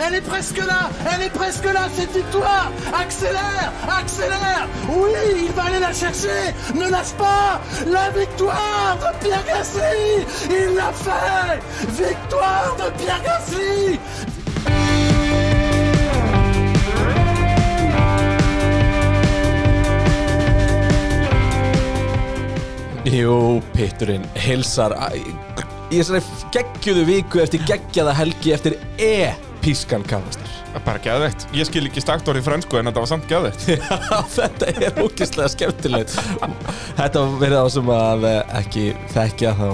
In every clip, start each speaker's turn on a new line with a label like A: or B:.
A: Elle est presque là Elle est presque là, cette victoire Accélère Accélère Oui, il va aller la chercher Ne lâche pas La victoire de Pierre Gasly Il l'a fait Victoire de Pierre Gasly
B: Jú, Pitturinn hilsar Æ, í þessari geggjuðu viku eftir geggjaða helgi eftir E e-pískan kafastar.
C: Það er bara geðveikt. Ég skil ekki stakt orðið frönsku en þetta var samt geðveikt.
B: Þetta er ógeðslega skemmtilegt. Þetta verið á sem að eh, ekki þekkja þá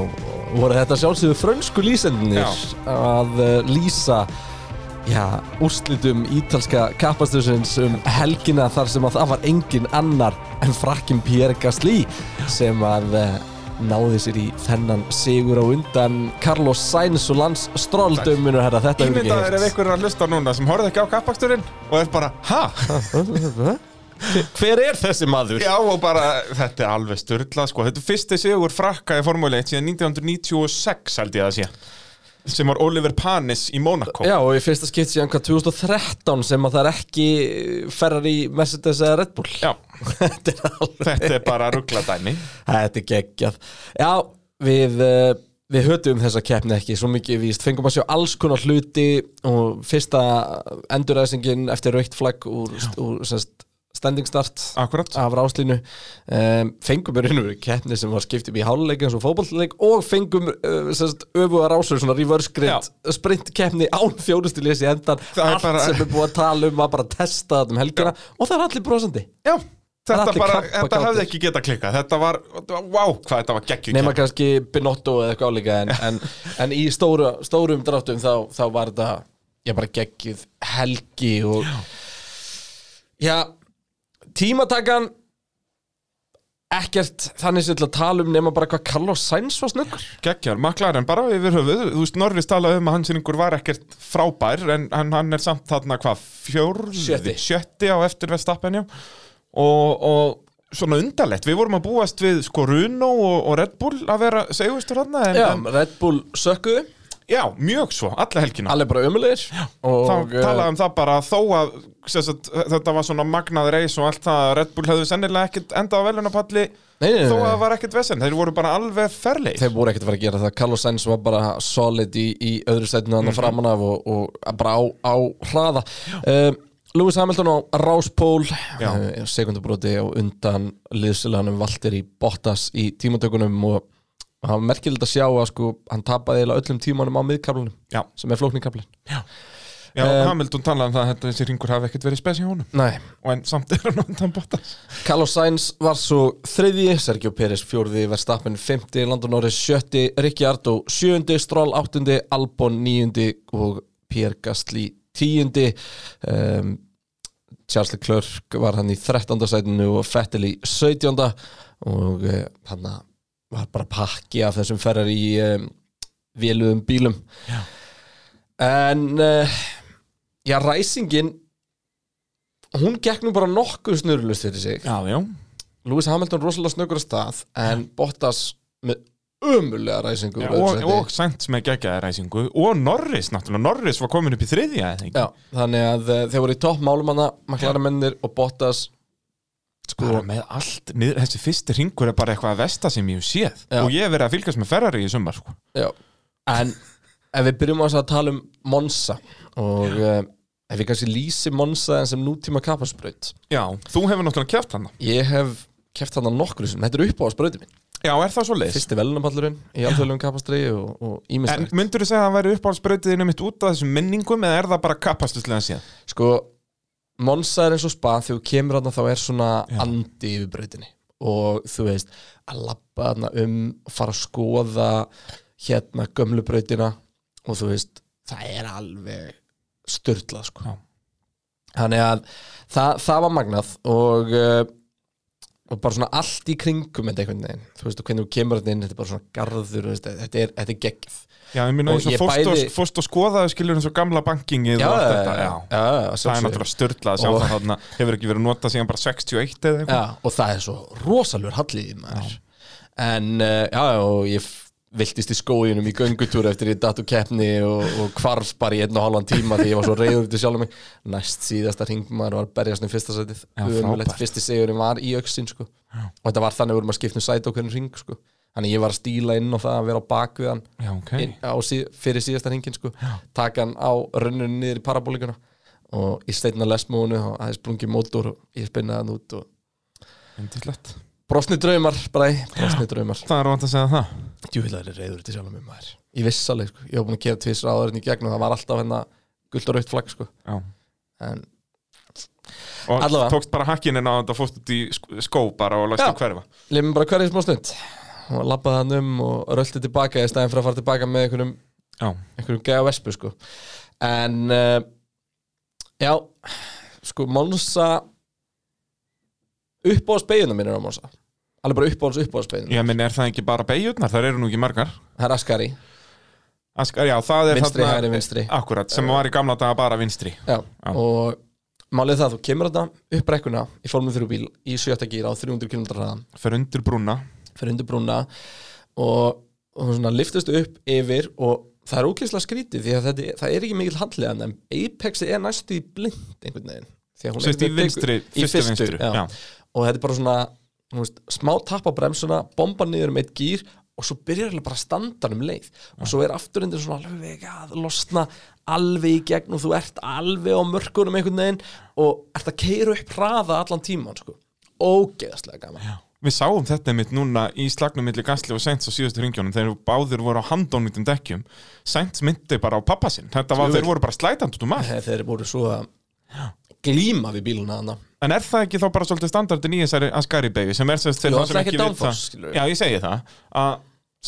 B: voru þetta sjálfsögðu frönsku lýsendinir
C: Já.
B: að eh, lýsa já, úrslitum ítalska kappastursins um helgina þar sem að það var engin annar en frakkin Pierre Gasly sem að eh, náði sér í þennan sigur á undan Carlos Sainz og Lance Stroll dömunu herra, þetta hefur
C: Ímyndað er ef
B: ekki
C: einhver er að hlusta núna sem horfði ekki á kappaksturinn og er bara, ha?
B: heilt Hver er þessi maður?
C: Já og bara, þetta er alveg styrla sko. Þetta er fyrsti sigur frakka í Formule 1 síðan 1996 held ég að sé. Sem var Oliver Panis í Monaco.
B: Já, og í fyrsta skipt síðan hvað 2013 sem að það er ekki Ferrari, Mercedes eða Red Bull
C: Já,
B: Þetta er alveg
C: þetta er bara ruggladæmi.
B: Þetta er geggjað Já, við, eh, við hötum þessa keppni ekki svo mikið víst, fengum að sjá alls konar hluti og fyrsta enduræsingin eftir raukt flagg úr, úr sest, standing start
C: Akkurat.
B: af ráslínu um, fengum við raunum keppni sem var skipt upp í háluleik eins og fótballleik og fengum uh, sest, öfuga rásur, svona reverse grind sprint keppni án fjórustu lesi endan
C: Það er
B: allt
C: bara-
B: sem er búið að tala um að bara testa þetta um helgina og það er allir brosandi
C: Já, þetta,
B: Allir
C: bara,
B: kappa
C: þetta
B: kátir.
C: hefði ekki getað klikkað. Þetta var, wow, hvað þetta var geggjum.
B: nema kannski Binotto eða eitthvað álíka en, en, en í stóru, stórum dráttum þá, þá var þetta ég bara geggið helgi og já, tímatakan ekkert þannig sem til að tala um nema bara hvað Carlos Sainz var snöggur
C: Gekkjar, McLaren bara yfir höfuð Þú veist, Norris talaði um að hans yringur var ekkert frábær En hann, hann er samt þarna hvað Fjórði,
B: Sjötti.
C: sjötti á eftir Vestapen já Og, og svona undarlegt, við vorum að búast við sko Runo og, og Red Bull að vera segustur hann en,
B: já,
C: en,
B: Red Bull sökkuðu,
C: já, mjög svo, alla helgina
B: allir bara ömulegir
C: Þá
B: og eh,
C: talaði um það bara að þó að sem sagt, þetta var svona magnað reis og allt það að Red Bull hefðu sennilega ekkert endað á velunapalli
B: Nei, nei, nei,
C: þó að
B: nei.
C: það var ekkert vesen, þeir voru bara alveg ferleir
B: þeir voru ekkert að fara að gera það Carlos Sainz var bara solid í, í öðru setinu þannig framan af og, og bara á, á hraða um, Lewis Hamilton á Ráspól
C: Já.
B: uh, sekundabróti og undan liðsilanum Valtir í Bottas í tímatökunum og það var merkilegt að sjá að sko, hann tapaði eiginlega öllum tímanum á miðkablunum
C: Já.
B: sem er flóknikablin
C: Já,
B: Eh,
C: Hamilton talaði um það að þetta þessi ringur hafi ekkert verið spes í honum
B: Nei,
C: og en samt er hann undan Bottas
B: Carlos Sainz var svo þriðji, Sergio Pérez fjórði, Verstappen fymti, Landon Norris sjötti, Ricciardo sjöundi, Stroll áttundi, Albon níundi og Pierre Gasly tíundi. Um, Charles Leclerc var hann í 13. sætinu og Vettel í 17. og uh, hann var bara pakki af þessum ferrar í um, veluðum bílum. Já. En uh, já, ræsingin hún gekk nú bara nokkuð snurlust fyrir sig
C: Já, já
B: Lewis Hamilton rosalega snöggur að stað en Bottas með ömulega ræsingu úr
C: og,
B: öðru sæti.
C: og Sainz með geggjaði ræsingu og Norris, náttúrulega, Norris var komin upp í þriðja eða ekki?
B: Já, þannig að eh, þeir voru í topp málumanna McLaren-mennir og Bottas
C: bara Sko, með allt, niður, þessi fyrsti ringur er bara eitthvað að vesta sem ég hef séð
B: Já.
C: og ég hef verið að fylgjast með Ferrari í sumar sko.
B: já. en ef við byrjum á þess að tala um Monza og uh, ef við kannski lýsi Monza en sem nútíma kapasbraut
C: Já, þú hefur náttúrulega kæft hann
B: ég hef keft hann að nokkru sem þetta er upp á sprautin minn
C: Já, er það svo leiðis?
B: fyrsti velunapallurinn í alþjóðlegum kapastri og, og
C: En
B: ímislegt
C: myndur þú segja að hann væri uppáhaldsbrautiðinu mitt út af þessum minningum eða er það bara kapastuslega síðan?
B: sko, Monza er eins og spa þegar þú kemur hann þá er svona andi yfir brautinni og þú veist að labba hann um og fara að skoða hérna gömlu brautina og þú veist, það er alveg styrlað sko
C: Já.
B: þannig að það, það var magnað og uh, og bara svona allt í kringum þetta einhvern veginn, þú veist, og hvernig þú kemur hann inn þetta er bara svona garður, þú veist, þetta er, þetta er geggjaf
C: Já, ég minna
B: Og
C: eins og
B: ég
C: fórst og-
B: bæði-
C: fórst og skoðaði skilur eins og gamla bankingið og allt þetta
B: já, já,
C: það er
B: sjálfsögðu.
C: náttúrulega störtlað að sjá
B: Og-
C: það þarna hefur ekki verið notað síðan bara 61 eða eitthvað
B: eh, Já, og það er svo rosalur hallið í maður En uh, já, já, og ég f- viltist í skóginum í göngutúr eftir ég datt úr keppni og, og kvarf bara í einn og halvan tíma því ég var svo reyður til sjálf mig næst síðasta ringmaður var berjast um fyrsta sætið
C: Já,
B: Ömurlegt.
C: frábært.
B: fyrsti sigurinn var í öxin sko. og þetta var þannig að við vorum að skipta um sæti okkur en ring sko. þannig ég var að stíla inn á það að vera á bak við hann
C: Já, ok.
B: inn, á, síð, fyrir síðasta ringin sko. taka hann á rönnunni niður í parabólikuna og í steinna lesmónu og aðeins sprungi mótor og ég spinnaði hann út og
C: Indislegt.
B: brosni draumar, bræ, brosni draumar
C: Það er vant að segja það.
B: djúvillar er reyður til sjálfum um maður ég viss alveg, sko. ég var búin að kera tvisra áður en í gegn og það var alltaf hérna gult og raut flagg sko.
C: Já.
B: en
C: Og
B: Allavega.
C: tókst bara hakkinn inn á þetta fórst út í sk- skó bara og lagst
B: Já.
C: í hverfa.
B: lefum bara hverja smá stund og labbaði hann um og rölti tilbaka í stæðin fyrir að fara tilbaka með einhverjum,
C: Já.
B: einhverjum gæja vespu sko. en uh, já sko Monsa upp á speginum minn er á Monsa alveg bara upp á hans upp á speginum
C: Ég minn, er það ekki bara beigjurnar? Það eru nú ekki margar.
B: það er Askari,
C: Askar, já, það er
B: vinstri, hægri, vinstri
C: Akkurat, sem var í gamla daga bara vinstri.
B: Já, og málið er það að þú kemur þetta upp brekkuna í formið þrjú bíl í sjötta gíra á 300 km hraðan
C: Fyrir undir brúna.
B: fyrir undir brúna og, og svona liftist upp yfir og það er ókvæslega skrítið því að þetta, það er ekki mikill handlega en Apexi er næstu í blind einhvern veginn Því að hún
C: Sérst í
B: einhvern veginn
C: vinstri,
B: tekur- í
C: fyrstu vinstri.
B: já.
C: Já.
B: og þetta er bara svona þú veist, smá tapp á bremsuna, bomba niður um eitt gýr og svo byrjar hérna bara standan um leið og svo er afturindin svona alveg að losna alveg í gegn og þú ert alveg á mörkunum einhvern veginn og ert að keira upp hraða allan tíman sko. ógeðaslega gaman já.
C: Við sáum þetta mitt núna í slagnum milli Gassli og Sainz á síðustu ringjónum þegar báðir voru á handónvítum dekkjum. Sainz myndi bara á pappa sinn. Þetta var,
B: Jú,
C: þeir voru bara slætandi út um allt.
B: þegar þeir voru svo að glíma við bíluna hana
C: En er það ekki þá bara svolítið standardin í þessari Ascari Baby sem er sérst
B: Jú,
C: fyrir þá
B: það
C: sem
B: er ekki
C: ekki vita
B: downforce, skilur við.
C: Já, ég segi það að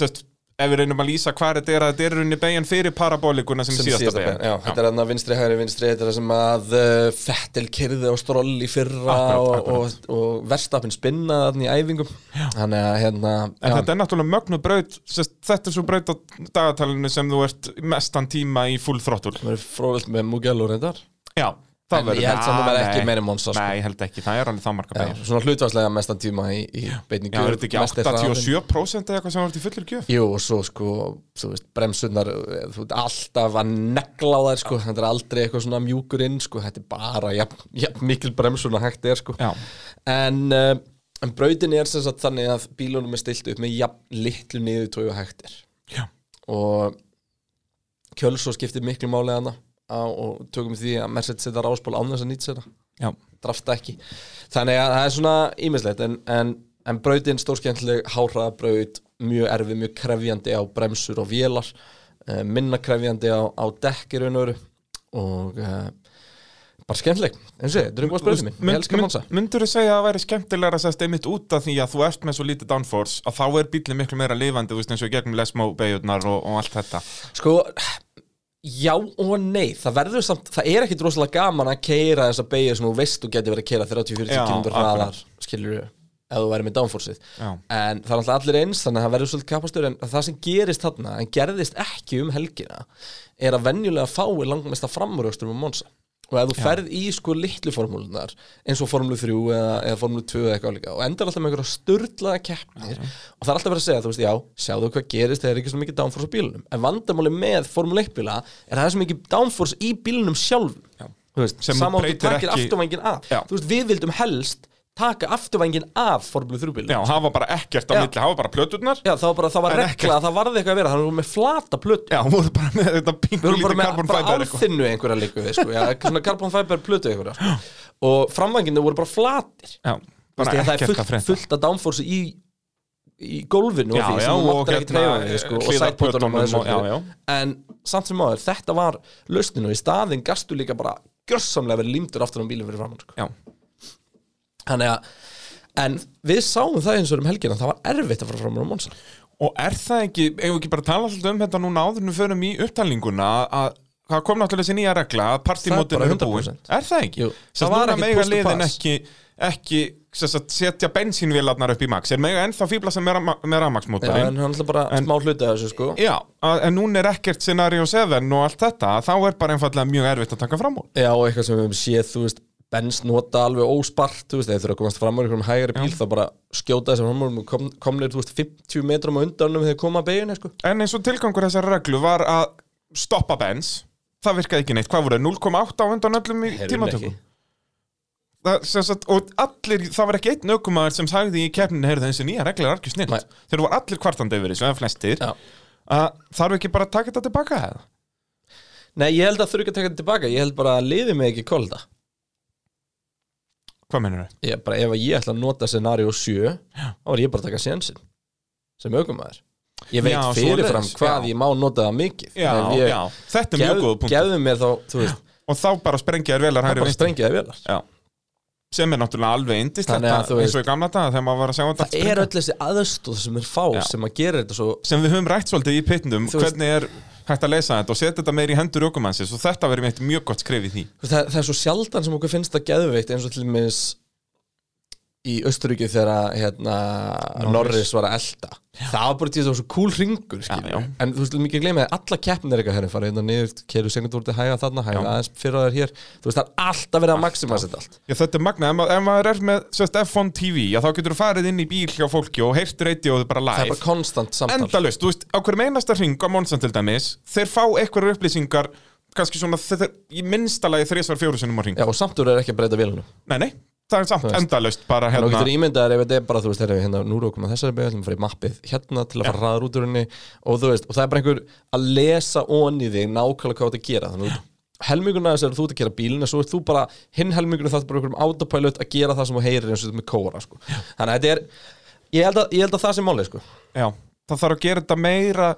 C: sérst, ef við reynum að lýsa hvað þetta er að þetta er runni beigjan fyrir parabólikuna sem,
B: sem
C: síðasta,
B: síðasta
C: síðasta
B: bein, já, þetta er þarna vinstri, hægri, vinstri þetta er það sem að uh, Fettel kyrði á stról í fyrra
C: Akkurat,
B: og,
C: akkurat.
B: og, og verstafinn spinnaði þarna í æfingum þannig að hérna
C: En
B: já,
C: þetta er náttúrulega mögnu braut sérst, þetta er svo braut á dagatalinu sem þú ert mestan tíma í full throttle
B: það verður fróðvöld með Mugello reyndar
C: Já, það
B: En ég held samt að það verði ekki meiri Monza, sko.
C: Nei, ég held ekki, það er alveg það marga
B: já,
C: beigjan
B: svona hlutvarslega mestan tíma í, í beinningu
C: Já, er þetta ekki
B: mesti hraðinn.
C: 87% eða eitthvað sem var til fullur gjöf?
B: Jú, og svo sko, þú veist, bremsunar þú veist, alltaf að negla á þær sko, þetta er aldrei eitthvað svona mjúkur inn sko, þetta er bara, jafn, jafn mikil bremsuna hægt er sko
C: Já.
B: en, uh, en brautin er sem sagt þannig að bílunum er stilt upp með jafn litlu niður tóju hægt er
C: Já.
B: og Kjölsó skiptir miklu máli hana á, og tökum því að Mercedes setja ráspól án þess að nýta sér það
C: Já.
B: drafta ekki þannig að það er svona ímislegt en, en, en brautin stórskemmtileg háhraðabraut, mjög erfið, mjög krefjandi á bremsur og vélar eh, minna krefjandi á, á dekkir og, og uh, bara skemmtileg, eins og ég, þetta er um góð sprautin mín ég elskar Monsa
C: Myndur þú segja að það væri skemmtilega sérst einmitt út af því að þú ert með svo lítið downforce að þá er bílið miklu meira lifandi, þú veist eins og í gegnum lesmó beigurnar og, og allt þetta
B: sko, já og nei það verður samt, það er ekkit rosalega gaman að keira þess að beigja sem þú veist þú getur verið að keira 30-40
C: Já,
B: km hraðar
C: akkurat.
B: skilur við, ef þú væri með downforceið
C: Já.
B: en það er alltaf allir eins þannig að það verður svolítið kapastur en það sem gerist þarna en gerðist ekki um helgina er að venjulega fái langmesta framuröxtur um Monsa og ef þú ferð í sko litlu formúlunar eins og formúlu 3 eða, eða formúlu 2 eða eitthvað líka og endar alltaf með einhverja sturdlaða keppnir og það er alltaf verið að segja, þú veist, já, sjáðu hvað gerist þegar er ekki svo mikið downforce á bílunum en vandamáli með formúlu 1 bíla er að það er svo mikið downforce í bílunum sjálfum
C: Já.
B: Þú veist,
C: Sem
B: sama og þú
C: breytir
B: takir
C: ekki-
B: afturvængin af
C: Já.
B: Þú veist, við vildum helst taka afturvængin af formúlu 3 bílunum
C: Já, hafa bara ekkert á
B: Já.
C: milli, hafa bara plöturnar
B: Já, það var bara, það var
C: En
B: regla að það varði eitthvað að vera, þannig að við vorum með flata plötu
C: Já, hún voru bara með þetta
B: Við
C: pingu
B: vorum bara með
C: lítið carbon
B: bara
C: fiber eitthvað
B: álþinnu einhverja líku við, sko, já, eitthvað svona carbon fiber plötu einhverja sko. og framvænginu voru bara flatir
C: Já,
B: Bara það
C: bara
B: er
C: ekkert
B: fullt,
C: að frétta
B: fullt að downforce í, í gólfinu
C: Já,
B: og því
C: já,
B: sem þú
C: og
B: máttar ekki
C: hérna,
B: treyfa við sko, og
C: hliðar
B: sætpótunum og
C: plötunum
B: þessu
C: og- já,
B: öllu.
C: já.
B: en samt sem áður, þetta var lausnin og í staðin gastu líka bara gjörsamlega verið límdur aftur á bílum fyrir framann sko.
C: Já,
B: þannig að En við sáum það eins og um helgina, það var erfitt að fara fram á Monsa.
C: og er það ekki, eigum við ekki bara að tala alltaf um þetta núna áður en við förum í upptalninguna að- að það kom náttúrulega þessi nýja regla að
B: Það
C: partímótin
B: er
C: eru
B: bara
C: búin
B: 100%.
C: Er það ekki?
B: Jú,
C: Sérst,
B: það var
C: núna
B: ekkert
C: mega
B: push to
C: liðin
B: pass.
C: ekki, ekki sérst, að setja bensínvélarnar upp í max er mega ennþá fýbla sem með, rama- með
B: Já, en hann
C: ramaksmótorin
B: er alltaf bara
C: En-
B: smá hluti af þessu sko.
C: Já, að- en núna er ekkert scenario 7 og allt þetta, þá er bara einfallega mjög erfitt að taka fram úr
B: Já, og eitthvað sem við höfum séð, þú veist, Benz nota alveg óspart þú veist, þeir þurfa að komast fram á einhverjum hægari bíl þá bara skjóta þessum fram og kom, komnir þú veist, 50 metrum á undanum þegar þeir koma að beginni sko.
C: En eins og tilgangur þessar reglu var að stoppa bens Það virkaði ekki neitt, hvað voru, 0,8 á undan öllum í
B: Heyrðu ekki.
C: tímatöku það, sem sagt, Og allir, það var ekki einn aukumæður sem sagði í keppninu Heyrðu þessi nýja regla er algjör
B: Nei.
C: snilt Þeir voru allir kvartandi yfir þessu, eða flestir
B: Já.
C: að Þarf ekki bara að taka þetta tilbaka eða?
B: Nei, ég held að þurfa ekki að taka þetta tilbaka ég held bara að liði mig ekki kólda
C: Hvað mennur þau?
B: ég bara, ef ég ætla að nota scenario 7 þá var ég bara að taka sénsinn sem aukumæður ég veit
C: Já,
B: fyrirfram
C: svoleiðis,
B: hvað
C: já.
B: ég má nota það mikið
C: Já,
B: Ef ég
C: já, þetta er mjög
B: gef-
C: góða punkt
B: gefðu mér þá, þú veist,
C: Og þá bara sprengja þér velar
B: það er
C: hægri
B: bara
C: vinstri
B: strengið að velar
C: Já. Sem er náttúrulega alveg indislegt
B: Þannig að þú
C: bara eins og
B: veist-
C: í gamla daga þegar maður var að sjá þetta
B: það er öll þessi aðstóð sem er fá
C: Já.
B: sem að gera þetta svo
C: sem við höfum rætt svolítið í pitnum
B: Þú veist-
C: hvernig er hægt að leysa þetta og setja þetta meir í hendur aukumannsins og þetta verður meitt mjög gott skrif í því
B: Þú veist, það, það er svo sjaldan sem okkur finnst það geðveikt eins og til minns í Östuríki þegar að, hérna, Norris. var að elda það var bara til þess að það var svo cool ringur skilur
C: Já, já.
B: við. en þú veist, mikið gleyma að alla keppnir eitthvað hérna fara hérna niður, keiru segnum úr til hæga þarna hæga
C: Já.
B: aðeins fyrir að það er hér þú veist, það er alltaf verið að maxima þetta allt
C: Já, þetta er magnað, ef, ma- ef maður er með sérst, F1 TV, já þá getur þú farið inn í bíl hjá fólki og heyrt radioðu bara
B: það er
C: live
B: bara konstant samtal
C: endalaust, þú veist, á hverjum einasta hring á Monsan til dæmis, þeir fá einhverjar upplýsingar kannski svona, þeir, í minnstalagi þrísvar fjóru sinnum á hring
B: já, og samtur er ekki að breyta vélunum
C: Nei, nei, það er samt
B: veist.
C: endalaust bara
B: En þú
C: hérna
B: getur ímyndað þér ef þetta er bara, þú veist, þegar við hérna nú rókum að þessari beigja, ætlum að fara í mappið hérna til að fara raður út úr henni og þú veist, og það er bara einhver að lesa onni þig nákvæmlega hvað þú ert að gera þannig að helmingurna þess er þú ert að gera bílina svo ert þú bara, hinn helmingurinn þarf bara einhverjum autopilot að gera það sem þú heyrir eins og þetta með kóra sko. þannig að þetta er, ég held að, ég held að það sé málið sko.
C: Já, það þarf að gera þetta meira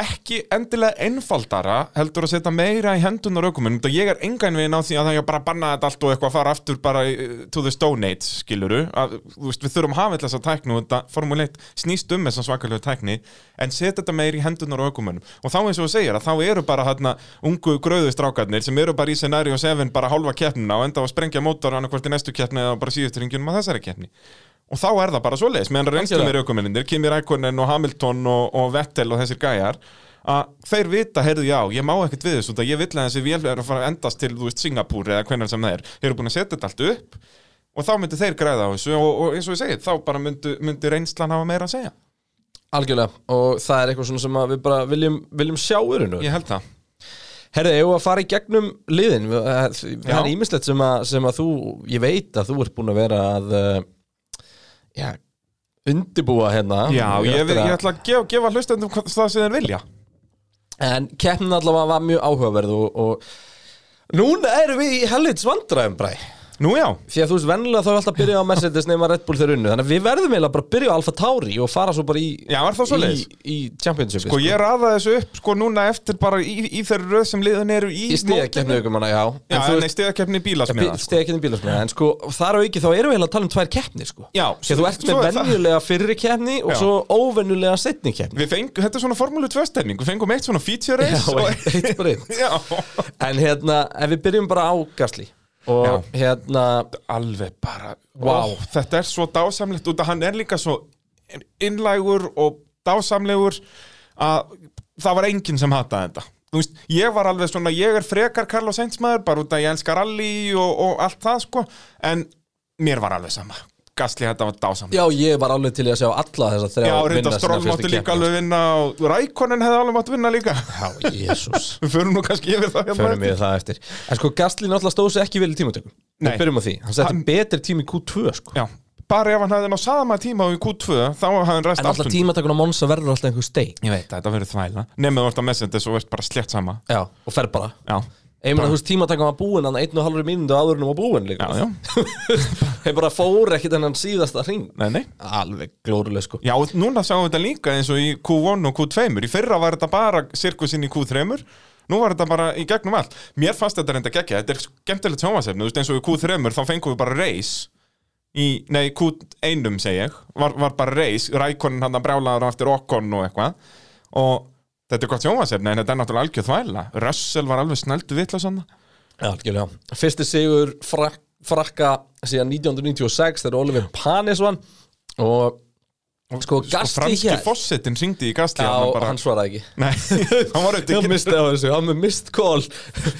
C: ekki endilega einfaldara heldur að setja meira í hendunar aukuminn og ég er engan veginn á því að það er bara að banna þetta allt og eitthvað að fara aftur bara eh, to the stone age, skiluru að, þú veist, við þurfum að hafa þess að tæknu og þetta formuleitt snýst um þessan svakalegu tækni en setja þetta meira í hendunar aukuminn og þá eins og þú segir að þá eru bara hérna ungu gröðustrákarnir sem eru bara í scenario 7 bara hálfa keppnina og enda á að sprengja mótor annarkvort í næstu keppni eða bara síðustur ringjunum að þessari keppni Og þá er það bara svoleiðis, meðan reynslunir aukumenninir, Kimi Rækonen og Hamilton og, og Vettel og þessir gæjar, að þeir vita, heyrðu já, ég má ekkert við þessu, út að ég vill að þessi vél er að fara að endast til, þú veist, Singapúr eða hvernig sem það er. Þeir eru búin að setja þetta allt upp og þá myndu þeir græða á þessu og, og eins og ég segið, þá bara myndu, myndu reynslan hafa meira að segja.
B: algjörlega, og það er eitthvað svona sem að við bara viljum, viljum sjá urinu
C: Ég held það.
B: Herðið, ég var að fara í gegnum liðin Við- eh, Það er
C: Já.
B: ímislegt sem, að- sem að þú Ég veit að þú ert búin að vera að eh, Já Undibúa hérna
C: Já, ég,
B: Eftir
C: ég,
B: að-
C: ég ætla að gefa, gefa hlustendum hvað- það sem þeir vilja.
B: En keppnin allavega var mjög áhugaverð og, og Núna erum við í helvits vandræðum bræ
C: Nú já,
B: Því að þú veist, vennilega þá er alltaf að byrja á Mercedes nema Red Bull þeir unnu Þannig að við verðum eiginlega bara að byrja á Alfa Tauri og fara svo bara í
C: Já, er það
B: í,
C: svoleiðis?
B: í Championship
C: sko ég raða þessu upp, sko núna eftir bara í, í þeirri röð sem liðin eru í,
B: Í stiga keppni ykkur manna, já
C: Já,
B: En þú veist-
C: en nei, stiðakefni bílasmiða. sko.
B: stegi ekki um bílasmiða en sko þar á ekki þá erum við heila að tala um tvær keppni sko.
C: Já,
B: Því að þú ert
C: svo
B: með
C: er það.
B: venjulega fyrri keppni og
C: Já.
B: svo óvenjulega setni keppni
C: Við fengum, þetta er svona formúlu 2 stemning, við fengum eitt svona feature race
B: Já,
C: og...
B: eitt- eitt bara einn.
C: Já,
B: en hérna, ef við byrjum bara á Gasly og
C: Já.
B: hérna
C: alveg bara,
B: Vá.
C: ó, þetta er svo dásamlegt út að hann er líka svo innlægur og dásamlegur að það var enginn sem hataði þetta. Þú veist, ég var alveg svona, ég er frekar Carlos Sainz maður, bara út að ég elskar rally og, og allt það sko, en mér var alveg sama. Gasli þetta var dásamlegt.
B: já, ég var alveg til í að sjá alla þess að þrjá
C: Já, reynda Stroll máttu líka alveg
B: sko.
C: vinna og Rækonin hefði alveg máttu vinna líka.
B: já, jésús
C: Við förum nú kannski yfir það hérna.
B: Förum
C: eftir.
B: við það eftir En sko, Gasly náttúrulega stóð sér ekki vel í tímatökum
C: Nei.
B: Við byrjum á því Hann setti
C: Hann-
B: betri tími í Q2 sko
C: Já, bara ef hann hefði ná sama tíma og í Q2 þá hefði hann
B: En
C: rest allt
B: alltaf tímatökun á Monsa verður alltaf einhver steik
C: Ég veit, að þetta verður þvæla Nefnum þú ert að Mercedes og ert bara slétt sama
B: Já, og fer bara
C: Já,
B: Ég meina, þú veist, tímatakkan var búinn, hann einn og halvri mínútu áður en hún var búinn
C: já,
B: líka.
C: já,
B: Þeir bara fór ekkit en hann síðasta hring.
C: nei, nei
B: Alveg glóruleg, sko.
C: Já, og núna sjáum við þetta líka eins og í Q1 og Q2 Í fyrra var þetta bara sirkusinn í Q3 Nú var þetta bara í gegnum allt Mér fannst þetta reynda geggja, þetta er skemmtilegt sjómasefni Þú veist, eins og í Q3 þá fengum við bara race í, Nei, Q1 segi ég Var, var bara race, Rækonin hann að brjálaður á eftir Okkon og eitthvað Og þetta er gott sjómasefni En þetta er náttúrulega algjöð þvæla Russell var alveg snældu vitla svona
B: Já, algjörlega. Fyrsti sigur frak, frakka síðan 1996 þegar Oliver Panis vann og Sko, Gasly
C: franski
B: hélt-
C: fossettinn syngdi í Gasly
B: Já,
C: hann bara,
B: hann svaraði ekki
C: Nei, hann var auðvitað
B: Ég
C: ekki
B: misti á þessu, hann með mist call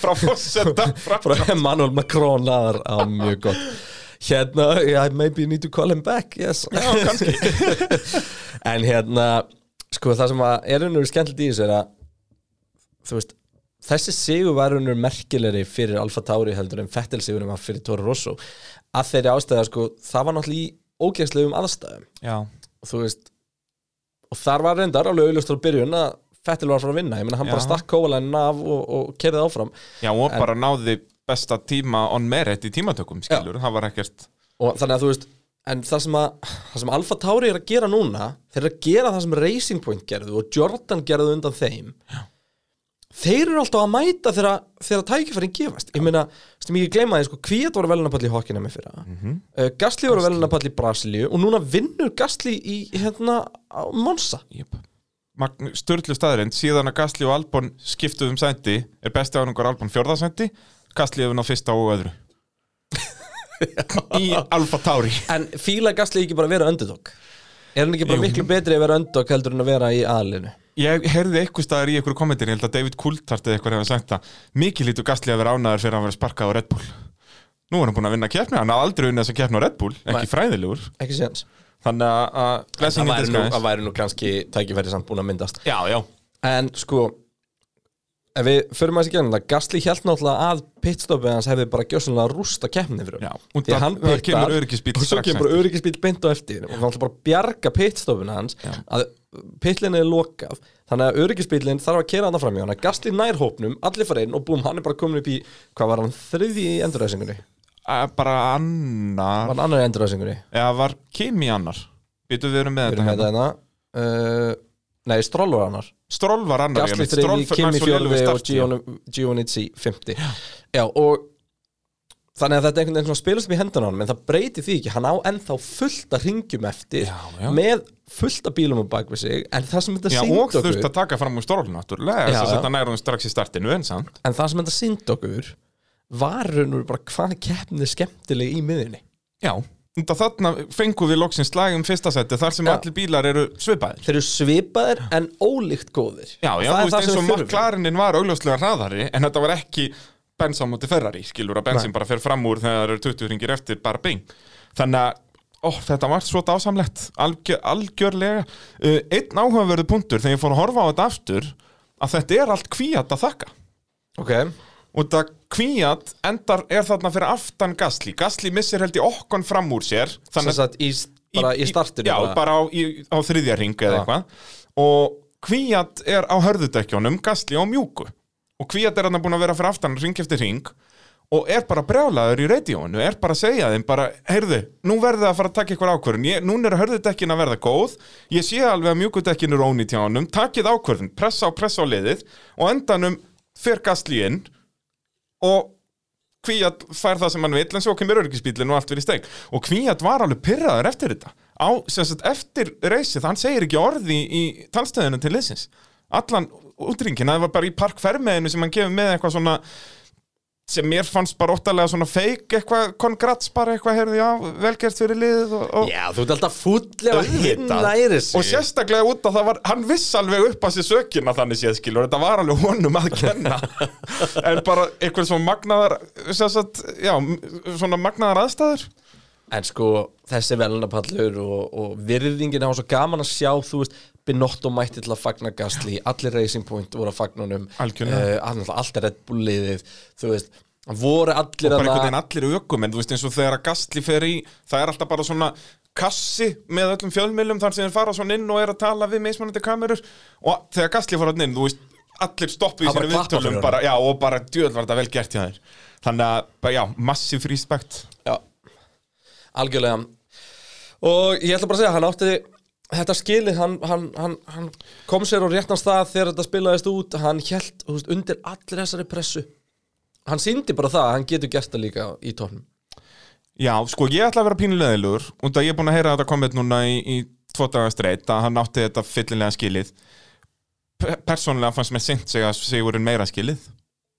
C: frá fossetta
B: frá Emmanuel Macron aðar á mjög gott hérna, yeah, I maybe need to call him back yes
C: Já, kannski
B: en hérna, sko það sem að er unnur skemmtilegt í þessu er að þú veist, þessi sigur var unnur merkilegri fyrir Alfa Tauri heldur en Fettel sigurum að fyrir Toro Rosso að þeirri ástæða, sko, það var náttúrulega í ógeðslegum aðstæðum
C: Já,
B: og þú veist og þar var reyndar alveg auðljóst á byrjun að Fettel var að fara að vinna, ég meina hann bara
C: Já.
B: stakk kóvalænin af og, og kerði áfram
C: já og bara náði besta tíma on merit í tímatökum skilur, það var ekkert
B: og þannig að þú veist en það sem, að, það sem Alfa Tauri er að gera núna þeir eru að gera það sem Racing Point gerðu og Jordan gerðu undan þeim Já. þeir eru alltaf að mæta þegar, þegar tækifærin gefast ég meina, sem ég gleyma því, sko, Kvíat voru velunapall í hokkina með fyrra mm -hmm. uh, Gasly voru velunapall í Brasilíu og núna vinnur Gasly í hérna, á Monza
C: yep. Sturlu staðrind, síðan að Gasly og Albon skiptuð um sæti, er besti ánungar Albon fjórðasæti, Gasly hefur náð fyrsta og öðru í Alfa Tauri
B: en fíla Gasly ekki bara að vera underdog er hann ekki bara
C: Jú.
B: miklu betri að vera underdog heldur en að vera í aðlinu
C: Ég heyrði eitthvað staðar í einhverju kommentir, ég held að David Coulthard eða eitthvað hefði sagt það. Mikið lítur Gasly að vera ánæður fyrir að hann verið sparkað á Red Bull. Nú er hann búin að vinna keppni, hann hafði aldrei unnið þess að keppni á Red Bull, ekki
B: Nei.
C: fræðilegur.
B: ekki séðans
C: Þannig að- að
B: það
C: blessingin
B: væri nú, það væri nú kannski tækifæri samt búin að myndast
C: Já, já.
B: En sko Ef við förum aðeins í gegnum það Gasly held náttúrulega að pitstopið hans hefði bara gjössanlega rústa keppni fyrir
C: Já,
B: hann
C: og
B: Því að
C: það-
B: hann
C: það
B: pittar
C: kemur öryggisbíll
B: Og svo
C: strax
B: kemur
C: eftir.
B: öryggisbíl beint á eftir Og hann ætla bara að bjarga pitstopinu hans Já. Að pitlinni er lokað Þannig að öryggisbílinn þarf að kera hann fram í hann Gasly nær hópnum, allir fara inn og búm Hann er bara komin upp í, hvað var hann, þriði í endurræsingunni
C: Að Eh, Bara annar,
B: Var hann annar í endurræsingunni
C: eða var Kimi annar? Býtu við erum með
B: Við
C: þetta
B: erum með
C: hérna.
B: það hérna uh, Nei, Stroll var annar
C: Stroll var annar.
B: Gasly
C: ég veit, Stroll
B: þriði,
C: fær-
B: Kimi
C: fær svo
B: fjörði
C: lélegur
B: og
C: start, já.
B: Giovinazzi- Giovinazzi fymti Já, og þannig að þetta er einhvern veginn svona spilast upp í hendan á hann en það breytir því ekki, hann á ennþá fullt að ringjum eftir
C: Já, já.
B: með fullt að bílum á bak við sig en það sem þetta
C: Já, og
B: sínd okkur
C: þurft að taka fram úr Stroll náttúrulega,
B: Já,
C: þess að
B: já.
C: þetta nær hún strax í startinu en samt.
B: en það sem þetta sínd okkur var raunur bara hvað keppnið er skemmtileg í miðinni
C: Já, þetta þarna fengum við loksins lag um fyrsta seti þar sem
B: Já.
C: allir bílar eru svipaðir.
B: þeir eru svipaðir en ólíkt góðir
C: Já, já,
B: það
C: þú
B: er
C: veist
B: það sem
C: eins og
B: við þurfum
C: maklarinin var augljóslega hraðari en þetta var ekki bens á móti Ferrari, skilur að bensin bara fer fram úr þegar það eru 20 ringir eftir bara bing. Þannig að, ó, þetta var svo dásamlegt, algjör, algjörlega. Uh, einn áhugaverðu punktur þegar ég fór að horfa á þetta aftur að þetta er allt kvíat að þakka.
B: ok,
C: Og það kvíat endar er þarna fyrir aftan Gasly. Gasly missir held í okkon fram úr sér.
B: þannig að í, bara í startinu
C: já, bara, á, í, á þriðja ring
B: Já.
C: eða eitthvað og kvíat er á hörðudekjónum gasli og mjúku og kvíat er hann búin að vera fyrir aftan ring eftir ring og er bara brjálaður í radiónu er bara að segja þeim bara, heyrðu, nú verðið að fara að taka eitthvað ákvörðun ég, núna er hörðudekkin að verða góð ég sé alveg að mjúkudekkin er ónýtt hjá honum takið ákvörðun, pressa á pressa á liðið og endanum fer gasli inn og Kvíat fær það sem hann vill en svo kemur öryggisbílinn og allt verið í steik og Kvíat var alveg pyrraður eftir þetta á, sem sagt, eftir reysið, hann segir ekki orði í talstöðinu til liðsins allan útringin, það var bara í parkfermiðinu sem hann gefur með eitthvað svona sem mér fannst bara óttalega svona feik eitthvað, kongrats bara eitthvað heyrðu, já, velgerst fyrir liðið og, og,
B: já, þú ert alltaf full ef að hinn
C: Auðvitað.
B: læri sig
C: og sérstaklega út að það var hann viss alveg upp að sér sökina þannig séð skilur þetta var alveg honum að kenna en bara einhver svona magnaðar sérstaklega, já, m- svona magnaðar aðstæður
B: En sko, þessi velunapallur og, og virðingin á svo gaman að sjá, þú veist, Binotto mætti til að fagna Gastli, allir Racing Point voru að fagna honum, uh,
C: Algjörlega.
B: alltaf Red Bull liðið, þú veist, voru allir
C: bara einhvern
B: þarna-
C: veginn allir aukum en þú veist eins og þegar að Gastli fer í það er alltaf bara svona kassi með öllum fjölmiðlum þar sem þeir fara svona inn og er að tala við mismunandi kamerur og þegar Gastli fór hann inn, þú veist allir stoppu í
B: Það bara
C: sínum
B: klappa fyrir
C: viðtölum bara, já, og bara djöð var þetta vel gert hjá þér þannig að, bara, já, massíf respekt
B: Já, algjörlega. Og ég ætla bara að segja, hann átti þetta skilið, hann, hann, hann, hann kom sér á réttan stað þegar þetta spilaðist út, hann held þú veist, undir allir þessari pressu. Hann síndi bara það, að hann getur gert það líka í tóknum.
C: Já, sko, ég ætla að vera pínulegilegur og það ég er búin að heyra þetta komið núna í, í tvo dagar streitt að hann átti þetta fyllilega skilið P Persónulega fannst mér sint sig að Sigurinn meira skilið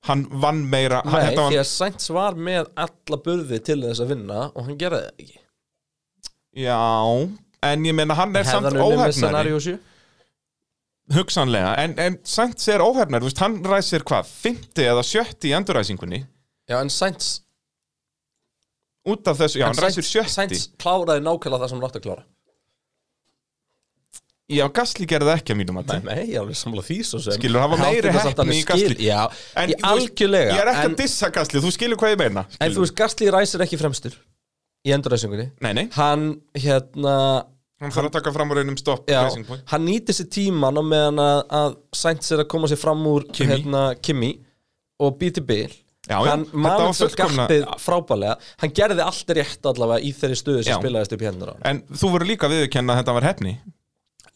C: Hann vann meira hann,
B: Nei, því
C: þetta var,
B: að Sainz var með alla burði til þess að vinna og hann gerði það ekki
C: Já, en ég meina hann er samt óhefnari
B: óhefnari
C: hugsanlega, en, en samt sér óhefnari, þú veist, hann ræsir hvað 50 eða 70 í enduræsingunni
B: Já, en Sainz
C: út af þessu, já,
B: en
C: hann ræsir
B: Sainz-
C: 70
B: Sainz kláraði nákvæmlega það sem hann átti að klára
C: já, Gasly gerði það ekki að mínum að
B: Nei, nei, ég er alveg samla því svo sem
C: Skilur, það var
B: En hann
C: meiri
B: átti þetta samt
C: heppni
B: alveg
C: í Gasly.
B: skil- Já,
C: En
B: en,
C: þú veist,
B: algjörlega
C: ég er ekki
B: en,
C: að dissa Gasly, þú skilur hvað ég meina
B: en þú veist, Gastli ræsir ekki fremstur Í enduræsingunni
C: nei, nei,
B: Hann, hérna
C: hann þarf að taka fram úr einum stopp
B: Já,
C: racing point.
B: hann nýtir sér tíman á meðan að, að Sainz er að koma sér fram úr
C: Kimi.
B: hérna, Kimi og býti bil
C: Já, já,
B: hann um
C: þetta var
B: manið
C: fullkomna-
B: gapið frábælega hann gerði allt rétt allavega í þeirri stöðu sem
C: Já.
B: spilaðist upp hérna
C: en þú voru líka viðurkenna að þetta var hefni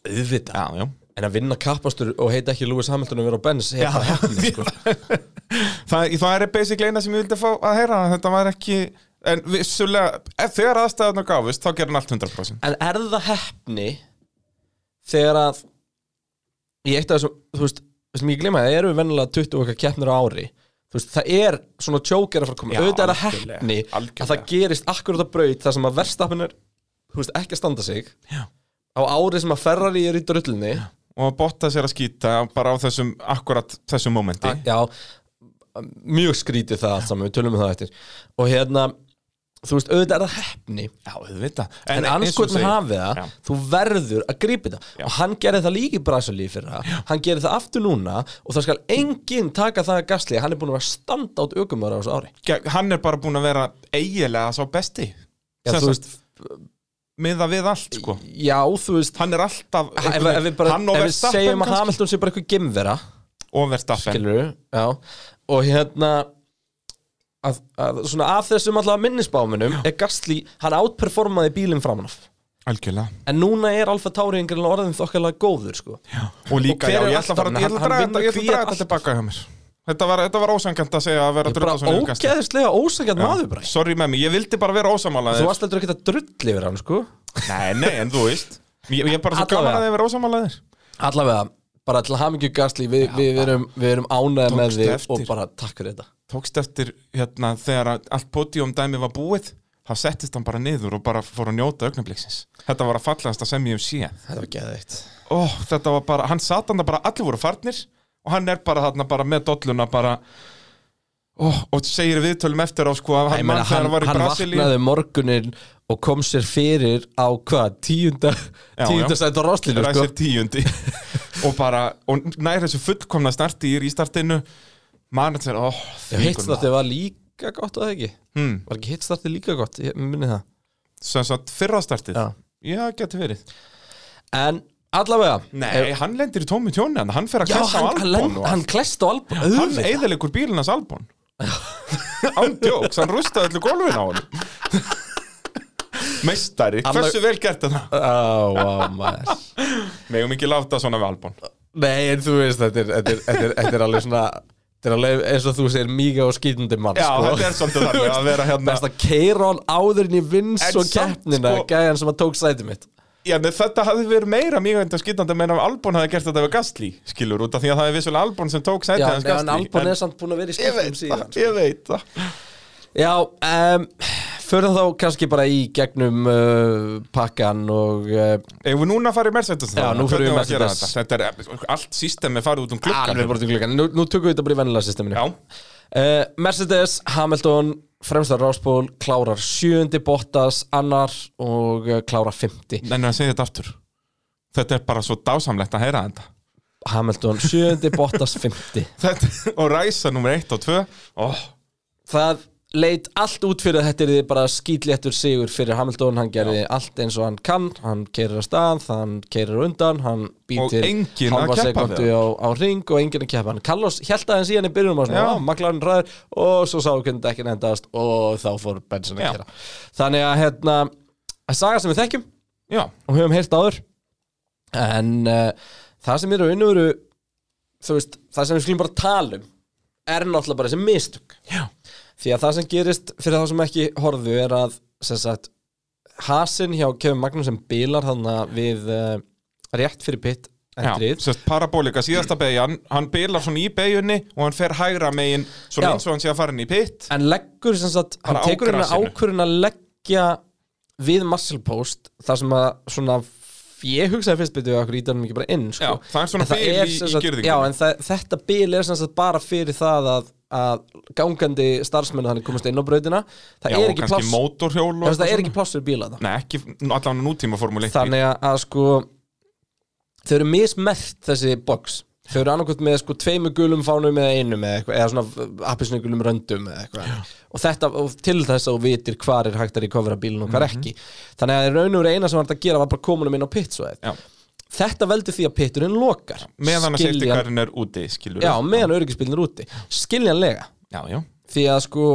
B: auðvitað,
C: já, já
B: en að vinna kappastur og heita ekki Lewis Hamilton og vera á Benz
C: Já,
B: heita hefni, sko.
C: það, það er basically eina sem ég vildi fá að heyra þetta var ekki en vissulega, ef þegar aðstæðan gáfust þá gerir hann allt 100%
B: en er það hefni þegar að ég eitt af þessum, þú veist, þú veist, ég glima það eru vennilega 20 okkar keppnir á ári þú veist, það er svona tjóker að fara að koma
C: Já,
B: auðvitað er það
C: algjörlega,
B: hefni að það
C: algjörlega.
B: gerist akkurat að braut þar sem að verðstapin er, þú veist, ekki að standa sig
C: Já.
B: á ári sem að Ferrari er í drullinni
C: og botta sér að skýta bara á þessum akkurat þessum momenti
B: Ah, já, mjög skrítið það allt saman, við tölum um það eftir og hérna, þú veist, auðvitað er það hefni
C: Já, auðvitað
B: en, en
C: eins og
B: anskotin
C: segir-
B: hafið það,
C: Já.
B: þú verður að grípa það og hann gerði það líka í Brasilíu fyrir það hann gerði það aftur núna og það skal enginn taka það að gasli hann er búin að vera standa át aukumöður á þessu ári
C: Ge- hann er bara búin að vera eigilega sá besti
B: Já,
C: Sem
B: þú
C: sagt, miða við allt sko
B: Já, þú veist
C: hann er alltaf
B: ef, ef, við, bara,
C: hann og
B: ef við
C: verðstappen
B: segjum að Hamilton sé bara eitthvað gemvera
C: og verðstappen
B: skilur já og hérna að, að, svona af þessum allavega minnisbáminum er Gasly, hann outperformaði bílinn framanaf
C: algjörlega
B: en núna er Alfa Tauri einhverjum orðin þokkalega góður sko
C: og líka,
B: Og hver
C: já,
B: er
C: ég ætla að fara
B: alltaf-
C: ég ætla að
B: hann-
C: draga
B: hann
C: þetta- ég ætla að
B: vinnur
C: draga
B: kvíar
C: þetta tilbaka hjá mér þetta var, þetta var ósangjönd að segja að vera að drulla
B: bara
C: svona yfir Gasly.
B: ógeðslega ósækjað maður bara
C: sorry með mig, ég vildi bara vera
B: Þú
C: ósamálaðir
B: varst heldur ekki að drull yfir hann sko
C: nei, nei, en þú veist ég, ég er bara svo
B: Allavega.
C: gaman að þið vera ósamálaðir
B: Allavega, bara til hamingju gasli Við, við, erum, við erum ánægð með
C: Tókstu
B: þig
C: eftir.
B: og bara takk fyrir þetta
C: tókst eftir hérna þegar að allt podium dæmi var búið þá settist hann bara niður og bara fór að njóta augnabliksins þetta var að fallegast að sem ég hef séð
B: Þetta var geðveikt
C: Ó, þetta var bara, hann sat hann bara allir voru farnir og hann er bara þarna bara með dolluna bara Ó, og segir í viðtölum eftir á sko að
B: Ég
C: hann,
B: meina,
C: man þegar
B: Hann,
C: hann var í
B: hann
C: Brasilíu
B: vaknaði morgunin og kom sér fyrir á hvað, tíunda
C: Já,
B: tíunda
C: já.
B: sætt á roslinu sko.
C: ræsir tíundi og bara, og nær þessu fullkomna snarti í startinu mann þetta er, ó,
B: Hitstartið var líka gott að það ekki
C: hmm,
B: Var ekki hitstartið líka gott, ég minni það
C: sem sagt fyrra startið
B: Já.
C: já, geti verið
B: En allavega
C: Nei,
B: ef-
C: hann lendir í tómi tjóni hann, hann fer að
B: Já,
C: klessa á
B: hann, hann,
C: albón
B: hann,
C: hann,
B: hann klest á albún
C: hann eðilegur bílinas albón Án djóks, hann rustaði allir gólfin á hann Meistari,
B: Annar-
C: hversu vel gert þetta?
B: Á, á, maður
C: Megum ekki láta svona við albón
B: Nei, en þú veist, þetta er, þetta er, þetta er, þetta er alveg svona Þetta er alveg eins og þú segir mýga og skýtandi mann
C: Já,
B: sko.
C: þetta er svolítið þannig að vera hérna
B: Best að keira hann áður inn í vins
C: En
B: og
C: samt,
B: keppnina
C: sko-
B: Gæjan sem að tók sæti mitt
C: Já, en þetta hafði verið meira mjög enda skýtandi meina að albón hafði gert þetta við Gastli skilur út af því að það er vissulega albón sem tók sæti
B: Já,
C: hans
B: en
C: Gasly
B: Albon er samt búin að vera í
C: Ég
B: skiptum
C: veit
B: síðan
C: það, ég veit það
B: Já, um, förum þá kannski bara í gegnum uh, pakkan og uh,
C: Ef við núna farið Mercedes
B: Já, nú förum við
C: Hvernig á að gera
B: Mercedes.
C: þetta? Þetta er allt systemi farið út um klukkan
B: alveg bara til klukkan Nú, nú tökum við þetta bara í vennilega systeminu
C: Já,
B: Uh, Mercedes, Hamilton, fremstar Rásból, klárar sjöundi, Bottas, annar og uh, klárar fymti.
C: En að segja þetta aftur Þetta er bara svo dásamlegt að heyra þetta,
B: Hamilton sjöundi, Bottas fymti.
C: þetta Og ræsa nummer 1 og 2 oh,
B: það leit allt út fyrir að þetta er bara skýtléttur sigur fyrir Hamilton hann gerði allt eins og hann kann hann keirir að stað, hann keirir undan hann býtir
C: enginn að
B: halva
C: keppa
B: sekundu
C: við
B: á, á ring og enginn að keppa hann Carlos held aðeins í hann í byrjunum og svona,
C: Já.
B: "Á, McLaren ræður og svo sá hvernig dekkin endast og þá fór Benson að
C: Já.
B: gera þannig að hérna, að saga sem við þekkjum
C: Já,
B: og höfum heyrt áður en uh, það sem eru innur þú veist, það sem við skulum bara tala um er náttúrulega bara þessi mistök
C: Já.
B: því að það sem gerist fyrir þá sem ekki horfðu er að sem sagt, hasin hjá Kevin Magnússon bilar þannig við uh, rétt fyrir pitt
C: já
B: endrið
C: sérst parabolika síðasta beigjan Hann bilar svona í beigjunni og hann fer hægra megin
B: Já.
C: Svona eins og hann sé að fara inn í pitt
B: en leggur sem sagt, hann
C: Bara á
B: tekur hérna
C: grasinu.
B: ákvörðin að leggja við muscle post þar sem að svona ég hugsaði fyrst betur við okkur ítanum ekki bara inn sko.
C: Já, það er svona
B: En það
C: bil
B: er
C: í-
B: sem
C: í
B: sagt-
C: girðingunni.
B: já, en það, þetta bil er sem sagt bara fyrir það að, að gangandi starfsmenn þannig komast inn á brautina það er
C: Já, og
B: ekki
C: kannski
B: pláss já,
C: mótorhjól og
B: þú veist, það
C: eitthvað
B: er ekki pláss fyrir bíla það
C: Nei, ekki allan nútíma formúli
B: þannig að, að sko þau eru mismert þessi box þau eru annarkvæmt með sko tveimur gulum fánum eða einum eða eitthvað, eða svona appisinu gulum röndum eða eitthvað, og þetta og til þess að þú vitir hvar er hægt að recovera bílinn og
C: Mhm.
B: hvar ekki þannig að í raun og veru eina sem var hægt að gera var bara komunum inn á pitsvæð
C: Já.
B: þetta veldur því að pitturinn lokar
C: meðan að safety
B: Skiljan-
C: carinn er úti skilur
B: já, meðan öryggisbílinn er úti skiljanlega,
C: já, já,
B: því að sko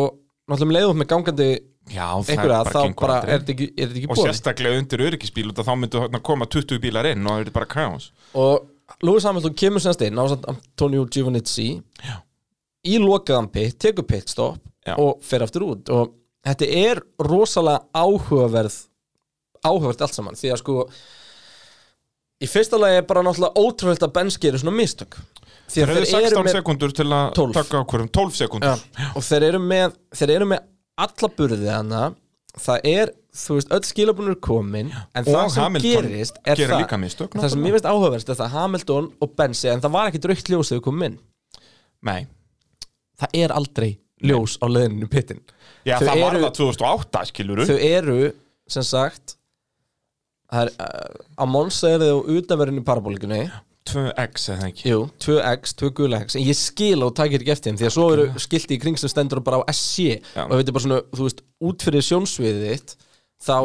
B: náttúrulega leiðum með gangandi
C: já það er
B: einhverja, þá
C: gengur
B: bara
C: aldrei.
B: er þetta ekki, er þetta ekki
C: og
B: boðið.
C: sérstaklega undir öryggisbíl út að þá myndu þarna koma 20 bílar inn og það verður bara kæmans
B: og Lewis Hamilton kemur semst inn á samt Antonio Giovinazzi
C: Já.
B: í lokaðan pitt, tekur pitstopp
C: Já.
B: og fer aftur út og þetta er rosalega áhugaverð áhugavert allt saman því að sko í fyrsta lagi er bara náttúrulega ótrúlegt að Benz gerir svona mistök því að
C: það eru
B: þeir eru
C: 16
B: með
C: sekundur til að
B: 12.
C: taka ákvörðum 12
B: Já,
C: sekundur
B: og þeir eru með, þeir eru með alla burði hana það er, þú veist, öll skilabunur komin en það
C: Og
B: sem
C: Hamilton
B: gerist er
C: gerir
B: það,
C: líka mistök,
B: það sem
C: náttúrulega.
B: mér veist áhugaverst er það Hamilton og Benzi, en það var ekki draugt ljós þegar við komum inn,
C: nei,
B: það er aldrei ljós á leðinu pittin
C: já
B: Þau
C: það var
B: eru-
C: það 2008 skilur
B: þau eru, sem sagt það er, uh, á Monsa er þau utanverðinu parabólikunni
C: 2x eða ekki
B: Jú, 2x, 2 gula x En ég skil og takir ekki eftir þeim Því að svo eru skilti í kring sem stendur bara á SC
C: Já.
B: Og þetta er bara svona, þú veist, út fyrir sjónsviðið þitt Þá,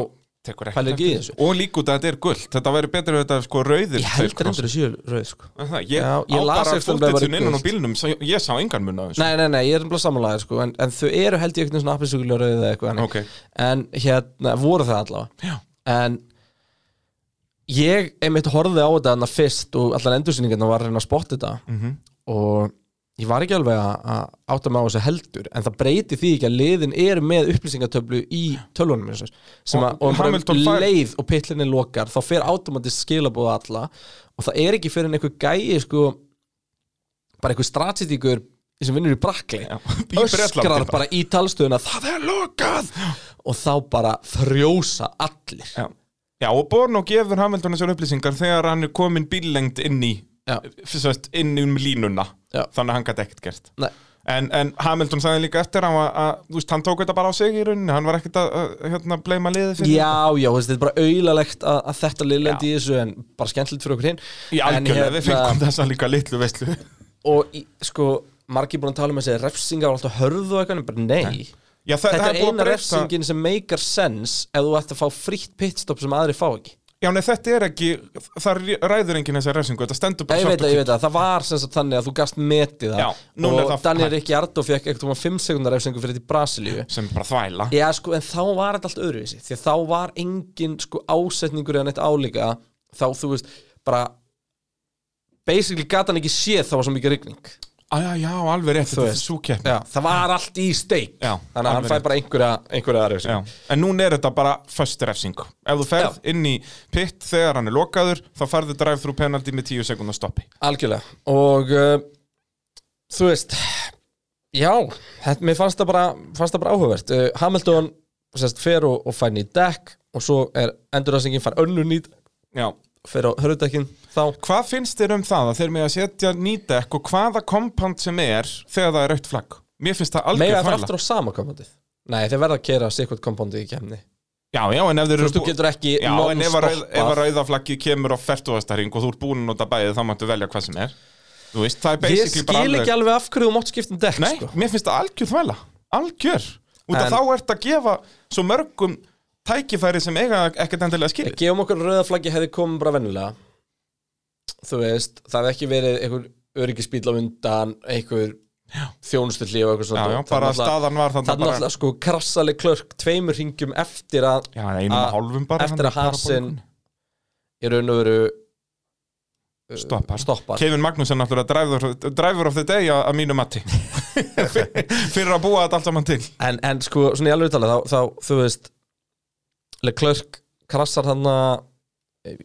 C: Tekur
B: Pælir
C: ekki
B: ekki í
C: eftir
B: þessu.
C: þessu. og líka út að þetta er gullt þetta væri betur að þetta er sko rauðir
B: ég held
C: tveir
B: reyndur að séu rauð sko.
C: Er það? Ég,
B: Já, ég
C: á
B: las eftir
C: bara
B: að það væri
C: fótitsun innan á
B: gult.
C: bílnum svo ég, ég sá engan mun á þessu
B: Nei, nei, nei, ég er bara samanlæðir sko, en, en þau eru held ég eitthvað svona appisuglega rauð eða eitthvað þannig.
C: Ok.
B: En hérna, voru það allavega
C: Já.
B: En ég einmitt horfði á þetta þarna fyrst Og allar endursýningarna var að reyna að spotta þetta
C: Mhm.
B: og ég var ekki alveg að- að átta mig á þessu heldur en það breyti því ekki að liðin eru með upplýsingatöflu í tölvunum eins og þess. sem að
C: Og
B: og bara um
C: Hamilton fær-
B: leið og pitlinni lokar þá fer automatist skilabóða alla og það er ekki fyrir en einhver gæi sko, bara einhver strategíkur sem vinnur í brakli
C: Já, í
B: öskrar
C: Bretlandi
B: bara í talstöðuna það er lokað og þá bara frjósa allir
C: Já. Já, og Borno gefur Hamilton þessar upplýsingar þegar hann er komin bíllengd inn í
B: Já.
C: fyrst, inn um línuna
B: Já.
C: þannig að hann gæti ekkert gert
B: Nei,
C: en, en Hamilton sagði líka eftir hann, var, að, þú veist, hann tók þetta bara á sig í rauninni hann var ekkert að, að hérna, bleima liðið fyrir
B: Já, já, þú veist, þetta er bara auðalegt að, að þetta liðlendi í þessu en bara skemmtilegt fyrir okkur hinn
C: í
B: En
C: algjörlega, við fengum
B: hérna,
C: þessa líka litlu veistlu
B: Og í, sko, margir búin að tala um þessi refsingar og alltaf hörðu og eitthvað, en bara nei
C: Já, það,
B: Þetta
C: það
B: er
C: búið að
B: eina
C: breyta-
B: refsingin sem meikar sense ef þú ætti að fá frítt pitstop sem aðri fá ekki
C: Já, nei, þetta er ekki, það ræður enginn þessa refsingu, þetta stendur bara
B: Ég veit
C: svart og
B: að, ég
C: hvítt.
B: veit að, það var sem sagt þannig að þú gast metið það
C: Já, núna er
B: og
C: það
B: Daniel
C: hægt.
B: Ricciardo fekk eitthvað 5 sekundar refsingu fyrir þetta í Brasilíu
C: sem er bara þvæla
B: Já, sko, en þá var þetta allt öðruvísi Því að þá var engin, sko, ásetningur eða neitt álíka Þá, þú veist, bara Basically gat hann ekki séð þá var svo mikið rigning
C: ah, Já, já, alveg rétt,
B: Þú
C: þetta er
B: veist.
C: svo keppni
B: Já, það var allt í steik
C: Já,
B: Þannig að hann
C: alveg
B: fæ
C: rétt.
B: bara einhverja, einhverja aðra
C: Já. En núna er þetta bara föst refsing Ef þú ferð
B: Já.
C: inn í pitt þegar hann er lokaður þá farðu drive-thru penalty með 10 sekundar stoppi
B: Algjörlega Og, uh, þú veist Já, þetta, mér fannst það bara, fannst það bara áhugavert uh, Hamilton, sérst, fer og, og fær nýtt dekk Og svo er endurræsingin fær önnur nýtt
C: Já.
B: Fer á hörðdekkin þá
C: Hvað finnst þér um það að þeir með að setja nýdekk og hvaða kompant sem er þegar það er rautt flagg? Mér finnst það
B: Mega
C: algjör
B: það
C: þvæla
B: aftur á sama kompóndið Nei, þeir verða að kera sikkert kompóndið í kemni
C: Já, já, en ef þeir
B: Þú
C: eru
B: veist, þú
C: bú-
B: getur ekki
C: Já, en ef að rauð- ef að
B: non-stoppað
C: rauðaflaggið kemur á fertugastæring og þú ert búin að nota bæðið þá máttu velja hvað sem er Þú veist, það er
B: Ég
C: basically bara
B: skil ekki alveg af hverju þú mátt skipta um dekk
C: Nei,
B: sko.
C: mér finnst það algjör þvæla Algjör Út
B: En-
C: að þá ert að gefa svo mörgum tækifæri sem eiga ekkert endilega skil
B: Gefum okkur að rauðaflaggi hefði komið bara vennulega Þú veist, það hefði ekki verið einhver öryggisbíl á undan einhver þjónustulli og eitthvað
C: Já,
B: svona
C: já, bara
B: Þannig að-
C: staðan var þannig
B: Þannig
C: bara
B: alltaf sko krassaleg klörk tveimur ringjum eftir að
C: Já, einum og
B: að-
C: hálfum bara
B: eftir að
C: hann-
B: Hasin í raun og veru
C: Stoppar.
B: stoppar
C: Kevin Magnússon náttúrulega driver, driver of the day að að mínu mati Fyrir að búa þetta allt saman til
B: en, en sko, svona í alveg talað þá, þá þú veist Leclerc krassar hann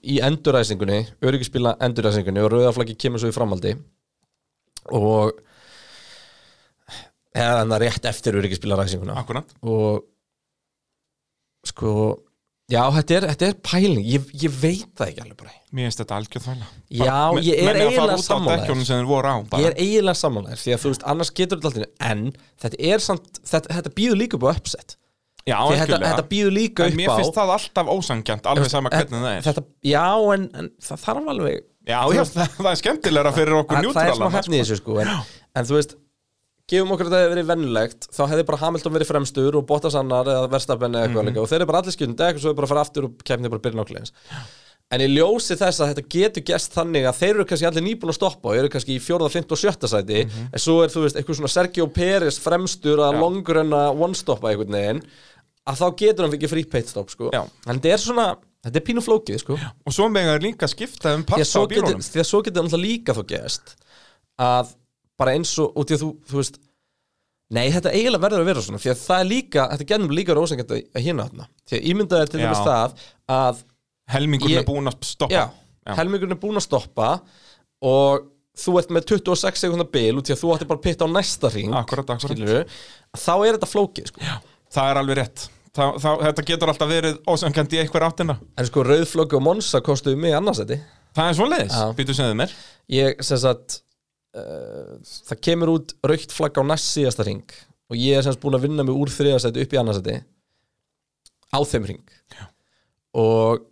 B: í enduræsingunni öryggisbíla enduræsingunni og rauðaflaggi kemur svo í framhaldi og eða hann rétt eftir öryggisbíla ræsinguna
C: Akkurat
B: og sko Já, þetta er, þetta er pæling, ég, ég veit það ekki alveg bara
C: Mér finnst þetta algjörð þvæla
B: Já, ég er eiginlega sammála þér.
C: Dekkjónum sem þeir voru á bara.
B: Ég er eiginlega samanlega því að þú veist, annars getur þetta alltaf En þetta er samt, þetta, þetta býður líka upp á uppsett
C: Já,
B: Því að þetta,
C: algjörlega.
B: þetta býður líka
C: En
B: upp á
C: Mér finnst það alltaf ósangjant, alveg sama hvernig það er
B: þetta, Já, en, en það þarf alveg
C: Já, já, það, það er skemmtilegra fyrir okkur
B: það, það er smá
C: njútralana
B: hefni í þessu sko en, en þú veist, gefum okkur að það hefði verið vennilegt þá hefði bara Hamilton verið fremstur og Bottas annar eða Verstappen eða
C: Mhm.
B: eitthvað líka og þeir eru bara allir skjöndi og svo er bara að fara aftur og kemni bara byrja nákvæmleins en ég ljósi þess að þetta getur gest þannig að þeir eru kannski allir nýbúin að stoppa og eru kannski í fjórða, fymta og sjötta sæti
C: Mhm.
B: en svo er þú veist, eitthvað svona Sergio Pérez fremstur að longur en að one-stoppa einhvern veginn að þá getur hann ekki frí pitstop sko
C: Já.
B: en þetta er svona, þetta er pínu flókið sko
C: Og svo megar líka skipta um
B: því að
C: parta
B: svo
C: á
B: getur,
C: bílunum
B: því að svo getur náttúrulega líka þú gerst að bara eins og, og því að þú, þú veist nei, þetta eiginlega verður að vera svona því að það er líka, þetta gerðum líka rósengjant að að hinna þarna, því að ímyndaði til
C: Já.
B: dæmis það að,
C: Helmingurinn
B: Ég-
C: er búin að
B: já,
C: stoppa Já.
B: helmingurinn er búin að stoppa og þú ert með 26 sekundar bil út því að þú ætti bara að pitta á næsta ring
C: Akkurat, akkurat.
B: skilurðu, að þá er þetta flókið sko.
C: Það er alveg rétt Þa, það, Þetta getur alltaf verið ósangjant í einhver áttina
B: en sko rauðflóki og Monsa kostuðu mig annars þetta
C: Það er svoleiðis,
B: Já.
C: býtu sem þið mér
B: ég sem sagt uh, það kemur út raukt flagg á næst síðasta ring og ég er sem sagt búin að vinna mig úr þriðasæti upp í annarsæti á þeim ring Já. og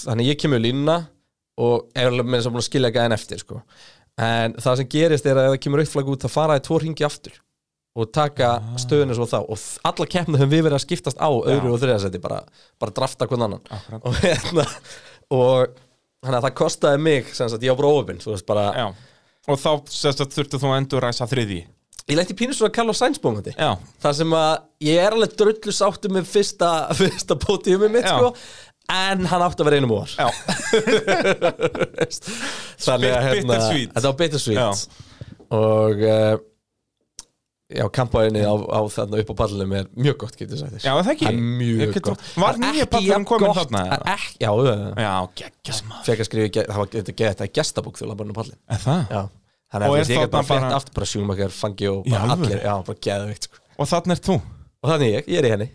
B: þannig ég kemur línuna og er alveg með þess að búin að skilja gæðin eftir sko. en það sem gerist er að ef það kemur raukt flagg út þá fara það tvo ringi aftur og taka
C: Ah.
B: stöðuna svo þá og þ- alla keppna höfum við verið að skiptast á öðru og þriðasæti bara, bara drafta hvern annan
C: Akkurat.
B: og hérna og þannig að það kostaði mig sem sagt, ég á bara óöfinn, þú veist bara
C: Já Og þá sérst að þurftu þú að endur ræsa þriði
B: ég lenti pínu svona Carlos Sainz bómandi
C: Já,
B: þar sem að ég er alveg drullu sáttu með fyrsta, fyrsta pótíumið mitt
C: Já.
B: sko, en hann átti að vera einum óvar
C: já,
B: þannig að
C: Bit-
B: hérna,
C: bittersweet.
B: þetta var bittersweet og uh, já, kampaðinni á, á þarna upp á pallinum er mjög gott getur sagt þér
C: já er það ekki
B: Það er mjög
C: Ég get-
B: gott
C: Var
B: Það er ekki
C: nýja
B: jafn
C: pallarinn komin
B: gott-
C: þarna?
B: það er ekki- Já, já, já.
C: Já, geggjast maður
B: fekk að skrifa, í ge- það var þetta gett að gestabók þegar hann bara pallin
C: Er það?
B: Já, þannig að
C: Og er
B: þú veist ég er
C: þarna
B: bara frétt
C: bara-
B: aftur bara sjúmakar, fangi og
C: Í
B: bara
C: alvöru?
B: allir, já, bara geðveikt sko.
C: Og þannig er þú
B: Og þannig ég, ég er í henni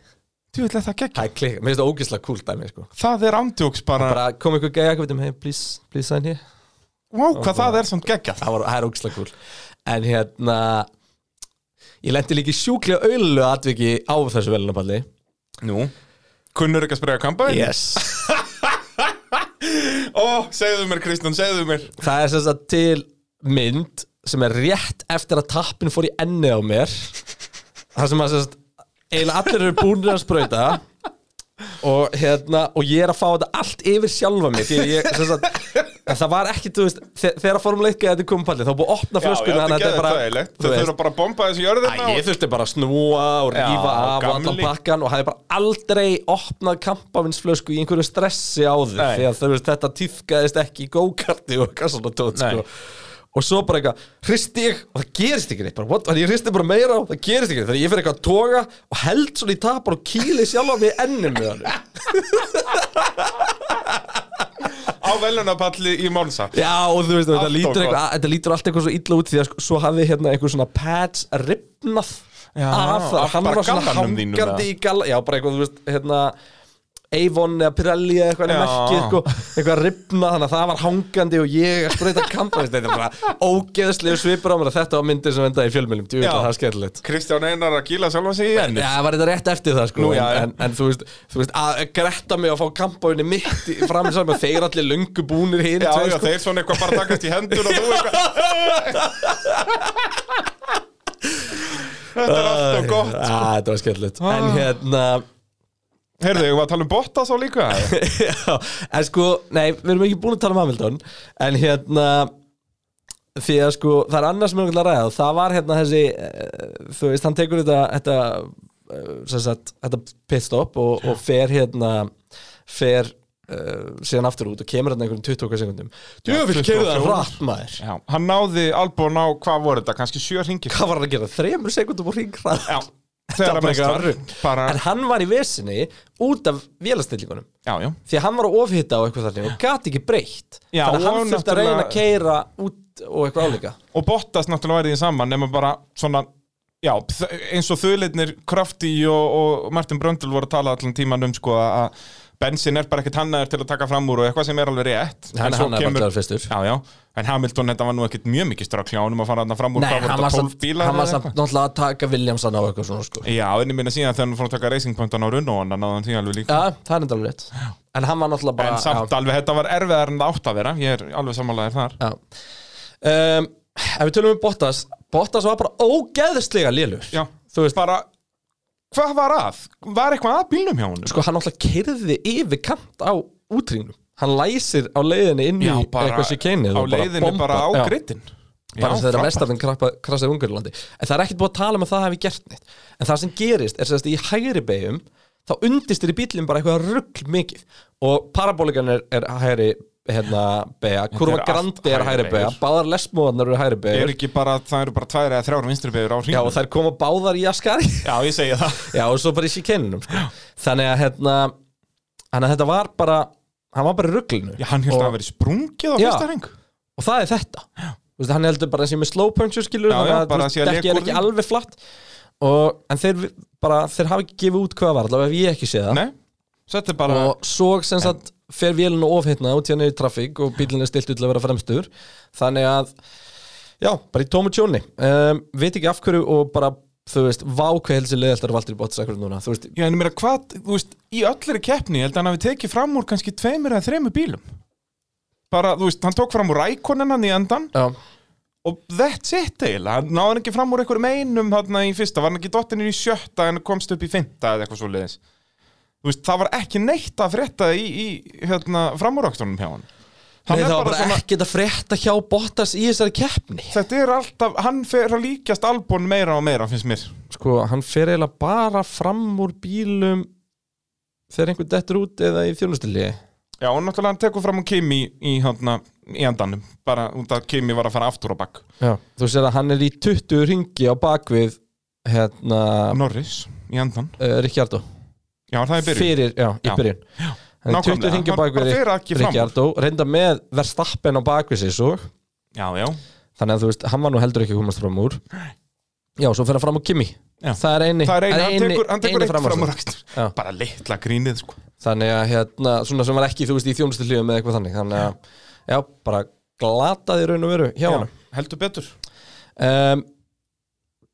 C: Þú vil það geggja
B: Það er klikka, mér finnst það ógislega cool dæmi sko.
C: Það er ándjóks bara,
B: Bara kom ykkur gæja, hvað veitum, hey, please, please sign here
C: Vá, hvað það er samt geggjað
B: Það var, það er ógislega cool En hérna Ég lendi líka í sjúklega auðlu atviki á þessu velunapalli
C: Nú Kunnur ekki að sprega kampaðin?
B: Yes
C: Ó, segðu mér Kristján, segðu mér
B: Það er sem sagt til mynd sem er rétt eftir að tappin fór í enni á mér Það sem að sem sagt eiginlega allir eru búinir að sprauta og hérna og ég er að fá þetta allt yfir sjálfa mig því að ég sem sagt en það var ekki, þú veist, þe- þegar að Formule 1 þetta kom pallið, þá var búið að opna flöskunni
C: þetta
B: þannig að
C: geðið
B: bara-
C: þægilegt
B: þú
C: Þau
B: veist.
C: þurfa bara að bomba þessu jörðina
B: Æ, ég þurfti bara að snúa og rífa
C: Já,
B: af og allan
C: gamli.
B: pakkan og hafði bara aldrei opnað kampavinsflösku í einhverju stressi áður
C: Nei.
B: því að þau veist þetta týðkaðist ekki í go-karti og eitthvað svona tótt
C: Nei.
B: sko. og svo bara eitthvað, hristi ég og það gerist ekki neitt, bara what, þannig ég hristi bara meira og það gerist ekki neitt, þannig ég fer eitthvað að toga og held svona í tapar og kýli sjálf á mig ennum með hann
C: Á velunapalli í Mónsa
B: Já, og þú veist, þetta
C: Allt
B: lítur,
C: og
B: eitthvað, þetta lítur allt eitthvað svo illa út því að sko- svo hafði hérna eitthvað svona pads ripnað
C: Já,
B: af það,
C: af
B: hann
C: bara
B: var svona
C: gallanum þínum,
B: hangandi í galla, já, bara eitthvað, þú veist, hérna Avon eða Pirelli eða eitthvað
C: Já.
B: merkið, sko, eitthvað ripnað, þannig að það var hangandi og ég að spreita kampa, veist, þetta er bara ógeðslega svipur á mér að þetta var myndið sem endaði í fjölmjölum, djú,
C: Já.
B: það er skemmtilegt
C: Kristján Einar að kýla sjálfa sig í enni
B: Já, það var þetta rétt eftir það sko
C: Nú, já, já.
B: en, en þú veist, þú veist að gretta mig að fá kampáinni mitt í- fram í saman þeir allir löngu búnir hinn
C: Já, já, þeir svona eitthvað bara takast í hendur og þú eitthvað Þetta er allt og gott Ah.
B: Já, þetta var skemmtilegt En hérna,
C: Heyrðu, ég var að tala um Bottas á líka
B: já, en sko, nei, við erum ekki búin að tala um Hamilton En hérna, því að sko, það er annars mér að ræða Það var hérna þessi, eh, þú veist, hann tekur þetta, þetta, eh, sem sagt, þetta pitstop og, og fer hérna, fer uh, síðan aftur út og kemur hérna einhverjum 20 okkar sekundum Djöfull
C: 24.
B: keyrði það rætt maður
C: Já, hann náði albúin á, hvað voru þetta, kannski sjö hringir
B: Hvað var hann að gera? Þremur sekundum og hring rætt
C: Já, þegar
B: var
C: að mest
B: bara
C: var
B: eitthvað
C: Bara,
B: En hann var í vesinni út af vélastillingunum
C: já, já
B: því að hann var að ofhitta á eitthvað þannig og gati ekki breytt
C: Já,
B: þannig að
C: og
B: hann þurfti að reyna að
C: náttúrulega-
B: keira út og eitthvað álíka
C: og Bottas náttúrulega værið í saman nema bara svona já, þ- eins og þauðleitnir Krafti og, og Martin Bröndl voru að tala allan tíman um sko að bensin er bara ekkert hannaður til að taka fram úr og eitthvað sem er alveg rétt En
B: Hann
C: svo
B: hannaði bara alveg fyrstur.
C: Já, já, en Hamilton þetta var nú ekkert mjög mikið strakli á honum að fara hann fram úr
B: Nei,
C: hvað
B: hann
C: þetta,
B: var
C: 12
B: samt,
C: bílar
B: hann var
C: eða
B: samt
C: eitthvað?
B: náttúrulega að taka Williamson á eitthvað svona sko.
C: Já, en ég minna síðan þegar hann fór að taka racing pointan á runn og hann náði hann því alveg líka
B: Já, það er enda alveg rétt En hann var náttúrulega bara
C: En samt alveg, þetta var erfiðar en það átt að vera Ég er alveg samanlegaðir þar
B: já, já. Um, Ef við tölum um Bottas Bottas var bara ógeðslega lélur
C: Já,
B: Þú veist,
C: bara, hvað var að? Var eitthvað að bílnum hjá honum?
B: sko hann náttúrulega keirði yfir kant á útrýnum Hann læsir á leiðinni inn í eitthvað sér keinið
C: á leiðinu bara á grittinn
B: bara
C: Já,
B: þegar
C: frábært.
B: verstafinn krasar Ungarlandi en það er ekkert búið að tala um að það hefði gert neitt en það sem gerist er sérst í hægri beigum þá undistir í bílum bara eitthvað rugg mikið og parabolikan er, er hægri hérna beiga, kurva
C: allt
B: grandi er
C: hægri
B: hægri beiga
C: beygjur.
B: báðar lesmóðanar eru hægri
C: Er
B: beigur
C: ekki bara, það eru bara tvær eða þrjár vinstribegur á
B: já
C: hringunum?
B: og þær koma báðar í askari
C: Já, ég segi það
B: já og svo bara í síkenninum sko. þannig að hérna þannig að þetta var bara hann var bara í rugglinu
C: Já, hann held
B: Og-
C: að hafa verið sprungið á
B: Já.
C: fyrsta hring
B: og það er þetta Þú veist, hann heldur bara að sé með slow puncher skilur
C: Já, já,
B: þannig að
C: bara
B: þú
C: sé að
B: veist, dekkið er
C: leka úr
B: ekki
C: því.
B: alveg flatt og, en þeir, bara, þeir hafa ekki gefið út hvað var allavega ef ég ekki sé það
C: Nei, svo þetta er bara
B: og svo sem sagt fer vélun og ofhittna út hérna í trafík og bílinn er stiltu til að vera fremstur þannig að já, bara í tómu tjóni um, veit ekki af hverju og bara þú veist, vá hvað helsi leðaldar Valdur Bottas akkur núna, þú veist,
C: Já, en ég meira hvað, þú veist, í öllri keppni ég held að hann hafi tekið fram úr kannski tveimur eða þreimur bílum Bara, þú veist, hann tók fram úr rækonin hann í endan
B: já,
C: og that's it eiginlega, hann náði hann ekki fram úr einhverjum einum þarna í fyrsta, var hann ekki dottinir í sjötta en komst upp í fynda eða eitthvað svo leiðis Þú veist, það var ekki neitt að frétta í, í hérna, framúræktunum hjá hann Hann
B: Nei,
C: er
B: það var
C: bara
B: bara
C: svona-
B: ekkert að frétta hjá Bottas í þessari keppni
C: Þetta er alltaf, hann fer að líkjast albún meira og meira, finnst mér
B: sko, hann fer eiginlega bara fram úr bílum þegar einhver dettur út eða í þjónustili
C: Já, og náttúrulega hann tekur fram um Kimi í, hérna, í endanum bara út að Kimi var að fara aftur á bakk
B: þú sér að hann er í 20 ringi á bakvið hérna
C: Norris í endan
B: uh, Ricciardo
C: Já, það er byrjun
B: fyrir, já, í
C: Já.
B: byrjun hann er 20
C: Nákvæmlega.
B: ringi á
C: Hann bara
B: bakvið
C: fer ekki fram úr.
B: Ricciardo reynda með verðstappen á bakvið sér svo
C: Já, já
B: þannig að þú veist, hann var nú heldur ekki að komast fram úr já, svo fer hann fram á Kimi
C: Já.
B: það er eini
C: Það er einu, hann
B: eini-
C: tekur, hann tekur
B: eini
C: eitt fram úr
B: framúrakstur.
C: akstur
B: Já.
C: Bara litla grínið, sko
B: þannig að hérna, svona sem var ekki þú veist í þjónustu hljóðum eða eitthvað þannig þannig að, já, bara glataði raun og veru hjá hann
C: heldur betur
B: um,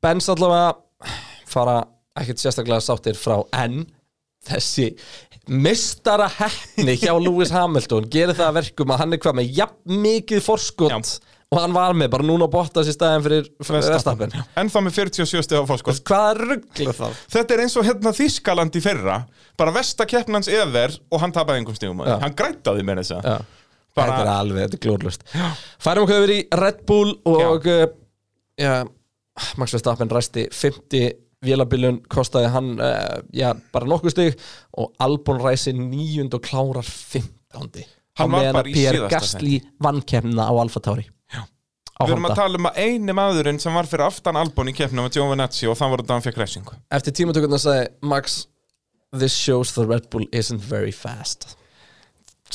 B: Benz allavega fara ekkert sérstaklega sáttir frá en þessi mistara hefni hjá Lewis Hamilton gerir það að verkum að hann er hvað með jafn mikið forskot og hann var með bara núna að botta sér staðin fyrir verðstappin
C: Verstappen. En þá með 47 stegar fórskot
B: hvaða ruggli það
C: Þetta er eins og hérna Þískaland í fyrra Bara vestakeppnans eðver og hann tapaði einhverjum stigum á því.
B: Já.
C: Hann grættaði með þess að
B: Já.
C: Bara-
B: Þetta er alveg, þetta er glórlust Færum okkur yfir í Red Bull og já. Já, Max Verstappen ræsti 50 vélabilun kostaði hann uh, já, bara nokkuð stig og Albon ræsi 9 og klárar 15
C: Hann var bara í
B: Pér
C: síðasta
B: Gastli vannkemna á Alfa Tauri á
C: Við erum að
B: Honda.
C: tala um að eini maðurinn sem var fyrir aftan Albon í keppnum var Giovinazzi og þann var þetta hann fekk refsingu
B: Eftir tímatökurna sagði Max This shows the Red Bull isn't very fast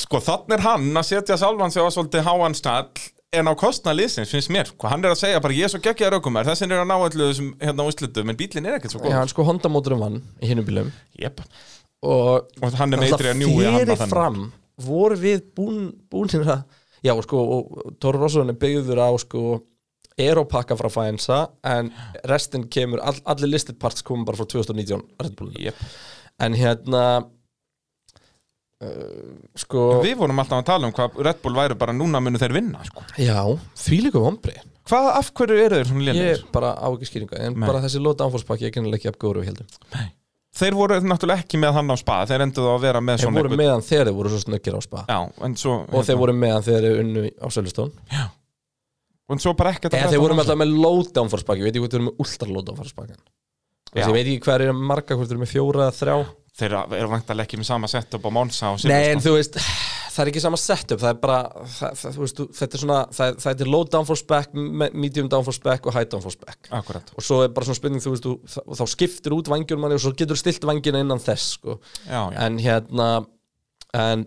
C: Sko þann er hann að setja sjálfan sig á svolítið háan stall en á kostna liðsins finnst mér Hvað hann er að segja bara ég er svo geggjaður aukumar þessin er að ná öllu þessum hérna úslitum en bílinn er ekkert svo
B: Já,
C: góð
B: hann sko Honda móturum vann í hinnum bílum
C: yep.
B: og
C: Og hann er meitri að njúi að
B: fyrir
C: handa þannig
B: fram voru við bún, búnir að já sko, og Tóru Rósson er byggður á sko Aeropakka frá Faensa en restin kemur, all, allir listed parts komum bara frá 2019 Red Bullinu
C: yep.
B: en hérna uh, sko
C: Við vorum alltaf að tala um hvað Red Bull væri bara núna munu þeir vinna sko.
B: já, því líka vombri
C: Hvað af hverju eru þeir svona lélir?
B: ég bara á ekki skýringa en
C: Nei.
B: bara þessi lóta ánfórspakki ég kennilega ekki af góru við heldum
C: Þeir voru náttúrulega ekki með hann á spa þeir enduðu að vera með
B: þeir
C: svona
B: voru
C: einhvern-
B: meðan þegar þeir voru svo snöggir á spa
C: Já, en svo, hérna,
B: og þeir voru meðan þegar þeir unnu á Sölustón
C: en svo bara ekkert að
B: Eða
C: frétta
B: þeir voru
C: af
B: með
C: honum.
B: alltaf með lowdown fórspakki, veit ég hvað þeir eru með ultra lowdown fórspakkan Ég veit ekki hvað eru marga, hvort þeir eru með fjóra eða þrjá
C: Þeir eru vantarlega ekki með sama setup á Monsa og
B: Nei, en
C: Silverstone.
B: þú veist, það er ekki sama setup Það er bara, það, það, þú veist, þú- þetta er svona það, það er low down fórspakk, medium down fórspakk og high down fórspakk
C: Akkúrat.
B: Og svo er bara svona spurning, þú veist, þú, þá- og þá skiptir út vangjur manni og svo getur stilt vangjina innan þess sko.
C: Já, já.
B: En hérna, en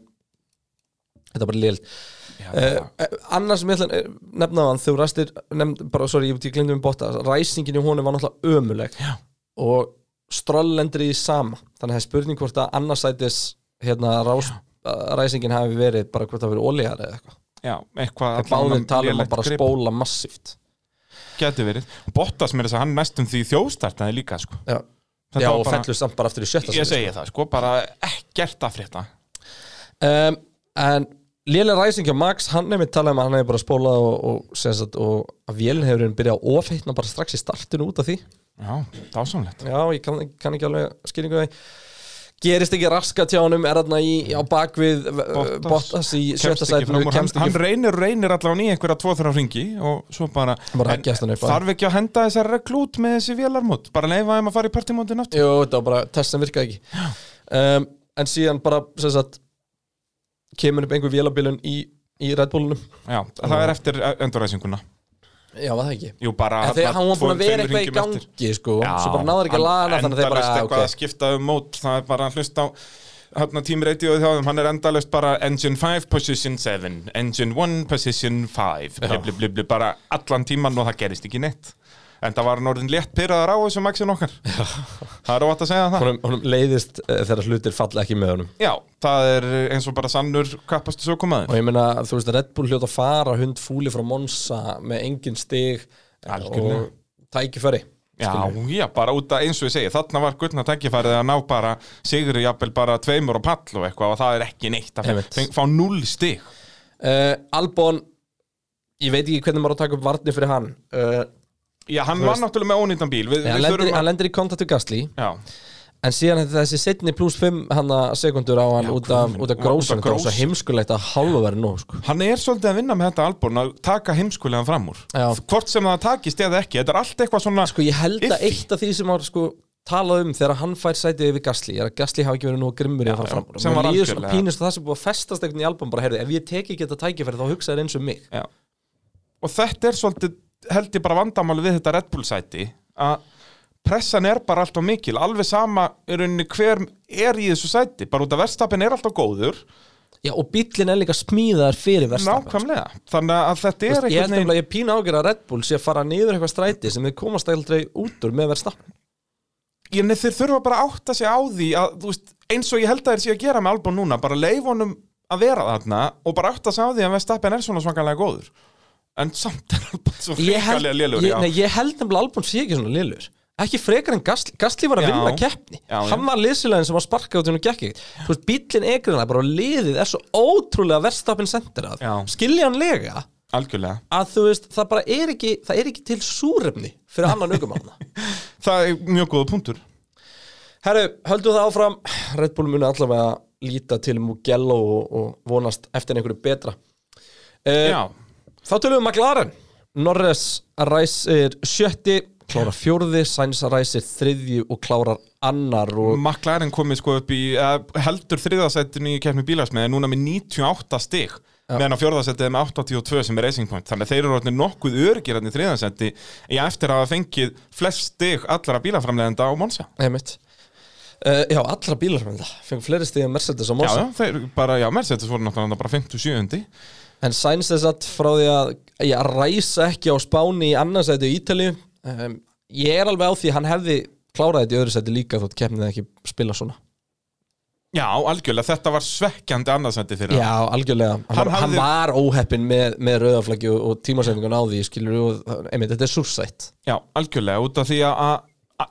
B: Þetta er bara lild
C: Já,
B: uh,
C: já.
B: Annars sem ég ætla að eh, nefna á hann Þú ræstir, nefnd, bara, sorry, ég, ég glemdi um botta Ræsingin í honum var náttúrulega ömuleg
C: Já.
B: Og strollendur í því sama Þannig að það er spurning hvort að annarsætis hérna rás, ræsingin hafi verið bara hvort það verið olíðar eða eitthvað
C: Já, eitthvað
B: Það báðir tala um
C: lélegt
B: að bara
C: grip.
B: spóla massíft
C: Gæti verið Bottas mér þess að hann næstum því þjóðstartaði líka sko.
B: Já,
C: Þetta
B: Já
C: var
B: og
C: bara-
B: fellur samt bara aftur í sjötta
C: Ég segi það sko, bara ekkert að frétta
B: um, En lélega ræsing hjá Max, hann hefði talað um að hann hefði bara spólað og, og, sem sagt, og að vélinn hefur byrjað að ofeitna bara strax í startinu út af því
C: Já, dásamlegt
B: Já, ég kann, kann ekki alveg skýringu það Gerist ekki raskat hjá honum, er þarna í, á bakvið Bottas,
C: Bottas.
B: Bottas í sjötta
C: Kemst ekki
B: sætinu
C: fram úr, hann,
B: kemst
C: hann
B: ekki
C: reynir, reynir allavega í einhverja tvo þrjá ringi og svo bara,
B: Bara
C: En
B: ekki eftir hann upp að-
C: þarf ekki að henda þessar reglút með þessi vélarmót, bara leifa þeim að fara í partimótin aftur
B: Jú, þetta var bara test sem virkaði ekki um, En síðan bara, sem sagt kemur upp einhver vélabilun í, í Red Bullunum
C: Já, það er eftir enduræsinguna
B: Já, var það ekki
C: Jú, bara
B: En þegar
C: þarna
B: hann var búin
C: tvo-
B: að vera
C: tveimur
B: eitthvað í
C: hringjum eftir.
B: gangi sko, svo bara náður ekki að laga hana, þannig að þeir bara,
C: endalaust
B: ah,
C: eitthvað að
B: ok
C: skipta um mót það er bara að hlusta á hérna tímreitið og þjáðum, hann er endalaust bara engine 5, position 7, engine 1, position 5 blibli, blibli, blibli, bara allan tíman og það gerist ekki neitt en það var hann orðin létt pyrraðar á þessu maxin okkar Já. það er óvægt að segja það
B: honum, honum leiðist uh, þegar hlutir falla ekki með honum
C: Já, það er eins og bara sannur kappastu svo komaður
B: og ég meina, þú veist, Red Bull hljóta að fara hund fúli frá Monsa með engin stig eh,
C: Algjörlega.
B: og tækifæri
C: Já,
B: skilur.
C: já, bara út að eins og ég segi þarna var gullna tækifærið að ná bara sigri jafnvel bara tveimur og pall og eitthvað og það er ekki neitt að
B: Einmitt.
C: feng- fá null stig
B: Eh, Albon ég veit ekki hvernig maður á að taka upp varnir fyrir hann uh,
C: Já, hann
B: Þú
C: var
B: veist-
C: náttúrulega með ónýttan bíl Við,
B: hann,
C: við
B: lendir,
C: þurfum
B: hann
C: að
B: lendir í kontaktu Gasly
C: Já,
B: en síðan þetta þessi setni pluss 5 hana, sekundur á hann
C: Já,
B: út af,
C: guð
B: út
C: minn,
B: af
C: út af
B: grósinu það var
C: grósinu.
B: svo heimskulegt að hálfa verið nú sko.
C: hann er svolítið að vinna með þetta albúrn að taka heimskulegan fram úr
B: Já.
C: Hvort sem það takist eða ekki, þetta er allt eitthvað svona
B: sko ég held að
C: Iffy.
B: eitt af því sem var sko talað um þegar hann fær sætið yfir Gasly er að Gasly hafa ekki verið nú grimmur í að fara
C: já,
B: fram úr.
C: sem
B: Mér
C: var
B: líður svona
C: algjörlega.
B: pínust og það sem búið að festast einhvern í album bara heyrðu, ef ég teki ekki þetta tækifæri þá hugsa þér eins um mig
C: Já. Og þetta er svolítið, held ég bara vandamáli við þetta Red Bull sæti að pressan er bara alltaf mikil alveg sama í rauninni hver er í þessu sæti, bara út að verðstapin er alltaf góður
B: já og bíllinn er líka smíðaðar fyrir verðstafn
C: nákvæmlega, þannig að þetta er
B: ég held
C: einhvern
B: nefnilega
C: veginn
B: að ég pína ágjör að Red Bull sé að fara niður eitthvað stræti sem þið komast aldrei út úr með verðstafn
C: ég, nei, þeir þurfa bara að átta sig á því að, þú veist, eins og ég held að þeir sé að gera með Albon núna, bara leif honum að vera þarna og bara átta sig á því að Vestapen er svona svakalega góður en samt er Albon svo
B: ég held,
C: hrikalega lélugur
B: ég, nei, ég held nefnilega album sé ekki svona lélur ekki frekar en Gasly, Gasly var að
C: Já.
B: vinna keppni
C: Já, já.
B: hann var liðsilegin sem var sparkað út í hún og gekk ekkert þú veist, bíllinn egrina bara og liðið er svo ótrúlega verðstapin senderað
C: Já.
B: skiljanlega
C: algjörlega,
B: að þú veist, það bara er ekki það er ekki til súrefni fyrir annan aukumanna
C: það er mjög góða punktur
B: Herru, höldum það áfram Red Bull muni allavega líta til Mugello og, og vonast eftir einhverju betra uh,
C: já,
B: Þá tölum við um McLaren Norris ræsir sjötti klárar fjórði, Sainz ræsir þriðju og klárar annar
C: Mm.
B: og
C: McLaren komið sko upp í uh, heldur þriðasættinu í keppni bílarsmiði núna með 98 stig meðan á fjórðasættið með 82 sem er Racing Point þannig að þeir eru orðinir nokkuð örgirarni þriðasætti í eftir að hafa fengið flest stig allra bílaframlegenda á Monsa
B: einmitt uh, Já, allra bílar með það fengur fleiri stíði en Mercedes og
C: Já,
B: Monsa
C: já, þeir bara, já, Mercedes voru náttúrulega bara 57.
B: En Sainz þess að frá því að ég ræsa ekki á Spáni í annarsæti í Ítali um, Ég er alveg á því að hann hefði klárað þetta í öðru sæti líka þótt keppnið ekki spila svona
C: Já, algjörlega, þetta var svekkjandi annarsætti fyrir
B: Já, algjörlega Hann,
C: Hann
B: var, hann
C: hafði-
B: var óheppin með, með rauðaflaggi og, og tímasendingun á því skilur og, einmitt, þetta er súrsætt
C: já, algjörlega, út af því að- að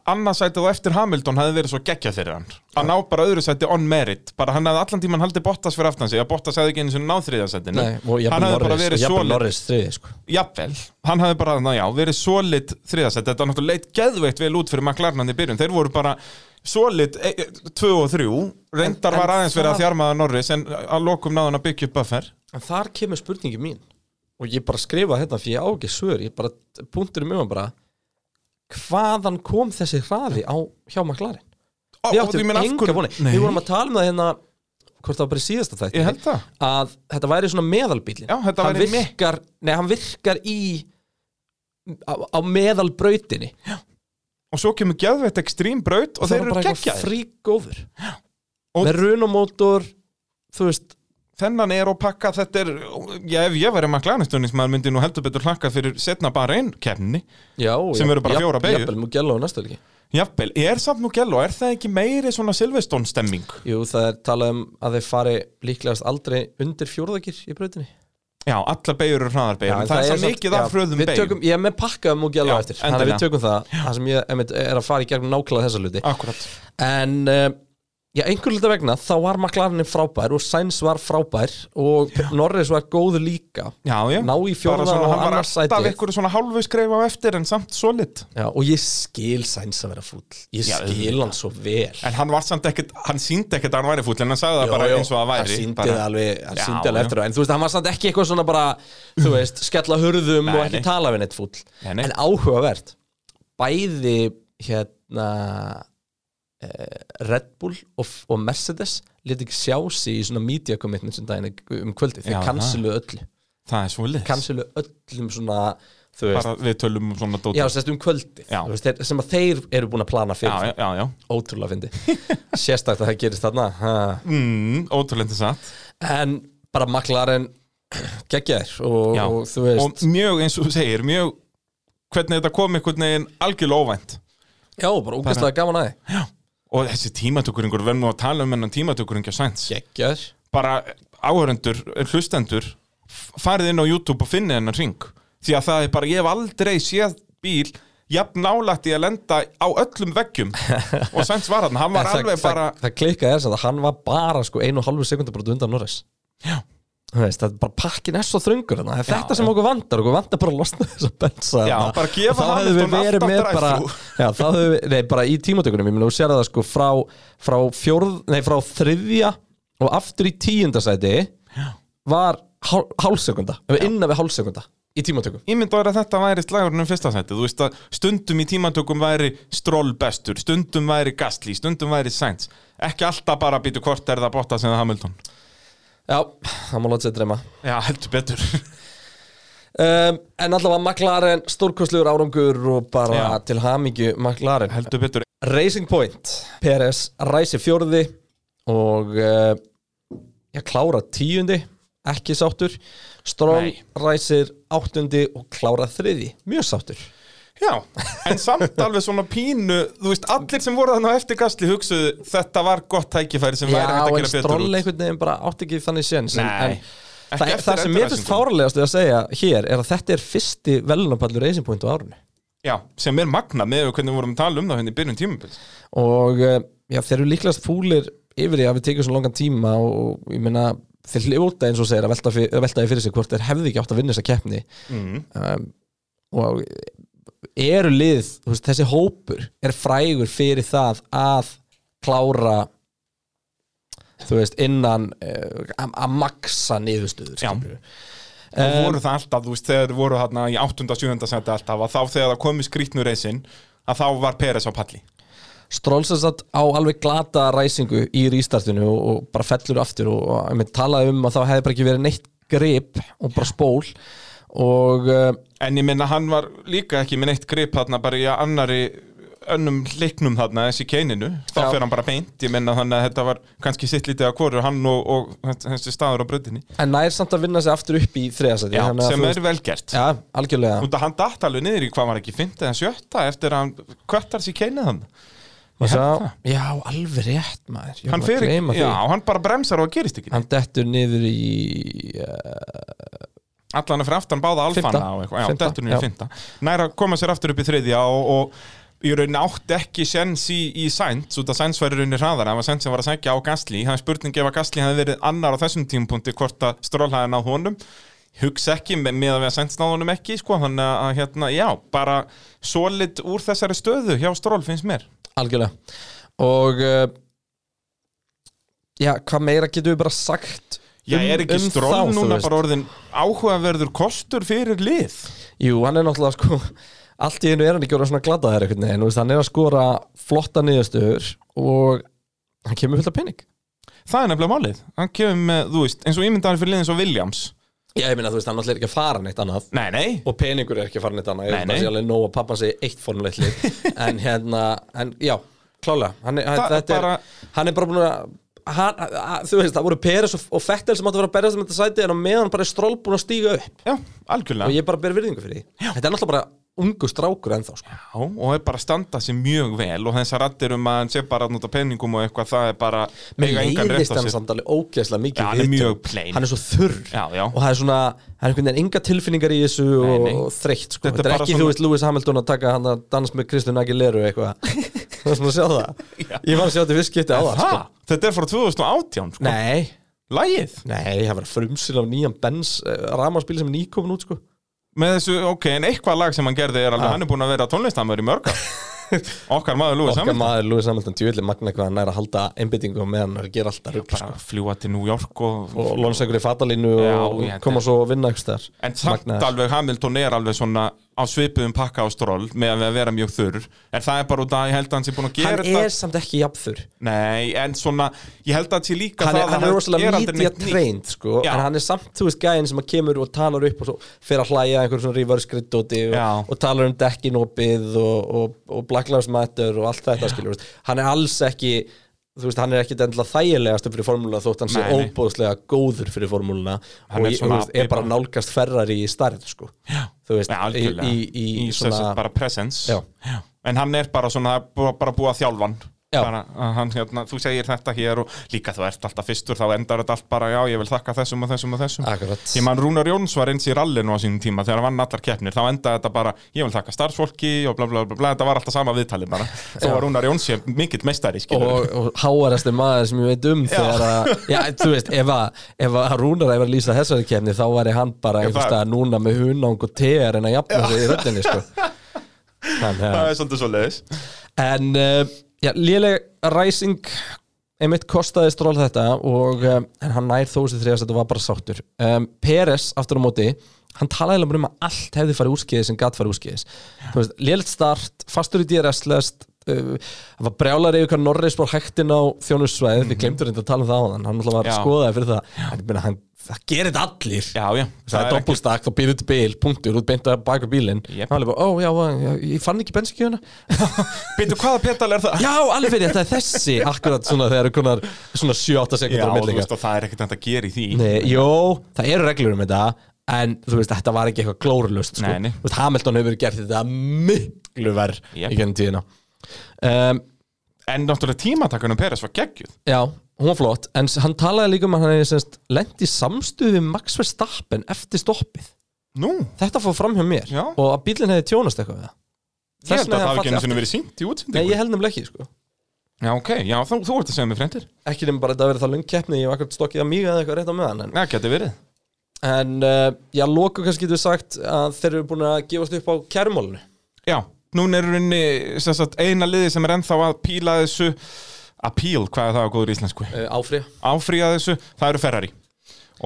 C: annarsættið og eftir Hamilton hefði verið svo geggjað fyrir hann að ná bara öðru sætti on merit bara hann hefði allan tíman haldið Bottas fyrir aftan sig að Bottas hefði ekki einu sinni náð þriðasættinu
B: Nei, og jafnvel
C: hann hefði bara
B: Norris, og
C: verið
B: jafnvel
C: solid
B: Norris þriði sko.
C: jafnvel, hann hafði bara, na já, verið solid þriðasett, þetta er náttúrulega leitt geðveikt vel út fyrir McLaren í byrjun, þeir voru bara solid 2 og 3 reyndar
B: En-
C: var
B: en
C: aðeins verið að
B: það-
C: þjarmaða Norris en að lokum náðan að byggja upp buffer
B: En þar kemur spurningi mín og ég bara skrifa hérna fyrir ég á ekki svör ég bara, punkturinn mjög bara hvaðan kom þessi hraði á hjá McLaren?
C: Ó,
B: Við
C: og ég
B: áttum
C: meina, af
B: enga
C: hverju-
B: voni
C: Nei.
B: Við vorum að tala um það hérna hvort það var bara í síðasta
C: Ég held
B: þætti
C: það.
B: að þetta væri svona meðalbílin
C: Já, þetta
B: hann,
C: væri me-
B: virkar, nei, hann virkar í á, á meðalbrautinni
C: og svo kemur geðveikt ekstrím braut og
B: Það
C: þeir
B: var
C: eru
B: bara eitthvað
C: geggjaðir
B: fríkóður
C: Og-
B: með runamótor þú veist,
C: þennan er og pakka, þetta er já, ef ég væri McLaren stundins, maður myndi nú heldur betur hlakka fyrir setna bara einn kemni
B: já
C: Sem
B: já,
C: eru bara
B: jafn-
C: fjórar beygjur.
B: jafnvel Mugello og næstu helgi
C: Jafnvel, er samt nú gælu, er það ekki meiri svona Silveston stemming?
B: Jú, það er talað um að þeir fari líklegast aldrei undir fjórðagir í brautinni
C: Já, allar beigur eru hraðarbeigur, en það er svo
B: samt-
C: mikið
B: já,
C: af fröðum
B: við
C: beigur
B: tökum, Ég er með pakka um og gæla
C: Já,
B: eftir Þannig að
C: endilega.
B: við tökum það, það sem ég einmitt, er að fara í gegnum nákvæmlega þessa hluti
C: Akkurat
B: En uh, já, einhver hluta vegna þá var McLarenin frábær og Sainz var frábær og Norris var góður líka
C: Já, já,
B: Ná í fjórða
C: Bara svona,
B: og
C: hann var
B: annars
C: alltaf
B: sæti.
C: ykkur svona hálfu skreif á eftir en samt svo lit
B: já, og ég skil Sainz að vera fúll Ég
C: Já,
B: skil hann svo vel
C: En hann var samt ekkert, hann síndi ekkert að hann væri fúll en hann sagði það
B: Jó,
C: bara
B: jó,
C: eins og það væri
B: hann síndi
C: bara,
B: það alveg, hann
C: Já,
B: síndi alveg
C: já. Hmm.
B: eftir á en þú veist, hann var samt ekki eitthvað svona bara þú veist, skella hurðum
C: Nei,
B: og ekki
C: nei.
B: tala við neitt fúll
C: Nei, nei.
B: en áhugavert bæði hérna eh, Red Bull og, og Mercedes leti ekki sjá sig í svona media commitment sem daginn um kvöldið,
C: Já,
B: þeir kansilu öllu
C: Það er svo lit
B: kansilu öllum svona þú veist,
C: Bara við tölum um svona dót
B: já, sérst um kvöldið
C: Já.
B: þú veist, þeir- sem að þeir eru búin að plana
C: já,
B: fyrir
C: já, já, já.
B: ótrúlega fyndi, sérstaklega það gerist þarna ha.
C: Mm, Ótrúlega satt
B: en bara McLaren geggjaðir og,
C: Já.
B: og þú veist
C: Og mjög eins og þú segir, mjög hvernig þetta kom einhvern veginn algjörlega óvænt
B: já, bara ógæslega gaman aði
C: Og þessi tímatökuringur, verðum nú að tala um hennan tímatökuringja sæns
B: geggjaðir,
C: bara áhörendur, hlustendur f- farið inn á YouTube og finnið hennar ring því að það er bara, ég hef aldrei séð bíl jafn nálætt í að lenda á öllum veggjum og Sainz var hann, hann var
B: En
C: alveg
B: það,
C: bara
B: það, það klikkaði þess að hann var bara sko einu og halvu sekundabrót undan Norris
C: Já.
B: Þú veist, það er bara pakkin er svo þröngur þarna. það er
C: Já,
B: þetta sem okkur vantar, okkur vantar bara að losna þess að bensa
C: Já,
B: þarna.
C: bara gefa
B: Og þá hefðum við
C: Hamilton
B: verið
C: alltaf
B: með
C: drive-thru.
B: bara, já, þá hefðu við, nei, bara í tímatökunum ég meina, þú sér það sko frá, frá, fjórð, nei, frá þriðja og aftur í tíundasæti já. var hál, hálfsekunda innan við hálfsekunda í tímatökum
C: Ég myndi að vera að þetta væri slagurinn um fyrsta sæti Þú veist að stundum í tímatökum væri Stroll bestur, stundum væri Gastli stundum væri Sainz Ekki alltaf bara býtu hvort er það Bottas eða Hamilton
B: já, það má láta sér dreyma
C: Já, heldur betur
B: Um, en allavega McLaren, stórkostlegur árangur og bara
C: Já.
B: til hamingju McLaren
C: Heldur betur
B: Racing Point, PRS ræsi fjórði og uh, ég klára tíundi ekki sáttur Stroll
C: Nei.
B: ræsir áttundi og klára þriði, mjög sáttur
C: Já, en samt alveg svona pínu Þú veist, allir sem voru þannig á eftir Gasly hugsuðu Þetta var gott tækifæri sem væri
B: Já,
C: hægt að
B: en
C: gera betur
B: Stroll
C: út
B: einhvern veginn bara átti ekki þannig séns en,
C: Nei.
B: en það,
C: Ekki
B: er-
C: eftir
B: það sem mér finnst
C: endurræsinguna.
B: fárlegast að segja hér er að þetta er fyrsti velunapallur Racing Point á árunni
C: Já, sem er magnað með hvernig við vorum að tala um það hérna í byrjun tímabils
B: og eh, já, þeir eru líklegast fúlir yfir því að við tekið svona langan tíma og og ég meina þeir hljóta eins og segir að velta, fyr, að velta því fyrir sig hvort þeir hefði ekki átt að vinna þessa keppni um, og eh, eru lið, þú veist, þessi hópur er frægur fyrir það að klára þú veist, innan uh, að að maksa niðurstöður
C: Já.
B: skilurðu.
C: Og voru það alltaf, þú veist, þegar voru þarna í 8. 7. seti alltaf að þá þegar það komi skrýtnu reisinn að þá var Peres á palli
B: Stroll sem sagt á alveg glata ræsingu í rístartinu og, og bara fellur aftur og, og einmitt talaði um að þá hefði bara ekki verið neitt grip og bara spól og uh,
C: En ég minna hann var líka ekki með neitt grip þarna bara í annari önnum leiknum þarna þessi keininu þá
B: Já.
C: fer hann bara beint, ég minna þannig að þetta var kannski sitt lítið að hvorur hann og, og þessi staður á bröndinni
B: en nær samt að vinna sig aftur upp í þriðasæti
C: Já,
B: þannig að
C: sem
B: þú
C: er vel gert
B: Já, algjörlega
C: Út að hann datt alveg niður í hvað var ekki fymtið eða sjötta eftir að hann kvættar sér keinið hann
B: Og
C: Ég held
B: sá, Já, alveg rétt maður Ég
C: Hann
B: var að
C: fer
B: gleyma
C: ekki,
B: því.
C: já, hann bara bremsar og gerist ekki
B: Hann dettur niður í uh,
C: Allan er fyrir aftan báða alfana
B: Fimmta.
C: og eitthvað, já,
B: Fimmta,
C: dettur niður
B: já.
C: fymta Nær að koma sér aftur upp í þriðja og, og í rauninni átti ekki sens í, í Sainz, út að Sainz var í rauninni hraðar hann var Sainz sem var að sækja á Gasly, hann spurning ef að Gasly hefði verið annar á þessum tímupunkti hvort að strólhaði náð honum hugsa ekki með, með að við að Sainz náð honum ekki sko, þannig að hérna, já, bara solid úr þessari stöðu hjá stról finnst mér
B: eh, Algjörlega Og uh, Já, hvað meira getum við bara sagt
C: Já,
B: um-
C: er ekki
B: um
C: stról
B: þá, þú
C: núna
B: veist?
C: bara orðin áhugaverður kostur fyrir lið?
B: Jú, hann er náttúrulega sko allt í einu er hann ekki orðið svona gladaðar einhvern veginn, þú veist, hann er að skora flotta niðurstöður og hann kemur fullt af pening
C: Það er nefnilega málið. Hann kemur með, þú veist, eins og ímyndaðar fyrir liðin svo Williams.
B: Já, ég meina, þú veist, hann náttúrulega er ekki að fara neitt annað
C: Nei, nei.
B: og peningur er ekki að fara neitt annað, ég veist,
C: Nei,
B: það
C: nei.
B: sé alveg nóg að pappa segi eitt formuleitli, en hérna en já, klálega, hann er, hann,
C: Það
B: þetta
C: bara-
B: er, hann er bara búin að Hann, að- þú veist, það voru Peres og, og Fettel sem áttu að vera að berjast um þetta sæti en á meðan bara er Stroll búin að stíga upp
C: Já,
B: og
C: algjörlega.
B: ég bara ber virðingu fyrir því Þetta er náttúrulega bara ungu strákur ennþá sko.
C: Já, og er bara að standa sér mjög vel og þessar rattir um að hann sé bara að nota peningum og eitthvað, það er bara
B: Mér
C: eiga engan rétt
B: leiðist
C: á
B: hann
C: sér.
B: samt alveg ógeðslega mikið
C: Já, hann er
B: í viðtölum.
C: mjög plain.
B: Hann er svo þurr
C: Já, já.
B: Og það er svona, það er einhvern veginn enga tilfinningar í þessu og,
C: nei.
B: og þreytt sko.
C: Þetta er
B: Þetta er
C: bara
B: ekki,
C: svona-
B: þú veist, Lewis Hamilton að taka hann að dans með Kristján Aguilera eitthvað Það er svona að sjá það Ég var að sjá þetta visskipti á það
C: Ha?
B: sko.
C: Þetta er frá 2018, sko.
B: Nei,
C: Lægið.
B: nei, það var frumsil af nýjan Benz uh, ramaspíl sem er nýkomin út sko.
C: Með þessu, ok, en eitthvað lag sem hann gerði er alveg, hann er búin að vera tónlistamöður í mörga. Okkar maður Lúi
B: Okkar
C: saman.
B: maður Lewis Hamilton djúvillig magna hvað hann er að halda einbyttingu meðan hann er að gera alltaf rugl sko.
C: Bara fljúa til New York og...
B: og lónsakur í fatalínu
C: Já,
B: og
C: ég-
B: koma svo að vinna ykkur stær
C: En samt alveg Hamilton er alveg svona á svipuðum pakka á stról með að vera mjög þurr. En það er bara út af að ég held að hann sé búin að gera
B: Hann
C: þetta-
B: er samt ekki jafnþur
C: Nei, en svona, ég held að það sé líka
B: hann
C: það
B: er,
C: að
B: hann er rosalega
C: aldrei
B: media
C: neitt nýtt.
B: trained sko,
C: Já.
B: en hann er samt, þú veist, gæðin sem að kemur og talar upp og svo fer að hlæja einhverjum svona reverse griddóti
C: Já.
B: og, og talar um dekkinopið og, og, og Black Lives Matter og allt þetta skilur, þú veist. hann er alls ekki þú veist, hann er ekkit endilega þægilegast fyrir formúluna þótt hann sé
C: Nei, nei.
B: óbóðslega góður fyrir formúluna
C: Hann
B: og
C: er
B: ég, þú
C: svona
B: veist, er bara
C: bara-
B: nálgast ferrar í starð sko, já. þú veist,
C: Já,
B: í,
C: algjörlega.
B: í, í,
C: þessu
B: svona
C: bara presence
B: Já.
C: en hann er bara svona bara, bara búið að þjálfan
B: Já.
C: bara, að hann, hérna, þú segir þetta hér og líka þú ert alltaf fyrstur þá endar þetta allt bara já ég vil þakka þessum og þessum og þessum
B: akkurat
C: ég man Rúnar Jóns var eins í rallinu á sínum tíma þegar hann vann allar keppnir, þá endaði þetta bara ég vil þakka starfsfólki og bla bla bla, bla þetta var alltaf sama viðtali bara, þó var Rúnar Jóns sé mikill meistari skilur
B: og, og háarasti maður sem ég veit um þegar að, já, þú veist, ef að, ef að Rúnar hefur lýsað þessari kemni þá væri hann bara
C: það-
B: einhvers staðar núna með hunang og tegar en að jafna sig í röddinni sko. Þann, ja.
C: það er svolítið svo leiðis
B: en uh, já, léleg ræsing einmitt kostaði stról þetta og um, en hann nær þó sér þriðast þetta var bara sáttur um, Peres aftur á móti hann talaði eiginlega bara um að allt hefði farið úrskeiðis sem gat farið úrskeiðis Þú veist, lélegt start, fastur í DRS-lest uh, það var brjálar yfir hvað Norris var hægtin á þjónussvæðið, við glemdur reynda að tala um það á hann hann alltaf var að
C: Mhm. Já.
B: skoða það fyrir það en, ég meina, hann, það gerir þetta allir
C: já, já,
B: það er doppelstak, þá býður til bíl, punktur út beint að baka bílinn,
C: Jep.
B: hann er bara, ó já, já, ég fann ekki bensinkjöfuna
C: býtu hvaða petal er það?
B: Já, alveg fyrir, þetta er þessi Akkurat svona þegar eru konar svona 7-8
C: Já,
B: sekundar á
C: og þú
B: milli
C: veist, og það er ekkert hægt að gera í því
B: Nei, Jó, það eru reglur um þetta En þú veist, þetta var ekki eitthvað glórulust sko.
C: Nei, nei.
B: Þú veist, Hamilton hefur gert þetta miklu verð
C: Jep.
B: í gennum tíðina um,
C: En náttúrulega tímatakunum Peres var geggjuð
B: Já, hún var flott En s- hann talaði líka um að hann hefði semst lent í samstuði við Max Verstappen eftir stoppið
C: Nú,
B: Þetta fór fram hjá mér
C: Já.
B: og að bílinn hefði tjónast eitthvað við það
C: ég held
B: vegna
C: að það
B: hefði
C: hafi ekki einu
B: fallið
C: sinni verið sínt í
B: aftur. Nei,
C: útsendingu
B: ég held nefnilega ekki, sko
C: Já, ok, já, þú, þú ert að segja mér frendir
B: Ekki nefnum bara að þetta verið það lungkeppni Ég hef akkurat stokkið að mig eða eitthvað rétt á meðan en
C: Já, geti verið
B: En uh, já, loku kannski getur við sagt að þeir eru búin að gefast upp á kærumálinu
C: Já, núna er runni sem sagt, eina liði sem er ennþá að píla þessu Appeal, hvað er það á góður íslensku?
B: uh, áfrýja.
C: Áfríða þessu, það eru Ferrari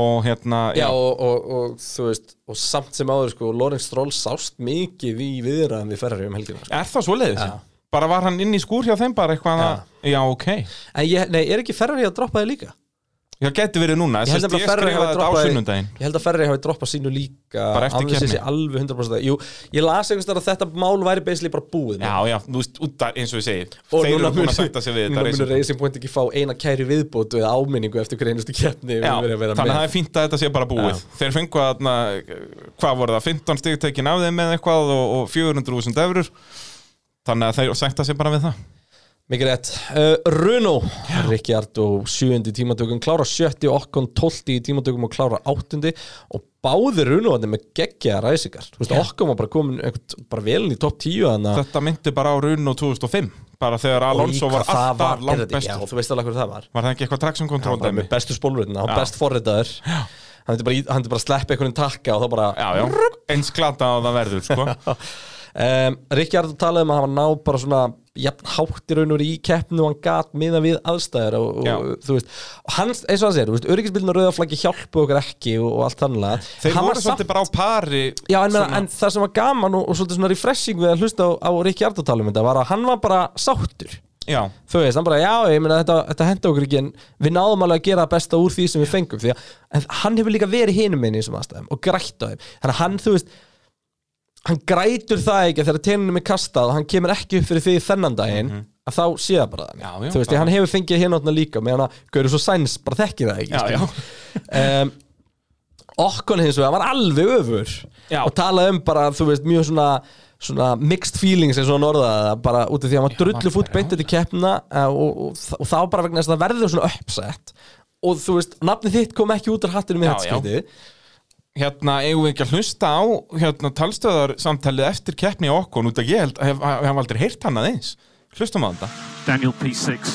C: Og hérna,
B: Já, og, og, og þú veist, og samt sem áður sko, Lorenz Stroll sást mikið í viðraðum við Ferrari um helgina sko.
C: er það svo leiðis? Bara var hann inn í skúr hjá þeim bara eitthvað
B: Já.
C: að Já, ok
B: En ég, nei, er ekki Ferrari að droppa þið líka?
C: Já, geti verið núna
B: Ég held
C: Sest,
B: nefnilega að Ferrari
C: Ég skrifaði
B: hafi
C: þetta á
B: droppað-
C: sunnundaginn
B: Ég held að Ferrari hafi droppað sínu líka
C: Bara eftir
B: án þess að
C: keppni.
B: sé Alveg 100% Jú, ég las einhvers þar að þetta mál væri beisli bara búið
C: Já,
B: með.
C: já, þú veist, út af, eins og ég segi
B: Og
C: Þeir eru
B: núna
C: búin
B: munu-
C: að sætta sig við
B: núna
C: þetta
B: munu Racing Point ekki fá eina kæri viðbótu eða áminningu eftir hver einustu keppni við
C: Já,
B: erum verið að vera
C: þannig að
B: með.
C: það er fínt að þetta sé bara búið Þeir fengu að, na, hvað voru það, 15 stig tekin af þeim með eitthvað og, og 400.000 eurur Þannig að þeir sætta sig bara við það
B: Mikið rétt. Uh, Runo, Ricciardo, sjöundi tímatökum, klára sjötti og Okkon tólti í tímatökum og klára áttundi og báði Runo hann með geggja ræsingar. Þú veist, Okkon var bara komin einhvern, bara velin í topp tíu hann að
C: Þetta myndi bara á Runo 2005 bara þegar Alonso var alltaf langt
B: Já,
C: bestur
B: þú veist alveg hvernig það var.
C: Var það ekki eitthvað traction
B: Hann
C: control
B: var
C: dæmi?
B: með bestu spólriðna, hann
C: Já.
B: var best forriðaður. Hann hefði bara, í- hann myndi bara sleppa einhvern takka og þá bara
C: Já, já, eins glata á það verður sko.
B: um, Ríkjard talaði um að hafa ná bara svona jafn hátt í raun og veru í keppnu og hann gat miða við aðstæður og,
C: Já.
B: og þú veist, og hann, eins og hann segir, þú veist, öryggisbílun og rauðaflaggi hjálpu okkur ekki og, og allt þannig
C: Þeir voru svolítið bara á pari
B: Já, en, meina,
C: svona-
B: en það sem var gaman og, og svolítið svona refreshing við að hlusta á, á Ríkjard að tala um þetta var að hann var bara sáttur
C: Já,
B: þú veist, hann bara, já, ég meina þetta, þetta henda okkur ekki en við náðum alveg að gera það besta úr því sem við fengum því að en hann hefur líka verið hinum minni í þessum aðstæðum og grætt á þeim þannig að hann, þú veist, hann grætur það ekki að þegar tenninum er kastað og hann kemur ekki upp fyrir því þennan daginn að þá sé það bara þannig,
C: Mhm. Já, já,
B: þú veist,
C: bara-
B: hann hefur fengið hináttina líka meðan að Gauru svo sæns bara þekkir það ekki
C: já, já
B: um, Okkon hins vegar var alveg öfur
C: Já.
B: og talaði um bara, þú veist, mjög svona svona mixed feelings eins og hann orðaði það bara út af því að hann var drullu fút beint þetta keppna eh, og, og, og, og það var bara vegna þess að það verður svona uppsett og þú veist, nafnið þitt kom ekki út af hattinum í
C: Já,
B: þetta
C: já.
B: skipti
C: hérna eigum við ekki að hlusta á hérna talstöðar samtalið eftir keppni á okkur út að ég held að hef- að við hefum aldrei heyrt hann aðeins hlustum á þetta
D: Daniel P6.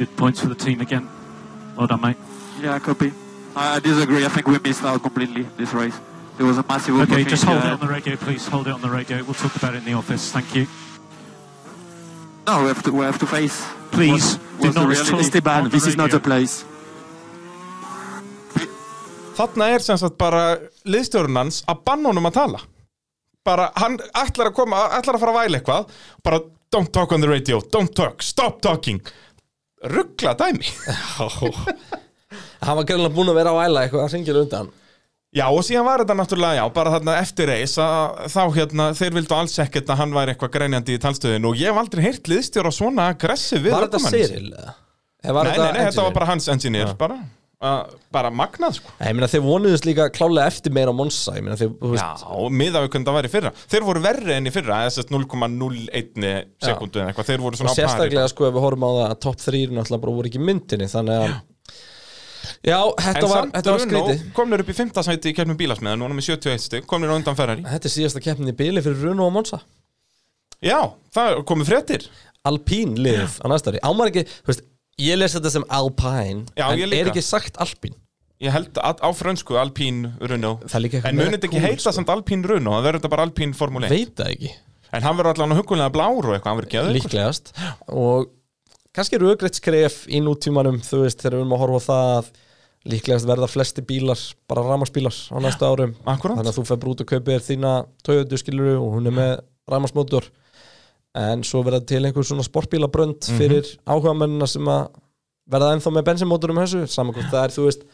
D: Good points for the team again. Well done, mate.
E: Yeah, copy. I I disagree. I think we missed out completely this race. There was a massive
D: Okay,
E: opportunity.
D: just hold it
E: uh,
D: on the radio, please. Hold it on the radio. We'll talk about it in the office. Thank you.
E: No, we have to, we have to face.
D: Please, do
E: what's, what's
D: not talk
E: the reality. Esteban,
D: on
E: this
D: the
E: is not
D: radio.
E: a place.
C: þarna er sem sagt bara liðstjórun hans að banna honum að tala bara hann ætlar að koma ætlar að fara að væla eitthvað bara don't talk on the radio, don't talk, stop talking ruggla dæmi
B: hann var greinlega búin að vera á æla eitthvað að syngja undan
C: Já og síðan var þetta náttúrulega já bara þarna eftir reis að þá hérna þeir vildu alls ekkert að hann væri eitthvað greinjandi í talstöðinu og ég hef aldrei heyrt liðstjóra svona aggressiv við
B: var þetta
C: ökumann sinn.
B: Cyril? eða? Eða var
C: Nei, nei, nei, þetta
B: engineer?
C: var bara hans engineer bara, uh, bara magnað sko
B: Nei, Ég meina þeir vonuðist líka klálega eftir meira á Monsa Ég meina þeir, þú
C: Já,
B: veist,
C: og miðað við hvernig það var í fyrra Þeir voru verri enn í fyrra, eða sérst 0,01 sekundu eða eitthvað Þeir voru svona á pari
B: sérstaklega sko ef við horfum á það að top 3 náttúrulega bara voru ekki í myndinni Þannig að Já,
C: En
B: þetta var,
C: samt
B: þetta var
C: Bruno
B: skrítið
C: komnir upp í 5. sæti í kefnum bílasmiðan Núna með 71 stygg, komnir á undan Ferrari
B: Þetta er síðasta keppnin í bíli fyrir Runo og Monsa
C: Já, það er- komu fréttir
B: Alpín lið á næstari Ámar ekki, þú veist, ég les þetta sem Alpine
C: Já,
B: En
C: ég líka.
B: er ekki sagt Alpín
C: Ég held að á frönsku Alpine Renault
B: Það er líka eitthvað
C: En
B: meira
C: munið ekki
B: cool,
C: heita
B: sko.
C: samt Alpine Renault Það verður þetta bara Alpine Formule 1
B: Veit það ekki,
C: En hann verður allan hugulega blár og eitthvað Hann verður geður
B: líklegast Og kannski eru ögreitt skref í nútímanum Þú veist, þegar við erum að horfa á það að Líklegast verða flesti bílar, bara ramarsbílar á næstu árum
C: Akkurát
B: þannig að þú fer bara út og kaupir þína Toyota skiluru og hún er með ramasmótor en svo verða til einhver svona sportbílabrönd fyrir áhugamennina sem að verða ennþá með bensinmótorum þessu saman hvort það er, þú veist,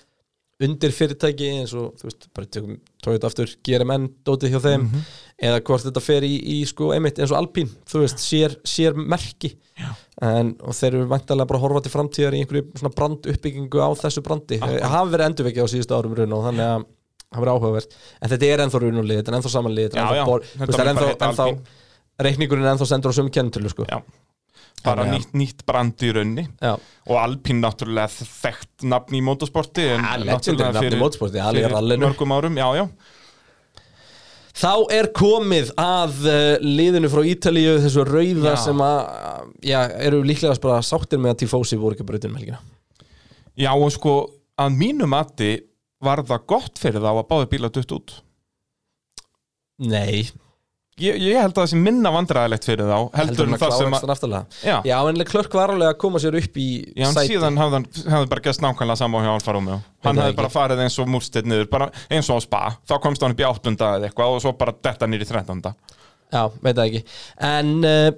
B: undir fyrirtæki eins og, þú veist, bara tökum Toyota aftur, GRMN, dótið hjá þeim
C: Mhm.
B: eða hvort þetta fer í, í sko, einmitt eins og Alpín, þú veist, sér, sér merki en, og þeir eru vantarlega bara að horfa til framtíðar í einhverju svona branduppbyggingu á þessu brandi það hafa verið endurvekja á síðustu árum raun og þannig að það verið áhugavert en þetta er ennþá runulið, þetta er ennþá samanlið þetta
C: Já,
B: er ennþá
C: já,
B: bor-
C: þetta
B: þú veist, það er
C: mun bara
B: ennþá,
C: heita
B: ennþá
C: Alpín.
B: reikningurinn er ennþá sendur á sömu kennitölu sko.
C: Já Bara
B: En, já.
C: nýtt, nýtt brand í raunni
B: Já.
C: Og Alpine náttúrulega þekkt nafn í motorsporti en
B: Ah,
C: náttúrulega
B: legendary nafn í
C: fyrir-
B: motorsporti, Ali
C: fyrir
B: rallinu.
C: Mörgum árum, já, já
B: Þá er komið að uh, liðinu frá Ítalíu, þessu rauða
C: Já.
B: sem að, já, eru líklega bara sáttir með að Tifosi voru ekki um brautin melgina
C: Já og sko að mínu mati var það gott fyrir þá að báði bíla dutt út
B: Nei,
C: Ég, ég held að það sé minna vandræðilegt fyrir þá
B: heldur
C: heldur en
B: hann að
C: það
B: klára
C: sem að
B: ekstra aftalega
C: Já,
B: Já, en Klörk var alveg að koma sér upp í
C: Já, en
B: sæti
C: síðan hafði hann hafði bara gæst nákvæmlega sama hjá Alfa Romeo Hann
B: það
C: hafði
B: ekki.
C: bara farið eins og múlstitt niður bara eins og á spa, þá komst hann upp í áttunda eða eitthvað og svo bara detta nýr í þrettanda
B: Já, veit það ekki En uh,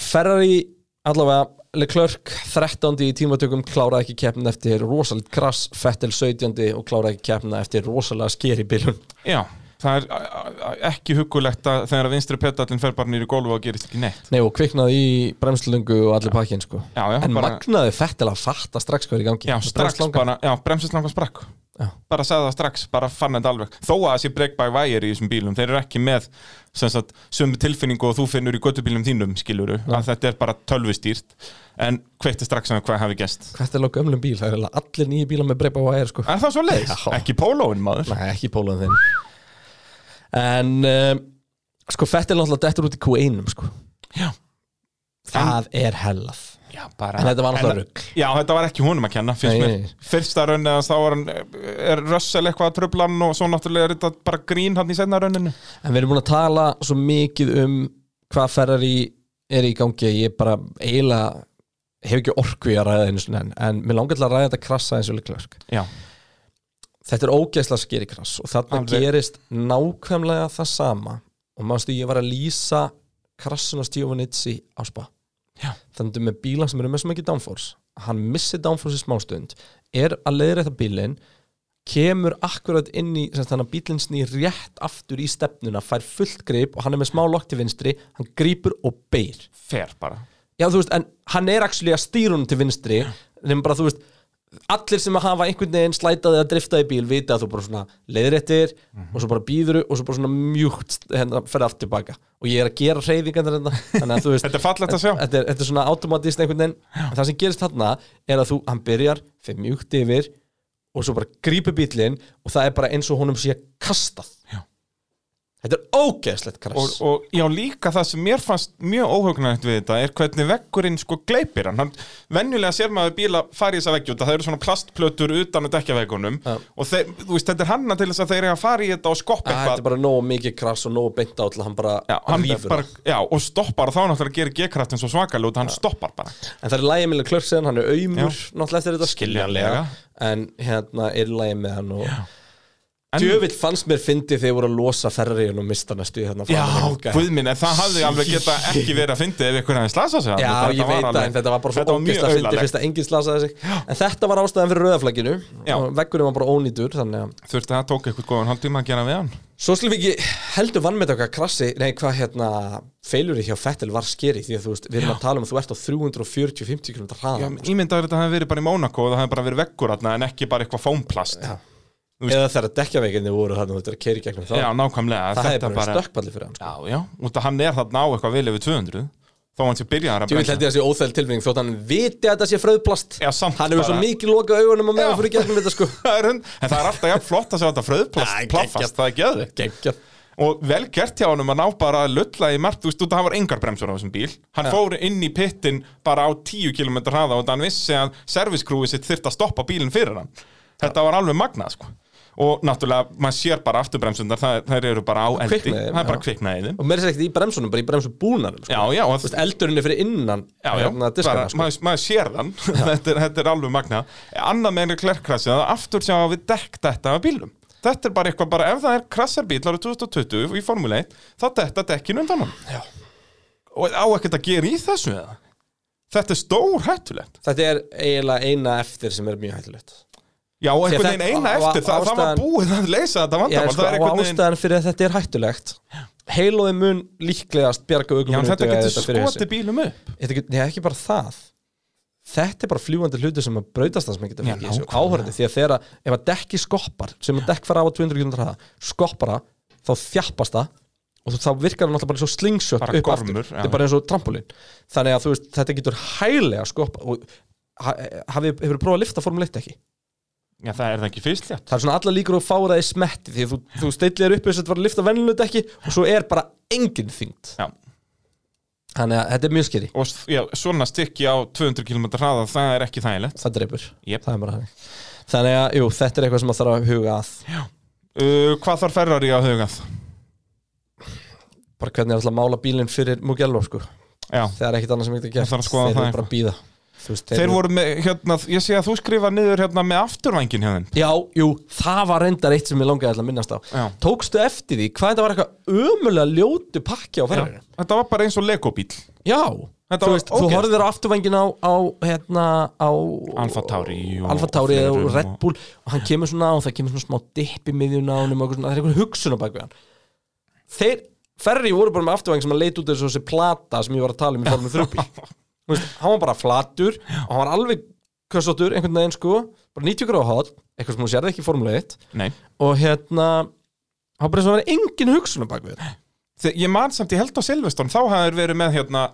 B: Ferrari allavega Leclerc 13. í tímatökum kláraði ekki keppna eftir rosalit krass Fettel 17. og kláraði ekki keppna eftir rosalega sker í bílun
C: Já, það er a- a- a- ekki hugulegt að þegar að vinstri petallin fer bara nýr í golfu og gerist ekki neitt
B: Nei og kviknaði í bremslungu og allir pakkin sko
C: Já, já,
B: En
C: bara,
B: magnaði Fettel að fatta strax hvað er í gangi
C: já strax
B: Bremslangan.
C: bara, já, bremsislangan sprakk
B: Já.
C: bara sagði það strax, bara fann þetta alveg þó að það sé break by wire í þessum bílum þeir eru ekki með sem sagt, sömu tilfinningu og þú finnur í göttubílum þínum skiluru, að þetta er bara tölvustýrt en kveikti strax að hvað hafi gest
B: Vettel á gömlum bíl, það er eiginlega allir nýju bílar með breypa á aðeir sko
C: Er það svo leiðis?
B: Já.
C: Ekki pólóin maður
B: Nei, ekki pólan þinn En um, sko Fettel náttúrulega dettur út í Q1 sko
C: Já.
B: Það er hellað
C: Já, bara
B: En þetta var náttúrulega rugg
C: Já, þetta var ekki húnum að kenna, finnst
B: Nei,
C: mér
B: nei.
C: Fyrsta raunin eða þá var hann Er Russell eitthvað að tröfla hann Og svo náttúrulega er þetta bara grín hann í senna rauninu
B: En við erum búin að tala svo mikið um hvað Ferrari er í gangi ég bara eiginlega hef ekki orku í að ræða einu svona en, en mér langar til að ræða þetta krassa eins og líklega
C: Já,
B: Þetta er ógeðslega skeri krass og þarna
C: Alveg.
B: gerist nákvæmlega það sama og mannstu ég var að lýsa krassun á Stjóvanitsi á spa
C: Já.
B: Þannig með bíla sem eru með svo mikið downforce hann missir downforce í smástund er að leiðra þetta bílinn kemur akkurat inn í sem sagt, þannig að bílinn snýr rétt aftur í stefnuna fær fullt grip og hann er með smá lokk til vinstri hann grípur og beir
C: fer bara
B: Já, þú veist, en hann er actually að stýra hún til vinstri nema bara, þú veist, allir sem hafa einhvern veginn slætaði að drifta í bíl vita að þú bara svona leiðréttir
C: Mhm.
B: og svo bara býður og svo bara svona mjúkt hérna, ferði aftur tilbaka og ég er að gera hreyfingarnar hérna þannig að þú veist
C: Þetta er fallegt að sjá.
B: þetta er, þetta er svona automatist einhvern veginn En það sem gerist þarna er að þú, hann byrjar fyrir mjúkt yfir og svo bara grípur bílinn og það er bara eins og honum sé kastað
C: Já.
B: þetta er ógeðslegt krass
C: og, og já, líka það sem mér fannst mjög óhugnægt við þetta er hvernig veggurinn sko gleipir hann. hann venjulega sér maður bíla fara í þessa veggju það eru svona plastplötur utan að dekja veggunum
B: Já.
C: og þeir, þú veist, þetta er hanna til þess að þeir eru að fara í þetta og skoppa
B: Æ, þetta er
C: eitthvað
B: bara nógu mikið krass og nógu beint á til að hann bara
C: Já, hann
B: rífur
C: bara, já, og stoppar og þá náttúrulega gerir G-kraftin svo svakalut hann stoppar bara
B: En það er lægið með Klörsen, hann er aumur náttúrulega eftir þetta
C: Skiljanlega.
B: En hérna er lægið með hann og
C: En-
B: Djöfitt fannst mér fyndi þegar voru að losa ferriðin og mista næstu í þarna
C: Já,
B: framan í ganga.
C: guðminn, en það hafði alveg geta ekki verið að fyndi ef ykkur hefði slasað sig
B: Já,
C: þarna. Þetta
B: ég
C: var
B: veit það,
C: alveg-
B: en þetta var bara svo
C: þetta mjög
B: ógist að fyndi
C: auðalegt.
B: fyrst að enginn slasaði sig En þetta var ástæðan fyrir rauðaflagginu
C: Já.
B: og veggurinn var bara ónýtur þannig að
C: Þurfti að það tók eitthvað góðan hálftíma að gera við hann
B: Svo slum við ekki heldur vannmeta okkar krassi Nei, hvað hérna, feilurinn hjá Fettel var skeri Því að þú veist, við erum að tala um að þú ert á 340-50 km
C: Já,
B: hraða
C: ímyndaður þetta hefði verið bara í Mónakó og það hefði bara verið veggur þarna en ekki bara eitthvað fómplast Já,
B: Eða þegar dekkjaveikinni voru þarna, þetta er keiri gegnum þá
C: nákvæmlega
B: Það hefði
C: þetta
B: bara, bara... stökkballi fyrir hann sko.
C: Já, já, út að hann er þarna á eitthvað vel yfir 200 þó hann sé byrjaðar að
B: Ég vil hætti þessi óþæl tilfinning þótt hann viti að þetta sé fröðplast
C: Já, samt
B: Hann hefur
C: bara.
B: svo mikið lokað augunum og með
C: Já.
B: að fyrir gegnum þetta sko
C: Það er hund- En það er alltaf jafn flott að sjá þetta fröðplast
B: Æ, geggjað.
C: plaffast, það er geðvikt
B: Gengjað
C: og vel gert hjá honum að ná bara að lulla í margt, þú veist, út að það var engar bremsur á þessum bíl hann fór inn í pittin bara á 10 km hraða og þann vissi að serviskrúi sitt þyrft að stoppa bílinn fyrir hann þetta var alveg magnað, sko og náttúrulega, maður sér bara afturbremsundar það, það eru bara á eldi,
B: Kviknaði,
C: það er bara
B: já.
C: kviknaði í þeim.
B: Og mér er ekkert í bremsunum, bara í bremsu búnanum sko.
C: já, já, og
B: Þú veist, eldurinn er fyrir innan
C: Já, já,
B: hérna, diskana,
C: bara,
B: sko.
C: maður, maður sér þann þetta, er, þetta er alveg magna Annað meðin er klerkrassi að aftur sjá við dekk þetta af bílum Þetta er bara eitthvað, bara ef það er krassarbíl árið 2020 í Formule 1 þá þetta dekkin undan hann
B: Já.
C: Og á ekkert að gera í þessu eða Þetta er stór hættulegt
B: Þetta er eiginlega eina eftir sem er mjög hættulegt
C: Já, og einhvern
B: það-
C: veginn eina
B: og- og
C: eftir, það, það var
B: ástæðan-
C: búið að leysa þetta
B: Já,
C: vandamál
B: sko,
C: Það er
B: og
C: einhvern veginn
B: ástæðan fyrir að þetta er hættulegt Heiloði mun líklegast bjarga
C: Já,
B: aukum
C: en þetta getur skotið bílum upp
B: þetta get, nei, ekki bara það þetta er bara fljúandi hluti sem að brautast það sem geta
C: Já,
B: fengið í þessu
C: nákvæmlega.
B: áhörði því að þegar að ef að dekki skoppar sem að dekk fara á á 200 km hraða skoppar það, þá þjappast það og þú- þá virkar það náttúrulega bara eins og slingshot
C: Bara
B: upp
C: gormur,
B: aftur,
C: já.
B: þetta er bara eins og trampolín þannig að þú veist, þetta getur hæglega skoppa og ha- hafið, hefur prófað að lifta formuleitt ekki
C: Já, það er það ekki fyrstlétt
B: það er svona alla líkur og fára í smetti því að þú, þú steillir upp þess að þetta var að lifta venlunut ekki og svo er bara engin þyngd
C: Já.
B: þannig að þetta er mjög skeri
C: Og s- já, svona stykki á 200 km hraða, það er ekki þægilegt
B: það dreipur
C: Jep.
B: það er bara þannig þannig að, jú, þetta er eitthvað sem maður þarf að huga að
C: uh, Hvað þarf Ferrari að hugað?
B: bara hvernig er alltaf að mála bílinn fyrir Mugello sko.
C: Já,
B: það er ekkit annað sem ég geta gert
C: Það þarf að skoða
B: þeir
C: það
B: eru bara að býða Þú veist,
C: Þeir voru með, hérna, ég sé að þú skrifa niður hérna með afturvængin hérna
B: já, jú, það var reyndar eitt sem ég langaði alltaf að minnast á
C: Já.
B: tókstu eftir því hvað þetta var eitthvað ömulega ljótu pakki á ferðinu já,
C: Þetta var bara eins og legobíl Þetta
B: þú
C: var
B: veist, þú
C: ógeðslegt.
B: horfðir á afturvængin á, á hérna, á
C: Alfa Tauri og-
B: Alfa Tauri
C: og
B: og,
C: fleirum
B: Red
C: og-
B: Bull og hann kemur svona á og það kemur svona smá dipp í miðjun á honum og eitthvað svona, það er eitthvað hugsun á bakvið hann þeir, Ferri voru bara með afturvæng sem hann leit út eins og þessi plata sem ég var að tala um í formið þrjúbíl þú veist, hann var bara flatur og hann var alveg kössotur einhvern veginn sko, bara 90 gráð hot eitthvað sem hún sérði ekki í formule 1
C: Nei
B: og hérna, hann bara eins og það var engin hugsun á bakvið hann
C: Þe, Ég man samt ég held á Silveston, þá hafði þeir verið með hérna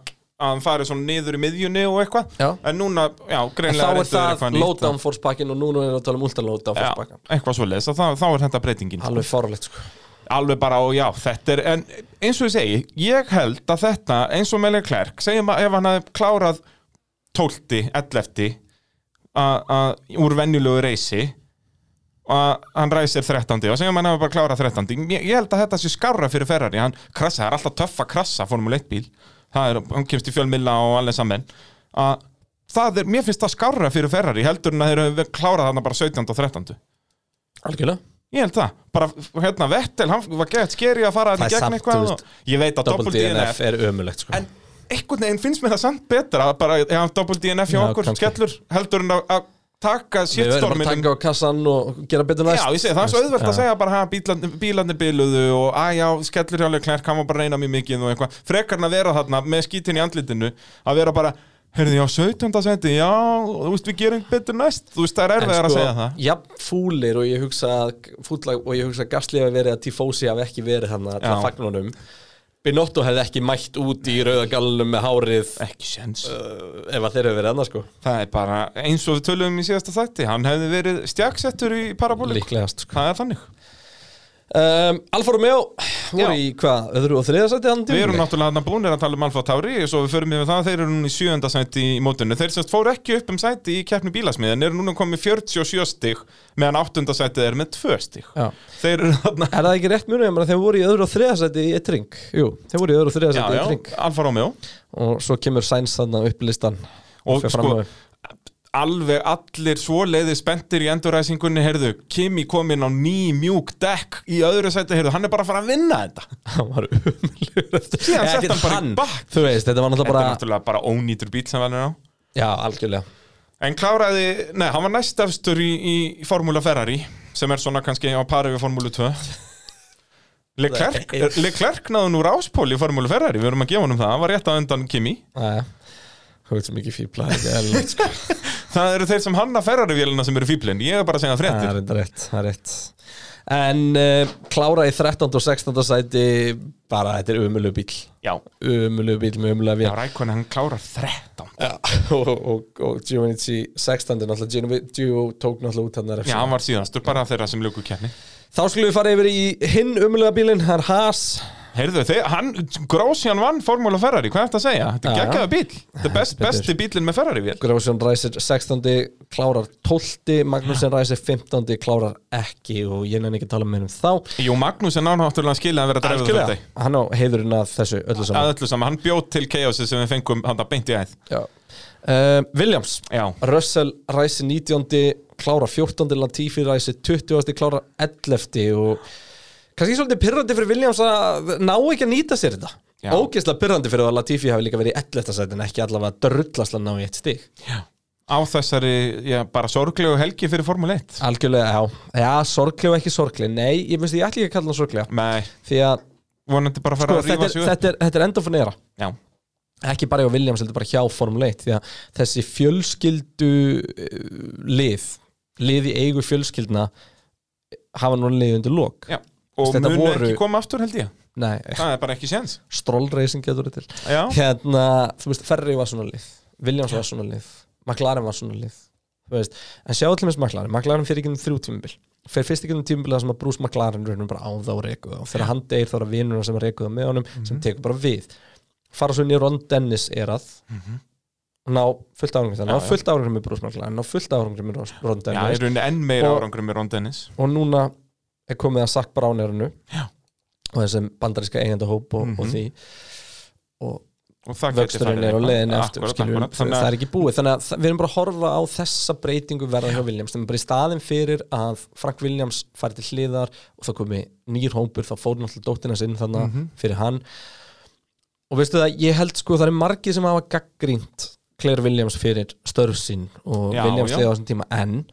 C: að hann farið svona niður í miðjunni og eitthvað
B: Já.
C: En núna, já,
B: En
C: greinlega
B: þá er það lowdown force pakkin og núna er að tala um ultra lowdown force
C: sko. Já,
B: pakkin
C: eitthvað svoleiðis, að þá, þá er þetta breytingin
B: Alveg fárlegt sko
C: Alveg bara, og já, þetta er En eins og ég segi, ég held að þetta eins og meðlega klærk, segjum að ef hann hafði klárað 12, 11 að- að- úr venjulegu reysi að hann ræsir 13. og segjum hann hafa bara klárað 13. Ég, ég held að þetta sé skarra fyrir Ferrari hann krassa, það er alltaf töff að krassa Formule 1 bíl, það er, hann kemst í fjölmilla og allir saman að það er, mér finnst það skarra fyrir Ferrari heldur en að þeir eru klárað þarna bara 17. og 13.
B: Algjörlega
C: Ég held það, bara hérna Vettel, hann var gett skeri að fara þarna
B: Það er
C: í gegn
B: samt, þú
C: eitthvað
B: veist,
C: og, ég veit að
B: Double
C: double DNF,
B: DNF er ömulegt sko
C: en einhvern veginn finnst mér það samt betra að bara, já, double DNF hjá
B: Já,
C: okkur,
B: kannski.
C: skellur heldur en að, að
B: Við verðum
C: taka
B: að
C: shitstorminum
B: taka á kassan og gera betur næst
C: Já, ég segi, það er svo auðvelt að segja bara ha, bílarnir, bílarnir biluðu og að já, skellir hjá Leclerc, hann var bara að reyna mjög mikið og eitthvað, frekarna vera þarna með skítin í andlitinu, að vera bara heyrðu ég á 17. senti, já, þú veist, við gerum betur næst, þú veist, það er erfiðar
B: sko,
C: að segja það.
B: jafn fúlir og ég hugsa að- fúlla og ég hugsa að Gasly hafi verið að Tifosi hafi ekki verið hann að
C: Já.
B: fagna honum Binotto hefði ekki mætt út í rauðagallum með hárið
C: Ekki séns.
B: uh, ef að þeir hefur verið annars sko
C: Það er bara eins og við töluðum í síðasta þætti, hann hefði verið stjagssettur í parabólik.
B: líklegast sko
C: Það er þannig.
B: um, Alfa Romeo voru
C: Já.
B: í hvað, öðru og þriðasætti hann
C: Við erum
B: tímabili?
C: náttúrulega hann búinir að tala um Alfa Tauri og svo við förum yfir það, þeir eru núna í sjöunda sæti í mótunni. Þeir semst fóru ekki upp um sæti í keppni bílasmiðin, eru núna komið 47 stig meðan áttunda sætið er með 2 stig.
B: Já.
C: Þeir eru þarna,
B: Er það ekki rétt munið, ég meina þeir voru í öðru og þriðasætti í eitt ring Jú, þeir voru í öðru og
C: já,
B: þriðasætti í
C: já,
B: eitt ring
C: Alfa Romeo.
B: og svo kemur Sainz þannig upp listan
C: Og
B: Fer
C: sko-
B: fram á þau.
C: alveg allir svo leiði spenntir í enduræsingunni, heyrðu, Kimi kom inn á ný mjúk dekk í öðru sæti, heyrðu, hann er bara að fara að vinna þetta.
B: hann var umlugur
C: Síðan setti hann bara í bakk.
B: Þú veist, þetta var
C: Þetta er
B: náttúrulega bara
C: náttúrulega bara ónýtur bíl sem hann er á.
B: Já, algjörlega
C: En kláraði, nei, hann var næstafstur í, í Formula Ferrari, sem er svona kannski á pari við Formúlu 2. Leclerc,
B: Nei.
C: Leclerc náði nú ráspól í Formúlu Ferrari, við erum að gefa honum það, hann var rétt á undan Kimi.
B: Æja Þú veit sem ekki fíbla þetta er eðlilegt, sko.
C: Það eru þeir sem hanna Ferrari-vélina sem eru fíblinn, ég er bara að segja
B: Það
C: fréttir.
B: er enda rétt, það er rétt En uh, klára í 13. og 16. sæti bara þetta er umulug bíl
C: Já,
B: umulug bíl með umulug
C: já
B: vél
C: Rækona, hann klárar 13.
B: Já, og, og, og Giovanici 16. náttúrulega Gio- Gio tók náttúrulega út hann að
C: Já, hann var síðastur bara af þeirra sem ljóku kenni.
B: Þá skulum við fara yfir í hinn umuluga bílinn, það er Haas
C: Heyrðu, þeir, hann, Grósjan vann Formúla Ferrari, hvað er þetta að segja? Þetta er
B: Já, já.
C: geggjaða bíl, Ah. þetta er best,
B: Heldur betur.
C: besti bílinn með Ferrari-vél.
B: Grósjón ræsir 16. klárar 12. Magnúsin ræsir 15. klárar ekki og ég nefn ekki að tala með um þá
C: Jú, Magnús er náttúrulega skilja að vera að dreifa þetta.
B: Hann á heiðurinn að þessu öllu
C: að
B: saman
C: öllu saman, hann bjóð til chaosið sem við fengum hann að beint í æð
B: uh, Williams
C: Já,
B: Russell ræsir 19. klárar 14. Latifi ræsir 20. klárar 11. og kannski svolítið pyrrandi fyrir Williams að ná ekki að nýta sér þetta
C: Já.
B: Ógeðslega pyrrandi fyrir að Latifi hafi líka verið í 11. sætin ekki allavega drullaslega ná í eitt stig
C: á þessari, já, bara sorglegu helgi fyrir Formule 1
B: Algjörlega, já, já sorgleg og ekki sorgleg Nei, ég finnst ég ætla ekki að kalla hann sorglega
C: Nei,
B: því að
C: vonandi bara að
B: sko,
C: fara að
B: þetta,
C: rífa
B: er,
C: sig upp
B: þetta, er, þetta er enda fyrir neira
C: Já,
B: ekki bara hjá Williams, heldur bara hjá Formule 1 því að þessi fjölskyldu eh, lið lið í eigu fjölskyldna hafa núna liðið undir lok
C: já, og
B: Þetta
C: mun
B: voru-
C: ekki koma aftur held ég
B: Nei,
C: Það er bara ekki séns
B: strollreising getur þetta til
C: Já,
B: hérna, þú veist, Ferri var svona lið Williams var svona lið, McLaren var svona lið þú veist, en sjá allir með McLaren McLaren fyrir ekki um þrjú tímubil fyrir fyrst ekki um tímubil það sem að Bruce McLaren raunum bara á það og reykuða og þegar hann deyr þá er að vinurna sem að reykuða með honum sem
C: Mhm.
B: tekur bara við fara svo inn í Ron Dennis erað
C: Mhm.
B: ná fullt árangri þannig, ná fullt árangri með Bruce McLaren ná fullt árangri með Ros- Ron
C: já, er
B: Dennis
C: rauninni enn meira
B: Hérna, Og-
C: árangur með Ron Dennis
B: og núna er komið að Sack Brown er hannu
C: Já.
B: og þessum bandaríska eigendahóp og, og
C: Mhm.
B: því og
C: Og það geti farið
B: vöxturinn er á
C: eitthvað.
B: leiðin eftir
C: Akkúrat,
B: skilur,
C: akkúrat. Þannig
B: það
C: að
B: er ekki búið þannig að það- við erum bara að horfa á þessa breytingu verða hjá Williams, þannig bara í staðin fyrir að Frank Williams fari til hliðar og það komi nýr hópur, þá fór náttúrulega dóttina sinni þannig
C: Mhm.
B: fyrir hann og veistu það, ég held sko það er margir sem hafa gaggrínt Claire Williams fyrir störf sín og
C: Já,
B: Williams
C: já.
B: liða á þessum tíma en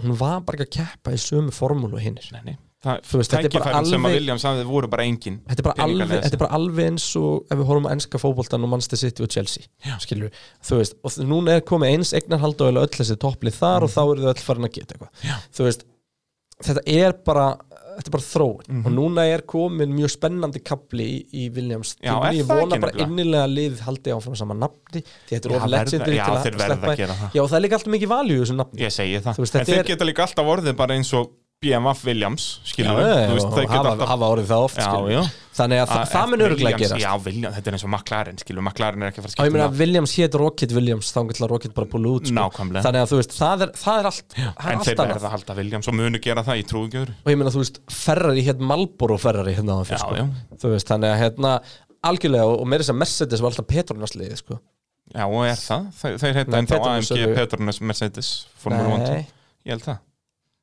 B: hún var bara ekki að keppa í sömu formúlu og hinnir
C: Nei, nei, það,
B: Þú veist, þetta er bara
C: tækifærin sem að
B: alveg-
C: Williams hafði voru bara engin
B: þetta er, bara alveg,
C: peningalega
B: þetta er bara alveg eins og ef við horfum að enska fótboltan og Manchester City og Chelsea skilur, þú veist, og þ- núna er komið eins eignarhald og eiginlega öll þessi topplið þar og þá eru þau öll farin að geta eitthvað
C: Mhm. Já.
B: þú veist, þetta er bara þetta er bara þróun
C: Mhm.
B: og núna er komin mjög spennandi kapli í, í Williams
C: Já,
B: Tímann.
C: er
B: ég
C: það
B: vona
C: ekki
B: bara
C: nefnilega?
B: innilega að liðið haldi áfram sama nafni því þetta er
C: Já,
B: of
C: verða-
B: legendary
C: já,
B: til
C: þeir verða að gera það.
B: já, og það er líka alltaf mikið valjú í þessu nafni
C: Ég segi það,
B: Þú veist,
C: en
B: þetta
C: þeir
B: er-
C: geta líka alltaf orðið bara eins og BMF Williams, skilur
B: Já, já,
C: Þú veist,
B: og
C: þeir geta
B: hafa,
C: alltaf
B: hafa orðið það oft
C: Já,
B: skilur.
C: já.
B: þannig að,
C: Að-
B: að það mun
C: að
B: öruglega
C: Williams-
B: gerast
C: Já, Williams, þetta er eins og McLaren, skilur, McLaren er
B: Já,
C: ekki að fara að
B: ég
C: skipta
B: meina
C: um
B: að Williams hét Rocket Williams þá getur Rocket bara búið út sko.
C: Nákvæmlega.
B: Þannig að þú veist, það er, það er allt það
C: nafn.
B: er
C: En
B: allt
C: þeir verða
B: annað
C: að halda Williams og munu gera það í trúgjöru
B: Og ég meina þú veist, Ferrari hét Malboro Ferrari hérna á það
C: Já,
B: fyrst
C: já.
B: sko. Þú veist, þannig að hérna algjörlega og- og meira þess að Mercedes var alltaf Petronas liði sko.
C: Já, og er það, þeir, þeir heita
B: Nei,
C: ennþá
B: Petronas
C: AMG
B: eru-
C: Petronas Mercedes Formule 1
B: Nei,
C: Ég held það
B: það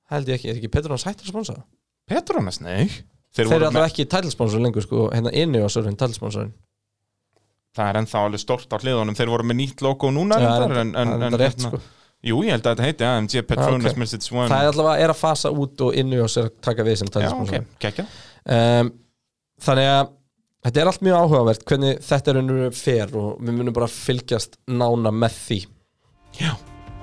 B: held ég ekki, er ekki Petronas hættur að sponsa?
C: Petronas, nei Þeir,
B: Þeir eru
C: voru
B: alltaf
C: með,
B: ekki tælsponsor lengur sko, hérna inni á sörfinn tælsponsorinn
C: það er ennþá alveg stort á hliðunum Þeir voru með nýtt logo núna
B: Það er
C: reyndar, en, en, en,
B: enda rétt
C: hérna-
B: sko
C: Jú, ég held að þetta heiti AMG Petronas
B: ok.
C: Mercedes
B: Það
C: 1
B: er sko. alltaf að er að fasa út og inni á sér taka við sem
C: Já, ok,
B: tælsponsorinn
C: kekja
B: um, Þannig að þetta er allt mjög áhugavert hvernig þetta er unnur fer og við munum bara fylgjast nána með því
C: Já,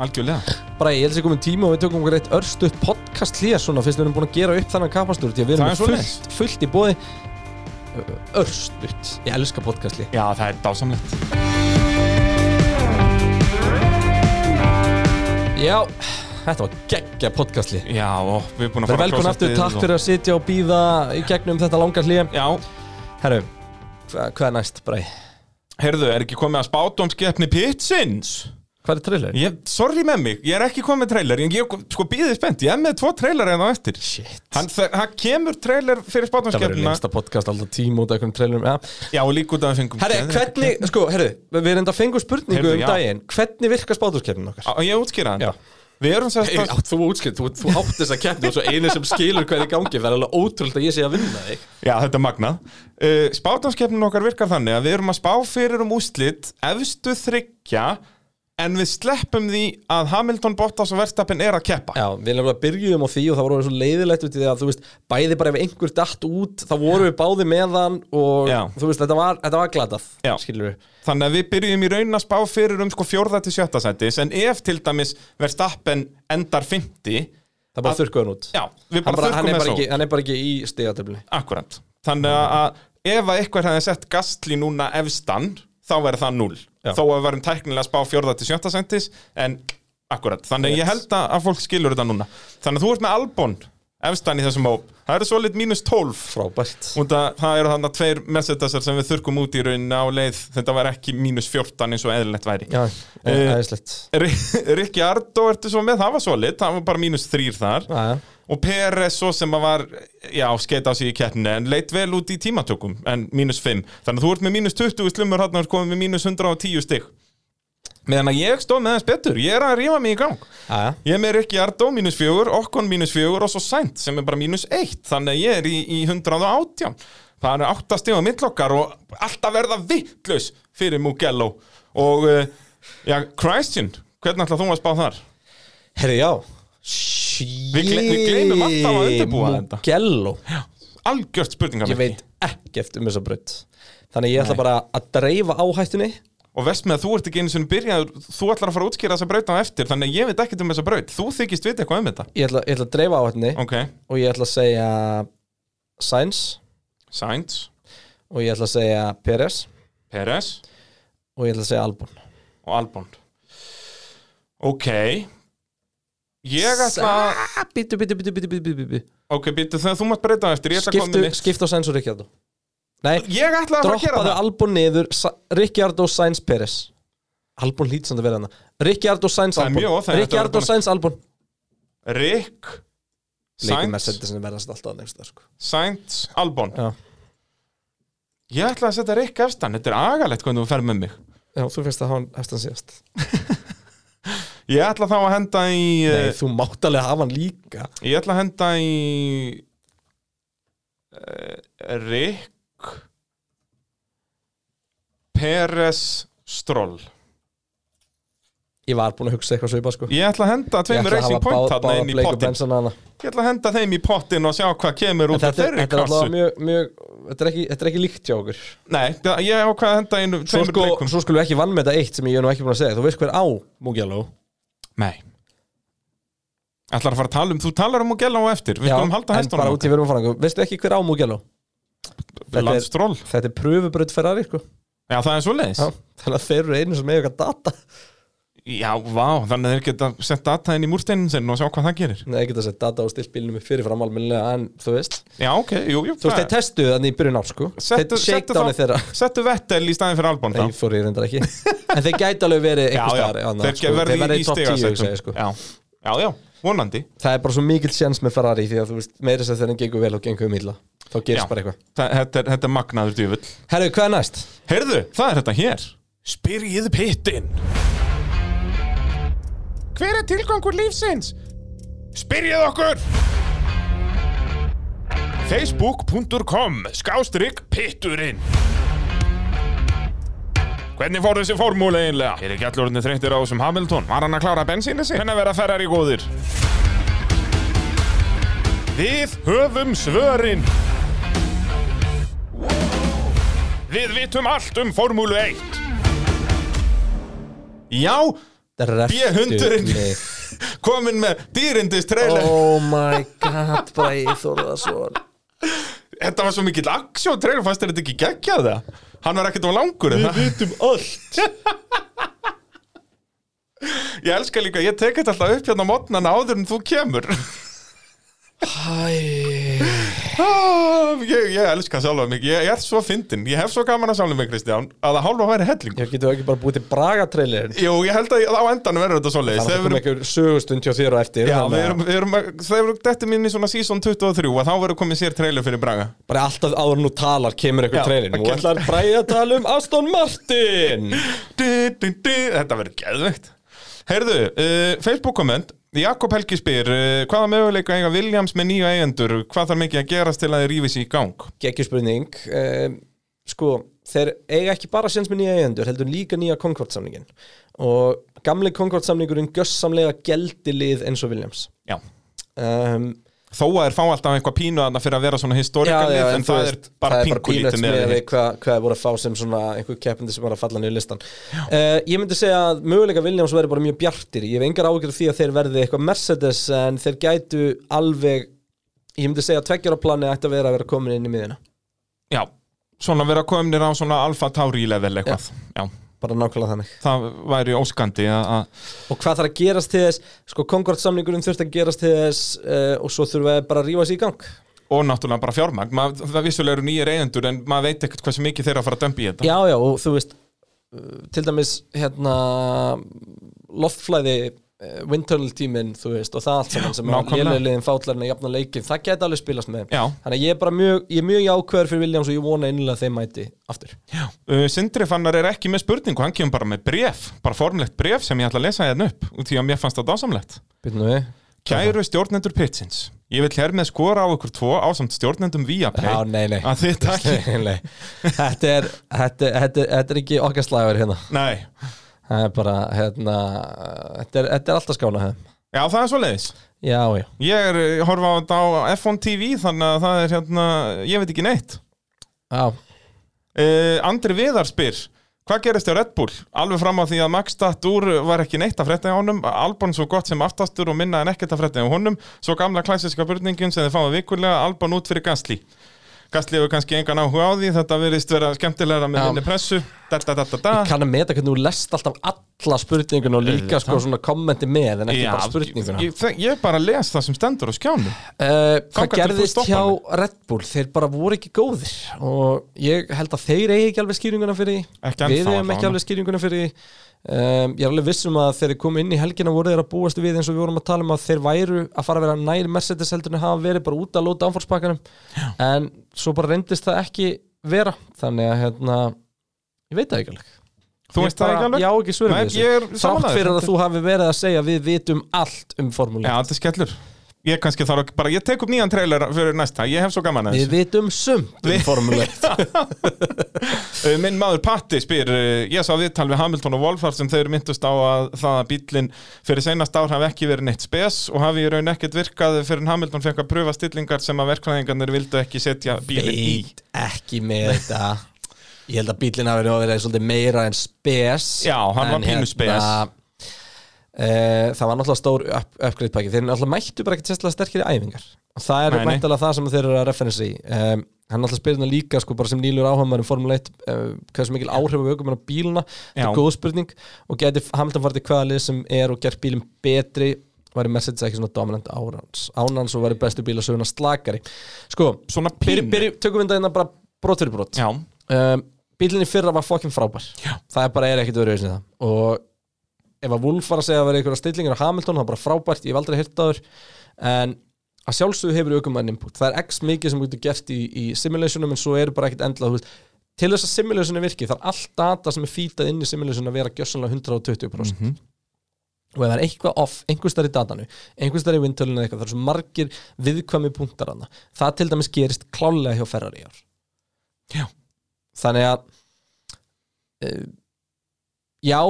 C: algjörlega
B: bara ég helst ekki komið tíma og við tökum okkur eitt örstuðt podcast hlýja svona fyrst við erum búin að gera upp þannig kapastur því að við
C: Það
B: erum
C: er
B: með
C: svoleiðis.
B: fullt, fullt í bóði örstuðt, ég elska podcast hlý
C: Já, það er dásamlegt
B: já, þetta var geggja podcast hlý
C: Já, og við erum búin að fara
B: velkomin aftur, takk fyrir að sitja og býða í gegnum þetta langa hlý
C: Já,
B: herru, hva- hvað er næst bræ?
C: heyrðu, er ekki komið að spátumskeppni Pitsins?
B: hvað er trailer?
C: Ég, sorry með mig, ég er ekki komið með trailer en ég, sko, býðið spennt, ég er með tvo trailer en á eftir
B: shit
C: Hann, það, hann kemur trailer fyrir
B: það verður
C: spátumskeppnina
B: lengsta podcast alltaf tíma út af einhverjum trailerum ja.
C: Já, og líka út af þessum
B: herru, hvernig, sko, herru, við erum þetta fengu spurningu
C: Heyrðu,
B: um
C: já.
B: daginn hvernig virka spáturskefnin okkar?
C: Á, ég útskýra hann
B: Já.
C: Við erum sem
B: Hey,
C: sagt að-
B: átt þú útskilt, þú, þú átt þessa keppni og svo einu sem skilur hverði gangi það er alveg ótrúld að ég sé að vinna þig
C: Já, þetta er magnað uh, Spátamskeppnin okkar virkar þannig að við erum að spá fyrir um úslit efstu þryggja en við sleppum því að Hamilton, Bottas og Verstappen er að keppa
B: Já, við erum að byrjuðum á því og það voru svo leiðilegt út í því að þú veist, bæði bara ef einhver datt út, þá voru við báði með hann og
C: Já.
B: þú veist, þetta var, þetta var glatað
C: Já.
B: skilur við,
C: Þannig að við byrjum í raun að spá fyrir um sko fjórða til sjötta sætis en ef til dæmis Verstappen endar 50
B: það er bara
C: Að-
B: þurrkuðan út
C: Já, við
B: hann,
C: bara
B: bara, hann, er
C: þurrkum með
B: bara
C: svo
B: ekki, hann er bara ekki í stigatöfli
C: Akkurat Þannig að ef að eitthvað hefði sett Gastli núna efstan þá verður það 0
B: Já.
C: Þó að við verðum tæknilega að spá fjórða til sjötta sætis en akkurat, þannig að ég held að að fólk skilur þetta núna Þannig að þú ert með Albon efstan í þessum hóp Það eru svo lit mínus 12
B: Frábært
C: Út að það eru þannig að tveir messagesar sem við þurrkum út í rauninna á leið Þetta var ekki mínus 14 eins og eðlilegt væri
B: Já, e-
C: Eh,
B: æðislegt
C: Rikki Ardó ertu svo með, það var svo lit, það var bara mínus þrýr þar
B: Já, já.
C: Og Peres svo sem að var, já, skeita á sig í keppni en leit vel út í tímatökum, en mínus 5 Þannig að þú ert með mínus 20 slumur hann og komið með mínus 110 stig Meðan að ég stóð með þess betur, ég er að rífa mig í gang
B: Já, já.
C: Ég er með Rikki Ardó mínus 4, Okkon mínus 4 og svo Sænt sem er bara mínus 1 Þannig að ég er í, í 118 Það eru 8 stig á mittlokkar og allt að verða vittlaus fyrir Mugello Og, uh, já, Christian, hvernig ætla þú að spá þar?
B: Herri, já Við,
C: gle- við gleymum alltaf að undirbúa þetta.
B: Mugello
C: Algjört spurningar
B: Ég veit ekkert um þessa braut Þannig ég ætla bara að dreifa áhættunni
C: Og vest með að þú ert ekki einu sinni byrjaður, þú ætlar að fara að útskýra þessa braut á eftir, þannig að ég veit ekkert um þessa braut. Þú þykist vita eitthvað um þetta.
B: Ég ætla, ég ætla að dreifa áhættunni
C: Ok,
B: Og ég ætla að segja Sainz
C: Sainz,
B: Og ég ætla að segja Peres
C: Peres
B: Og ég ætla að segja Albon
C: og Albon. Ok, ég ætla að,
B: Bítu, bítu, bítu, bítu, bítu, bítu, bítu
C: ok, býttu þegar þú mátt breyta á eftir, ég ætla að koma
B: Skiptu,
C: með mitt.
B: skiptu á Sainz og Ricciardo Nei,
C: Ég ætla að fara að gera
B: droppaðu
C: það.
B: Albon niður Sa- Ricciardo Sainz Peres Albon lítið samt að vera hana Ricciardo Sainz
C: Það er
B: Albon
C: mjög óþægilegt að vera
B: Ricciardo
C: búin að-
B: Sainz Albon
C: Rick,
B: Leikum
C: Sainz,
B: Mercedesin verðast alltaf nefnst það sko.
C: Sainz, Albon.
B: Já.
C: Ég ætla að setja Rick efstan, þetta er agalegt hvernig þú fer með mig.
B: Já, þú finnst að hafa hann eftir hann síðast
C: Ég ætla þá að henda í, eh,
B: Nei, þú mátt alveg hafa hann líka
C: ég ætla að henda í eh, Rick Peres Stroll
B: Ég var búin að hugsa eitthvað svipað sko
C: Ég ætla að henda tveimur racing point
B: bá-
C: þarna inn í
B: Blake og
C: pottin
B: Benson hana
C: Ég ætla að henda þeim í pottin og sjá hvað kemur
B: En
C: út af
B: þetta, er- þetta
C: þeirri
B: er
C: kassu
B: allavega mjög, mjög þetta, er ekki, þetta er ekki líkt hjá okkur
C: Nei, það- ég ákvað að henda einu
B: Svo,
C: tveimur
B: sko,
C: leikum
B: svo skulum við ekki vann með þetta eitt sem ég er nú ekki búin að segja Þú veist hver á Mugello
C: Nei Ætlar að fara að tala um, þú talar um Mugello á eftir Við skulum halda
B: en bara
C: hestunum
B: út í verðum að fara Veistu ekki hver á Mugello? þetta er-
C: Landstról
B: Þetta er pröfubraut Ferrari sko
C: Já, það er svoleiðis
B: Já, Þannig að þeir eru einu sem með eitthvað data
C: Já, vá, þannig að þeir geta sett data inn í múrsteinin sinn og sjá hvað það gerir
B: Nei, ekki að segja data og stilt bílnum fyrirfram almennilega En þú veist
C: Já, ok, jú,
B: Þú
C: jú
B: veist,
C: það-
B: þeir testuðu þannig í byrjun á sko
C: Settu-
B: Þeir
C: settu þá-
B: shakedownið þeirra
C: Settu Vettel í staðin fyrir Albon þá
B: Nei, fór ég reyndar ekki En þeir gæti alveg verið
C: Já,
B: einhvers
C: já,
B: staðar annað,
C: þeir sko, verði í, í
B: top 10 ég
C: stigasætum
B: segi, sko.
C: já. já, já, vonandi
B: Það er bara svo mikill sjans með Ferrari Því að þú veist, meira þess að þeirra gengur vel og gengur um illa Þá
C: Já.
B: gerist bara eitthvað
C: Þa- Þetta er, þetta er magnaður djöfull
B: Herru, hvað er næst?
C: Heyrðu, það er þetta hér Spyrjið pittin Hver er tilgangur lífsins? Spyrjið okkur Facebook.com Skástrygg pitturinn Hvernig fór þessi formúli eiginlega? Er ekki allur orðinni þreyttir á þessum Hamilton? Var hann að klára bensínu sig? Hvernig verða ferrar í góðir? Við höfum svörin Við vitum allt um Formúlu 1 Já,
B: Dreftu
C: B-hundurinn.
B: mig.
C: komin með dýrindis trailer
B: Oh my god, Bræði Þórðarsson
C: Þetta var svo mikill aksjón trailer fannst þér þetta ekki geggjað það Hann var ekkert á langur Við vitum um allt Ég elska líka, ég tek þetta alltaf upp hérna á mótnana áður en þú kemur
B: Hæ
C: Ah, ég, ég elska sjálfa mig, ég, ég er svo fyndin Ég hef svo gaman að sjálfa mig, Kristján Að það hálfa væri helling
B: Ég getur ekki bara búið til braga-trailerin
C: Jú, ég held að á endanum verður þetta svoleiðis
B: Þannig að það
C: Þegar við
B: kom
C: erum-
B: ekki sögustund hjá þér og eftir
C: Já,
B: þannig
C: við
B: að-
C: erum, við erum, að- þegar við dettum inn í svona season 23 að þá verður komið sér trailer fyrir Braga
B: Bara alltaf áður en þú talar kemur
C: Já,
B: eitthvað trailer Nú
C: ok.
B: ætlar Bræði að tala um Aston Martin
C: du, du, du, Þetta verður geðvegt Heyrðu, uh, Facebook komment Jakob Helgi spyr, uh, hvaða möguleika eiga Williams með nýju eigendur, hvað þarf mikið að gerast til að þið rífi sér í gang?
B: Gekkjusspurning um, Sko, þeir eiga ekki bara séns með nýja eigendur heldur líka nýja Concord-samningin og gamli Concord-samningurinn gössamlega geldi lið eins og Williams
C: Já
B: um,
C: Þó að þeir fá alltaf eitthvað pínu þarna fyrir að vera svona historika lið, en,
B: þú
C: það er
B: veist,
C: bara
B: það er bara
C: pinkulítið
B: peanuts
C: með
B: miðað
C: þeim
B: við hvað hva er voru að fá sem svona einhver keppindi sem var að falla niður listan uh, ég myndi segja að möguleika Williams verður bara mjög bjartir ég hef engar ágjörð því að þeir verði eitthvað Mercedes en þeir gætu alveg ég myndi segja að tveggjara planið ætti að vera að vera komin inn í miðina
C: Já, svona vera kominir á svona alfa tauri level eitthvað Já,
B: bara nákvæmlega þannig
C: það væri óskandi að að-
B: og hvað þarf að gerast til þess sko Concord samningurinn þurft að gerast til þess uh, og svo þurfa þeir bara að rífa sér í gang
C: og náttúrulega bara fjármagn, maður, það vissulega eru nýjir eigendur en maður veit ekkert hversu mikið þeirra að fara að dömpi í þetta
B: já já og þú veist uh, til dæmis hérna loftflæði uh, windtunnel tíminn þú veist og það allt saman sem að
C: nákvæmlega.
B: lélulegin fátlarinn að jafna leikin það geti alveg spilast með þeim.
C: Já.
B: þannig að ég er bara mjög ég er mjög jákvæður fyrir Williams og ég vona einlega þeim mæti aftur
C: Uh, Sindri Fannar er ekki með spurningu, hann kemur bara með bref, bara formlegt bref sem ég ætla að lesa hérna upp, út því að mér fannst það dásamlegt.
B: byrjum við
C: Kæru stjórnendur Pitsins, ég vil hér með skora á ykkur tvo ásamt stjórnendum Viaplay
B: já nei nei
C: að þið takki,
B: Nei, þetta, er, þetta, þetta, þetta er ekki okkar slagur hérna
C: nei,
B: það er bara hérna þetta er, þetta er alltaf skána hefðum
C: já það er svoleiðis.
B: Já, já,
C: Ég er, ég horfa á þetta á F1 TV þannig að það er hérna, ég veit ekki neitt.
B: já.
C: Uh, Andri Viðar spyr, hvað gerist hjá Red Bull? Alveg fram á því að Max datt úr var ekki neitt að frétta hjá honum, Albon svo gott sem aftastur og minna en ekkert að frétta hjá honum, svo gamla klassiska burningin sem þið fáum vikulega, Albon út fyrir Gasly. Gasly hefur kannski engan áhuga á því, þetta virðist vera skemmtilegra með
B: Já.
C: minni pressu, da da da da da.
B: Kann að meta hvernig þú lest alltaf alla spurningun og líka sko svona kommenti með en ekki
C: Já,
B: bara spurninguna
C: ég, ég, ég bara les það sem stendur á skjánu
B: uh, Hvað
C: Þangað til þú
B: gerðist
C: stoppar
B: hjá
C: mig.
B: Red Bull? Þeir bara voru ekki góðir og ég held að þeir eigi ekki alveg skýringuna fyrir því.
C: Ekki ennþá
B: Við eigum
C: allavega.
B: ekki alveg skýringuna fyrir því. um, Ég er alveg viss um að þegar þeir komu inn í helgina voru þeir að búast við eins og við vorum að tala um að þeir væru að fara að vera nær Mercedes heldur en hafa verið bara út að lóta ánfórspakkanum en svo bara reyndist það ekki vera þannig að hérna ég veit það ekki alveg
C: Þú
B: Ég
C: veist það
B: bara-
C: ekki alveg?
B: Já, ekki svörum
C: Nei,
B: við
C: ég er
B: þessu Þrátt
C: sammálaður.
B: fyrir að þú hafi verið að segja Við vitum allt um formúli
C: Já, þetta er skellur Ég kannski þarf ekki, bara ég tek upp nýjan trailer fyrir næsta, ég hef svo gaman að
B: Við vitum sumt um formúli
C: Uh, Minn maður Patti spyr uh, Ég sá viðtal við Hamilton og Wolfhard sem þeir myndust á að það að bílinn fyrir seinast ár hafi ekki verið neitt spes og hafi í raun ekkert virkað fyrir en Hamilton fekk að pröfa stillingar sem að verkfræðingarnir vildu ekki setja bílinn í
B: Veit ekki með þetta Ég held að bílinn hafi nú verið svolítið meira en spes
C: Já, hann var
B: En hérna,
C: pínu spes.
B: eh, það var náttúrulega stór upp, upgrade pakki Þeir náttúrulega mættu bara ekki sérstaklega sterkir í æfingar Og það er
C: Nei, nei.
B: mæntalega það sem þeir eru að referensi í um, Hann náttúrulega spyrir hérna líka sko, bara sem nýlur áhæmar um Formule 1 uh, hversu mikil áhrif við aukum á bíluna Þetta
C: Já.
B: er góð spurning og geti Hamilton farið til hvaða lið sem er og gert bílum betri væri Mercedes ekki svona dominant ánans ánans og væri bestu bíla söguna slakari sko,
C: Svona
B: byrju,
C: pínu.
B: byrju, tökum við þetta hérna bara brot fyrir brot
C: Já,
B: um, bílinni fyrra var fokkin frábær
C: Já.
B: það er bara er ekkit öðruvísin það og ef að Wolf var að segja að vera einhverja stillingar á Hamilton, það er bara frábært, ég hef aldrei hýrt áður en að sjálfsögðu hefur aukumann input, það er x mikið sem þú getur gert í, í simulationum en svo eru bara ekkit endla veist, til þess að simulationu virki, það er allt data sem er fýtað inn í simulationu að vera gjössanlega 120%
C: Mhm.
B: og ef það er eitthvað off, einhvers staðar í datanu einhvers staðar í vindtölinu eða eitthvað, það eru svo margir viðkvæmi punktar hana, það til dæmis gerist klálega hjá Ferrari í ár
C: Já.
B: þannig að uh, já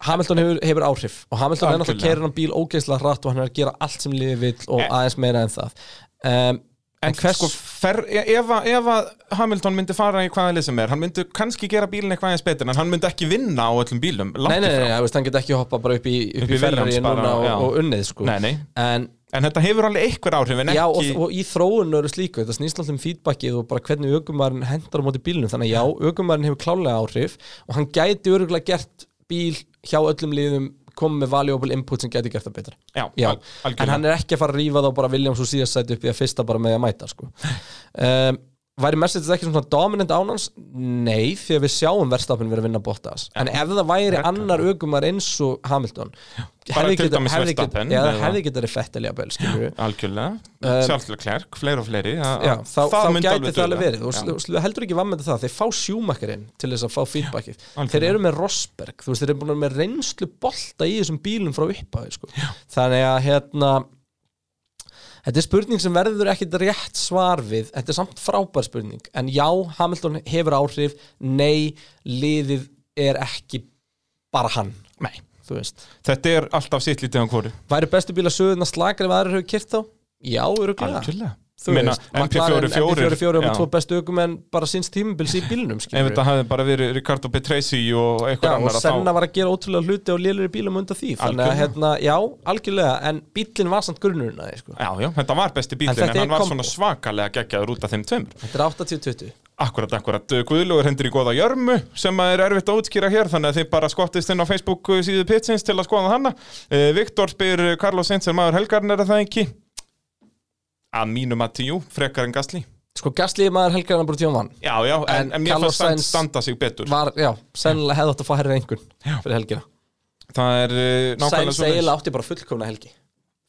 B: Hamilton hefur, hefur áhrif og Hamilton er náttúrulega
C: Algjörlega.
B: keirir hann bíl ógeðslega hratt og hann er að gera allt sem liði vill og
C: Eh.
B: aðeins meira en það um,
C: En
B: hvers-
C: sko, fer, e- ef, að- ef að Hamilton myndi fara í hvaða lið sem er, hann myndi kannski gera bílinn eitthvað eins betur, en hann myndi ekki vinna á öllum bílum, langt
B: Nei, nei,
C: í
B: nei,
C: frá.
B: nei, þú veist, hann get ekki hoppa bara upp í, upp
C: Upp í
B: í Ferrari
C: Williams bara,
B: núna og,
C: já.
B: og unnið, sko
C: Nei, nei.
B: En,
C: En þetta hefur alveg einhver áhrif, en
B: já, og,
C: ekki...
B: og í þróun eru slíku, þetta snýst alltaf um feedbackið og bara hvernig ökumærin hendar á móti bílnum Þannig að já, ökumærin hefur klálega áhrif og hann gæti öruglega gert bíl hjá öllum liðum komið með valuable input sem gæti gert það betra
C: Já,
B: Já,
C: al- algjörlega.
B: en hann er ekki að fara að rífa þá bara Williams úr síðast sæti upp í að fyrsta bara með að mæta sko. um, Væri Mercedes ekki svona dominant ánans? Nei, því að við sjáum verðstafin verið að vinna Bottas En ef það væri annar ögumar eins og Hamilton
C: bara
B: hefði
C: til
B: geta-
C: dæmis
B: hefði geta-
C: Verstappen,
B: Já,
C: eða-
B: það hefði getað verið fettilega bel, skilur við
C: Algjörlega,
B: Um,
C: sjálfslega klærk, fleiri og fleiri að-
B: Já,
C: að-
B: þá, þá
C: myndi
B: gæti
C: alveg
B: það alveg
C: duga.
B: verið og
C: Já.
B: sl- og sl- heldur ekki vann með það, þeir fá sjúmakkarinn til þess að fá feedbackið, þeir
C: algjörlega.
B: eru með Rosberg þú veist, þeir eru búin að vera með reynslu bolta í þessum bílum frá upphæði sko. þannig að hérna þetta er spurning sem verður ekkit rétt svar við, þetta er samt frábær spurning en já, Hamilton hefur áhrif nei, liðið er ekki bara hann
C: Nei.
B: þú veist,
C: Þetta er alltaf sitt lítið á hvori
B: væri bestu bíla söguna slakar ef aðrir hefur kyrkt þá? Já, öruglega
C: Algjörlega
B: Þú
C: Meina,
B: veist, um McLaren,
C: MP44
B: MP44 er
C: já.
B: með tvo bestu ökumenn bara sinns tímubils í bílnum
C: Ef
B: skilurðu.
C: þetta hafði bara verið Ricardo Petresi og
B: já,
C: eitthvað
B: og
C: annar að
B: Senna
C: þá
B: var að gera ótrúlega hluti og lélir í bílum undan því þannig að
C: Algjörlega.
B: hérna, já, algjörlega en bílinn var samt grunnurinn að því sko.
C: Já, já, þetta var besti bílinn
B: En
C: en,
B: þetta
C: hann
B: er
C: var
B: kombo.
C: svona svakalega geggjaður út af þeim tveimur
B: þetta er 80-20
C: Akkurat, akkurat, Guðlugur hendur í goða jörmu sem að er erfitt að útskýra hér þannig að þið bara skottist inn á Facebook síðu pitsins til að skoða hana Eh, Viktor spyr eh, Carlos Sainz er maður helgarn er það ekki? Að mínum að tíu, frekar en Gasly
B: sko Gasly er maður helgarinn að bara tíma vann
C: Já, já, en,
B: En
C: en mér
B: Carlos
C: fannst Sainz
B: Sainz
C: standa sig betur
B: var, já, sennilega hefði átt að fá herri einhvern fyrir helgina
C: Það er eh, nákvæmlega
B: Sæns
C: svoleiðis.
B: eiginlega átti bara fullkomna helgi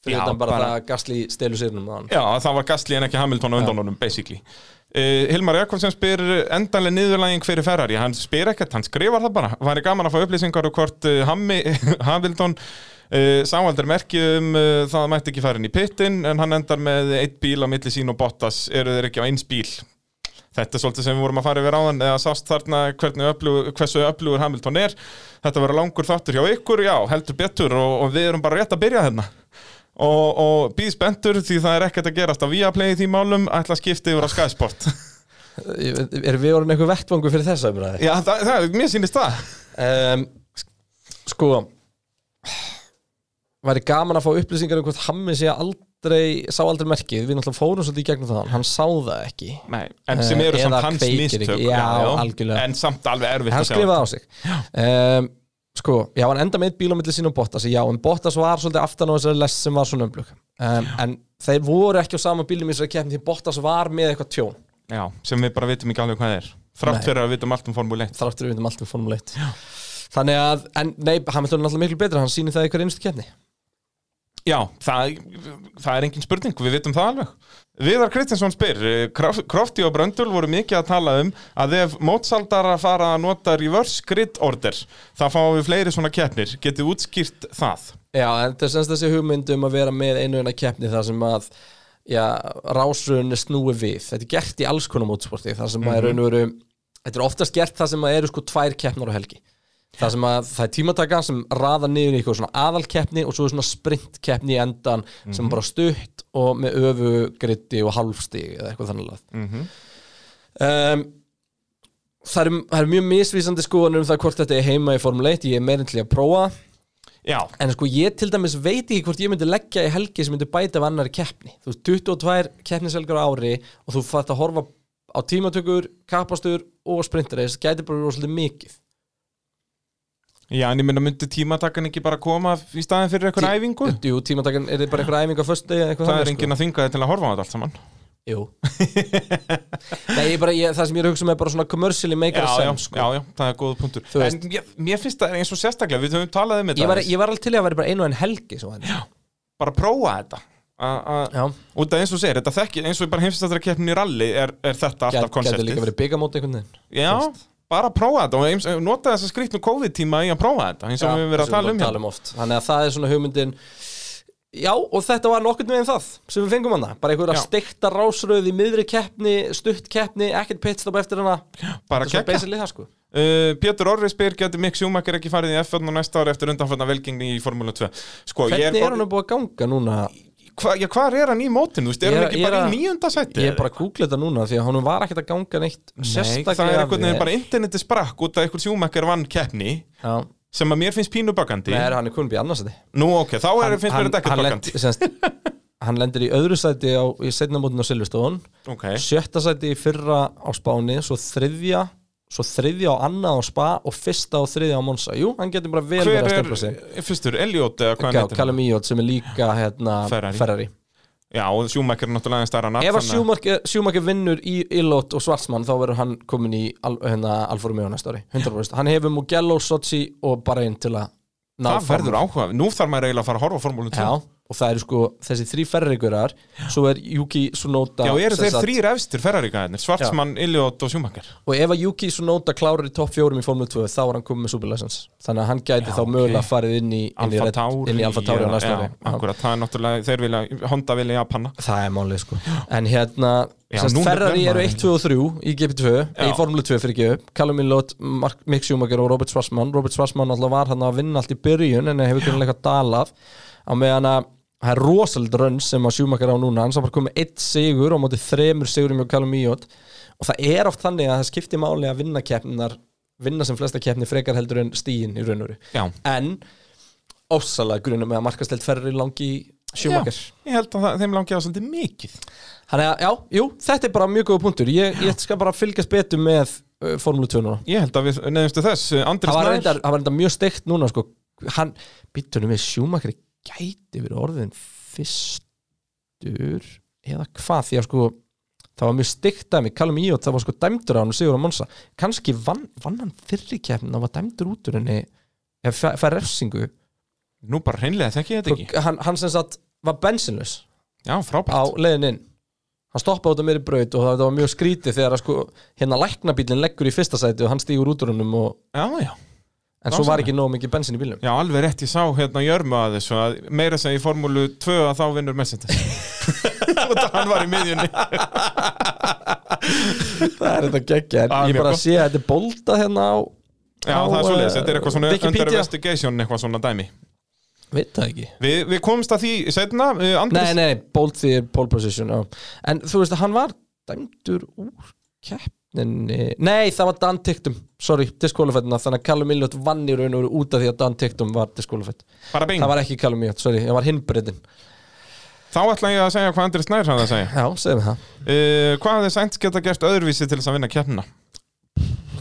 B: fyrir
C: Já,
B: utan bara,
C: bara-
B: það að Gasly stelu sérnum á hann
C: Já, það var Gasly en ekki Hamilton á undan honum, basically uh, Hilmar Jakobsen spyr endanlega niðurlæging fyrir Ferrari Hann spyr ekkert, hann skrifar það bara Væri gaman að fá upplýsingar og hvort uh, Hammi, Hamilton uh, sáaldur merki um uh, það mætti ekki farin í pittin En hann endar með eitt bíl á milli sín og Bottas Eru þeir ekki á eins bíl? Þetta er svolítið sem við vorum að fara yfir áðan eða sást þarna hvernig öflug, hversu öflugur Hamilton er. Þetta verður langur þáttur hjá ykkur, já, heldur betur og, og við erum bara rétt að byrja hérna. Og, og býð spenntur því það er ekkert að gerast að Viaplay í því málum ætla að skipta yfir á Sky Sport.
B: erum við orðin eitthvað vettvangu fyrir þessa umræði?
C: já, það, það, mér sýnist það.
B: um, Sko Væri gaman að fá upplýsingar um hvort Hammi sé aldrei, sá aldrei merkið Við náttúrulega fórum svolítið í gegnum það Hann sá það ekki
C: Nei, en sem eru
B: Eh,
C: samt
B: eða
C: hans
B: kveikir
C: mistök.
B: ekki. Já, algjörlega.
C: En samt alveg erfitt
B: Hann
C: að sjá.
B: skrifaði á sig um, Sko, já, hann enda með eitt bíl á milli sín og Bottas Já, en Bottas var svolítið aftan á þessari lest sem var svona umblökk um, En þeir voru ekki á sama bílum í þessari keppni Því Bottas var með eitthvað tjón
C: Já, sem við bara vitum ekki alveg hvað það er. Þrátt
B: Nei.
C: fyrir að við vitum allt um Formule 1.
B: Þráttur við veitum allt um Formule 1 Þannig að, en nei, Hamilton er náttúrulega miklu betra Hann sýnir það í hverju einstu keppni
C: Já, það, það er engin spurning, við vitum það alveg. Viðar Kristinsson spyr, eh, Krof- Crofty og Bröndul voru mikið að tala um að ef mótsaldara fara að nota reverse grid order, þá fáum við fleiri svona keppnir. Getið útskýrt það?
B: Já, en það er semst þessi hugmynd um að vera með einu en að keppni þar sem að já, rásrunni snúi við þetta er gert í alls konar mótsporti þar sem að er raun og veru þetta er oftast gert þar sem að eru sko tvær keppnar á helgi þar sem að það er tímataka sem raða niður í eitthvað svona aðalkeppni og svo er svona sprintkeppni í endan sem er bara stutt og með öfugritti og halvstig eða eitthvað þannig að um, það, er, það er mjög misvísandi skoðanur um það hvort þetta er heima í Formule 1 ég er meirinn til í að prófa
C: Já,
B: En sko ég til dæmis veit ekki hvort ég myndi leggja í helgi sem myndi bæta af annari keppni Þú veist 22 keppnishelgar á ári og þú fætt að horfa á tímatökur, kapastur og sprintareis gæti bara rosalega mikið
C: já en ég minna myndi tímatakan ekki bara koma í staðin fyrir eitthvað æfingu?
B: Jú, tímatakan, er þið bara einhver æfing á föstu
C: Það er enginn að þinga þig til að horfa á þetta allt saman.
B: sko? Jú Nei, ég bara, ég, það sem ég er að hugsa um er bara svona commercially maker
C: Já, já,
B: sense sko.
C: já, já, það er góða punktur.
B: Þú
C: En mér, mér finnst það eins og sérstaklega, við höfum talað um þetta,
B: Ég var,
C: aðeins.
B: ég var alveg til í að vera bara einu en helgi svo þannig.
C: bara prófa þetta. A- a-
B: Já,
C: Út af eins og segir, þetta þekki, eins og bara heimstættara keppnin í rally er, er þetta alltaf
B: gæti gæti líka
C: konseptið.
B: verið byggamóti einhvern veginn
C: Já, bara prófa þetta og eins, nota þess að skrýtnu COVID-tíma í að prófa þetta, eins og
B: Já,
C: við höfum verið
B: sem
C: að tala um
B: vorum
C: hérna.
B: oft Þannig að það er svona hugmyndin Já, og þetta var nokkurn veginn það sem við fengum hana, bara einhverja
C: Já.
B: steikta rásröð í miðri keppni, stutt keppni ekkert pitstop eftir hana
C: Bara
B: Þetta er
C: kekka.
B: basically það sko
C: Uh, Pétur Orri spyr, getur Mick Schumacher ekki farið í F1 á næsta ári eftir undanfarnar velgengni í Formúlu 2? Sko,
B: Hvernig
C: ég
B: er hann búið að ganga núna?
C: hva, já, hvar er hann í mótinu, þú veist, er
B: Ég-
C: hann ekki
B: ég
C: bara
B: er að-
C: í nýjunda sæti?
B: Ég er bara að googla þetta núna því að honum var ekkert að ganga neitt
C: Nei,
B: sérstaklega
C: það er einhvern
B: vel.
C: veginn bara interneti sprakk út að einhvern sjúmekkar vann keppni
B: Já,
C: sem að mér finnst pínu bakandi
B: nei, er hann er kunn býð annarsæti
C: Nú ok, þá er, finnst um mér þetta ekkert
B: lent-
C: bakandi
B: semst, hann lendir í öðru sæti á, í setna mótin á Silvestón
C: Ok,
B: sjötta sæti í fyrra á Spáni svo þriðja svo þriðja á annað á Spa og fyrsta og þriðja á Monsa jú, hann getur bara vel verið að
C: hver er
B: stefla sig
C: fyrstur, Elliot eða
B: Já,
C: hvað hann heitir?
B: Callum Íjótt sem er líka hérna,
C: Ferrari.
B: Ferrari.
C: Já, sjúmekkar er náttúrulega aðeins stærra nafn,
B: Ef að
C: þannig að-
B: Schumacher Schumacher vinnur í Ilot og Svartsmann þá verður hann komin í Al- hérna, Alfa Romeo næsta ári 100% Hann hefur Mugello, Sochi og Bahrain til að ná
C: Það verður áhuga, nú þarf maður eiginlega að fara að horfa á formúlun 2
B: Já, og það eru sko þessi þrý ferrigurar Svo er Yuki Tsunoda
C: Já, eru
B: sem
C: þeir
B: sagt-
C: þrýr efstir ferraríkaðinir, Svartsmann, Elliot og Sjúmakar
B: Og ef að Yuki Tsunoda klárar í topp fjórum í Formule 2 þá er hann komið með Superlicense Þannig að hann gæti þá mögulega farið inn í inn í
C: Alfa
B: Red-
C: Tauri
B: inn í Alfa Tauri á
C: já,
B: næsta
C: já,
B: ári Já.
C: Akkurat, það er náttúrulega, þeir vilja, Honda vilja Japana
B: Það er málið sko En hérna,
C: Já,
B: já,
C: núna
B: Ferrari
C: nefnir
B: eru
C: maður
B: 1, 2 og 3 í GP2
C: Já.
B: í Formule 2 fyrir GF Callum Millot, Mark- Mick Schumacher og Robert Schwarzman Robert Schwarzman alltaf var hann að vinna allt í byrjun en hefur kunnilega dalað á meðan að það er rosald rönn sem að Schumacher á núna hann sem bara komið eitt sigur og mótið þremur sigurum hjá Callum Millot og það er oft þannig að það skiptir máli að vinna keppninar vinna sem flesta keppni frekar heldur en stíin í raun og veru
C: Já,
B: en ósalega grunum með að markastelt Ferrari langi í Schumacher
C: ég held að það, þeim langi á svolítið mikið
B: Þannig að, já, jú, þetta er bara mjög góða punktur Ég, ég skal bara fylgjast betur með uh, Formule 2 núna
C: Ég held að við neðumstu þess, eh, Andris
B: Það var
C: Nær-
B: reyndar, það var reyndar mjög steikt núna sko. Hann, býttunum við sjúmakri gæti verið orðin fyrstur eða hvað, því að sko það var mjög steikt dæmi, kallum í og það var sko dæmdur á hann og sigur á Monsa kannski vann, vann hann fyrri keppnin og var dæmdur út úr henni eða fær- fær refsingu Sko,
C: Nú bara hreinlega þekki ég þetta ekki
B: hann, hann sem sagt var bensinlaus
C: Já,
B: á
C: frábært
B: leiðin inn hann stoppaði út af mér í braut og það var mjög skrítið þegar að sko, hérna læknabílinn leggur í fyrsta sæti og hann stígur út úr húnum og,
C: Já, já
B: en svo var ekki nóg mikið bensin í bílnum
C: Já, alveg rétt, ég sá hérna Jörmu að þessu að meira segja í formúlu 2 að þá vinnur Mercedes og það hann var í miðjunni
B: það er þetta geggja,
C: Ah,
B: en ég
C: mjög
B: bara
C: gott.
B: sé að þetta er bolta hérna á
C: Já, það er
B: Á,
C: svoleiðis,
B: eh,
C: þetta er eitthvað svona
B: Wikipedia.
C: under investigation eitthvað svona dæmi
B: veit það ekki
C: Vi, Við komumst að því setna, uh,
B: nei,
C: Andris
B: nei, bolt því er pole position já. en þú veist að hann var dæmdur úr keppninni nei, það var Dan Tiktum, sorry diskólafættina, þannig að Callum Illot vann í raun og veru út af því að Dan Tiktum var diskólafætt
C: bara bing
B: það var ekki Callum Illot, sorry, það var hinbreytin
C: Þá ætla ég að segja hvað Andris Nær hann að segja
B: já, segjum það
C: uh, Hvað hafði Sainz geta gert öðruvísi til þess að vinna kjarnina?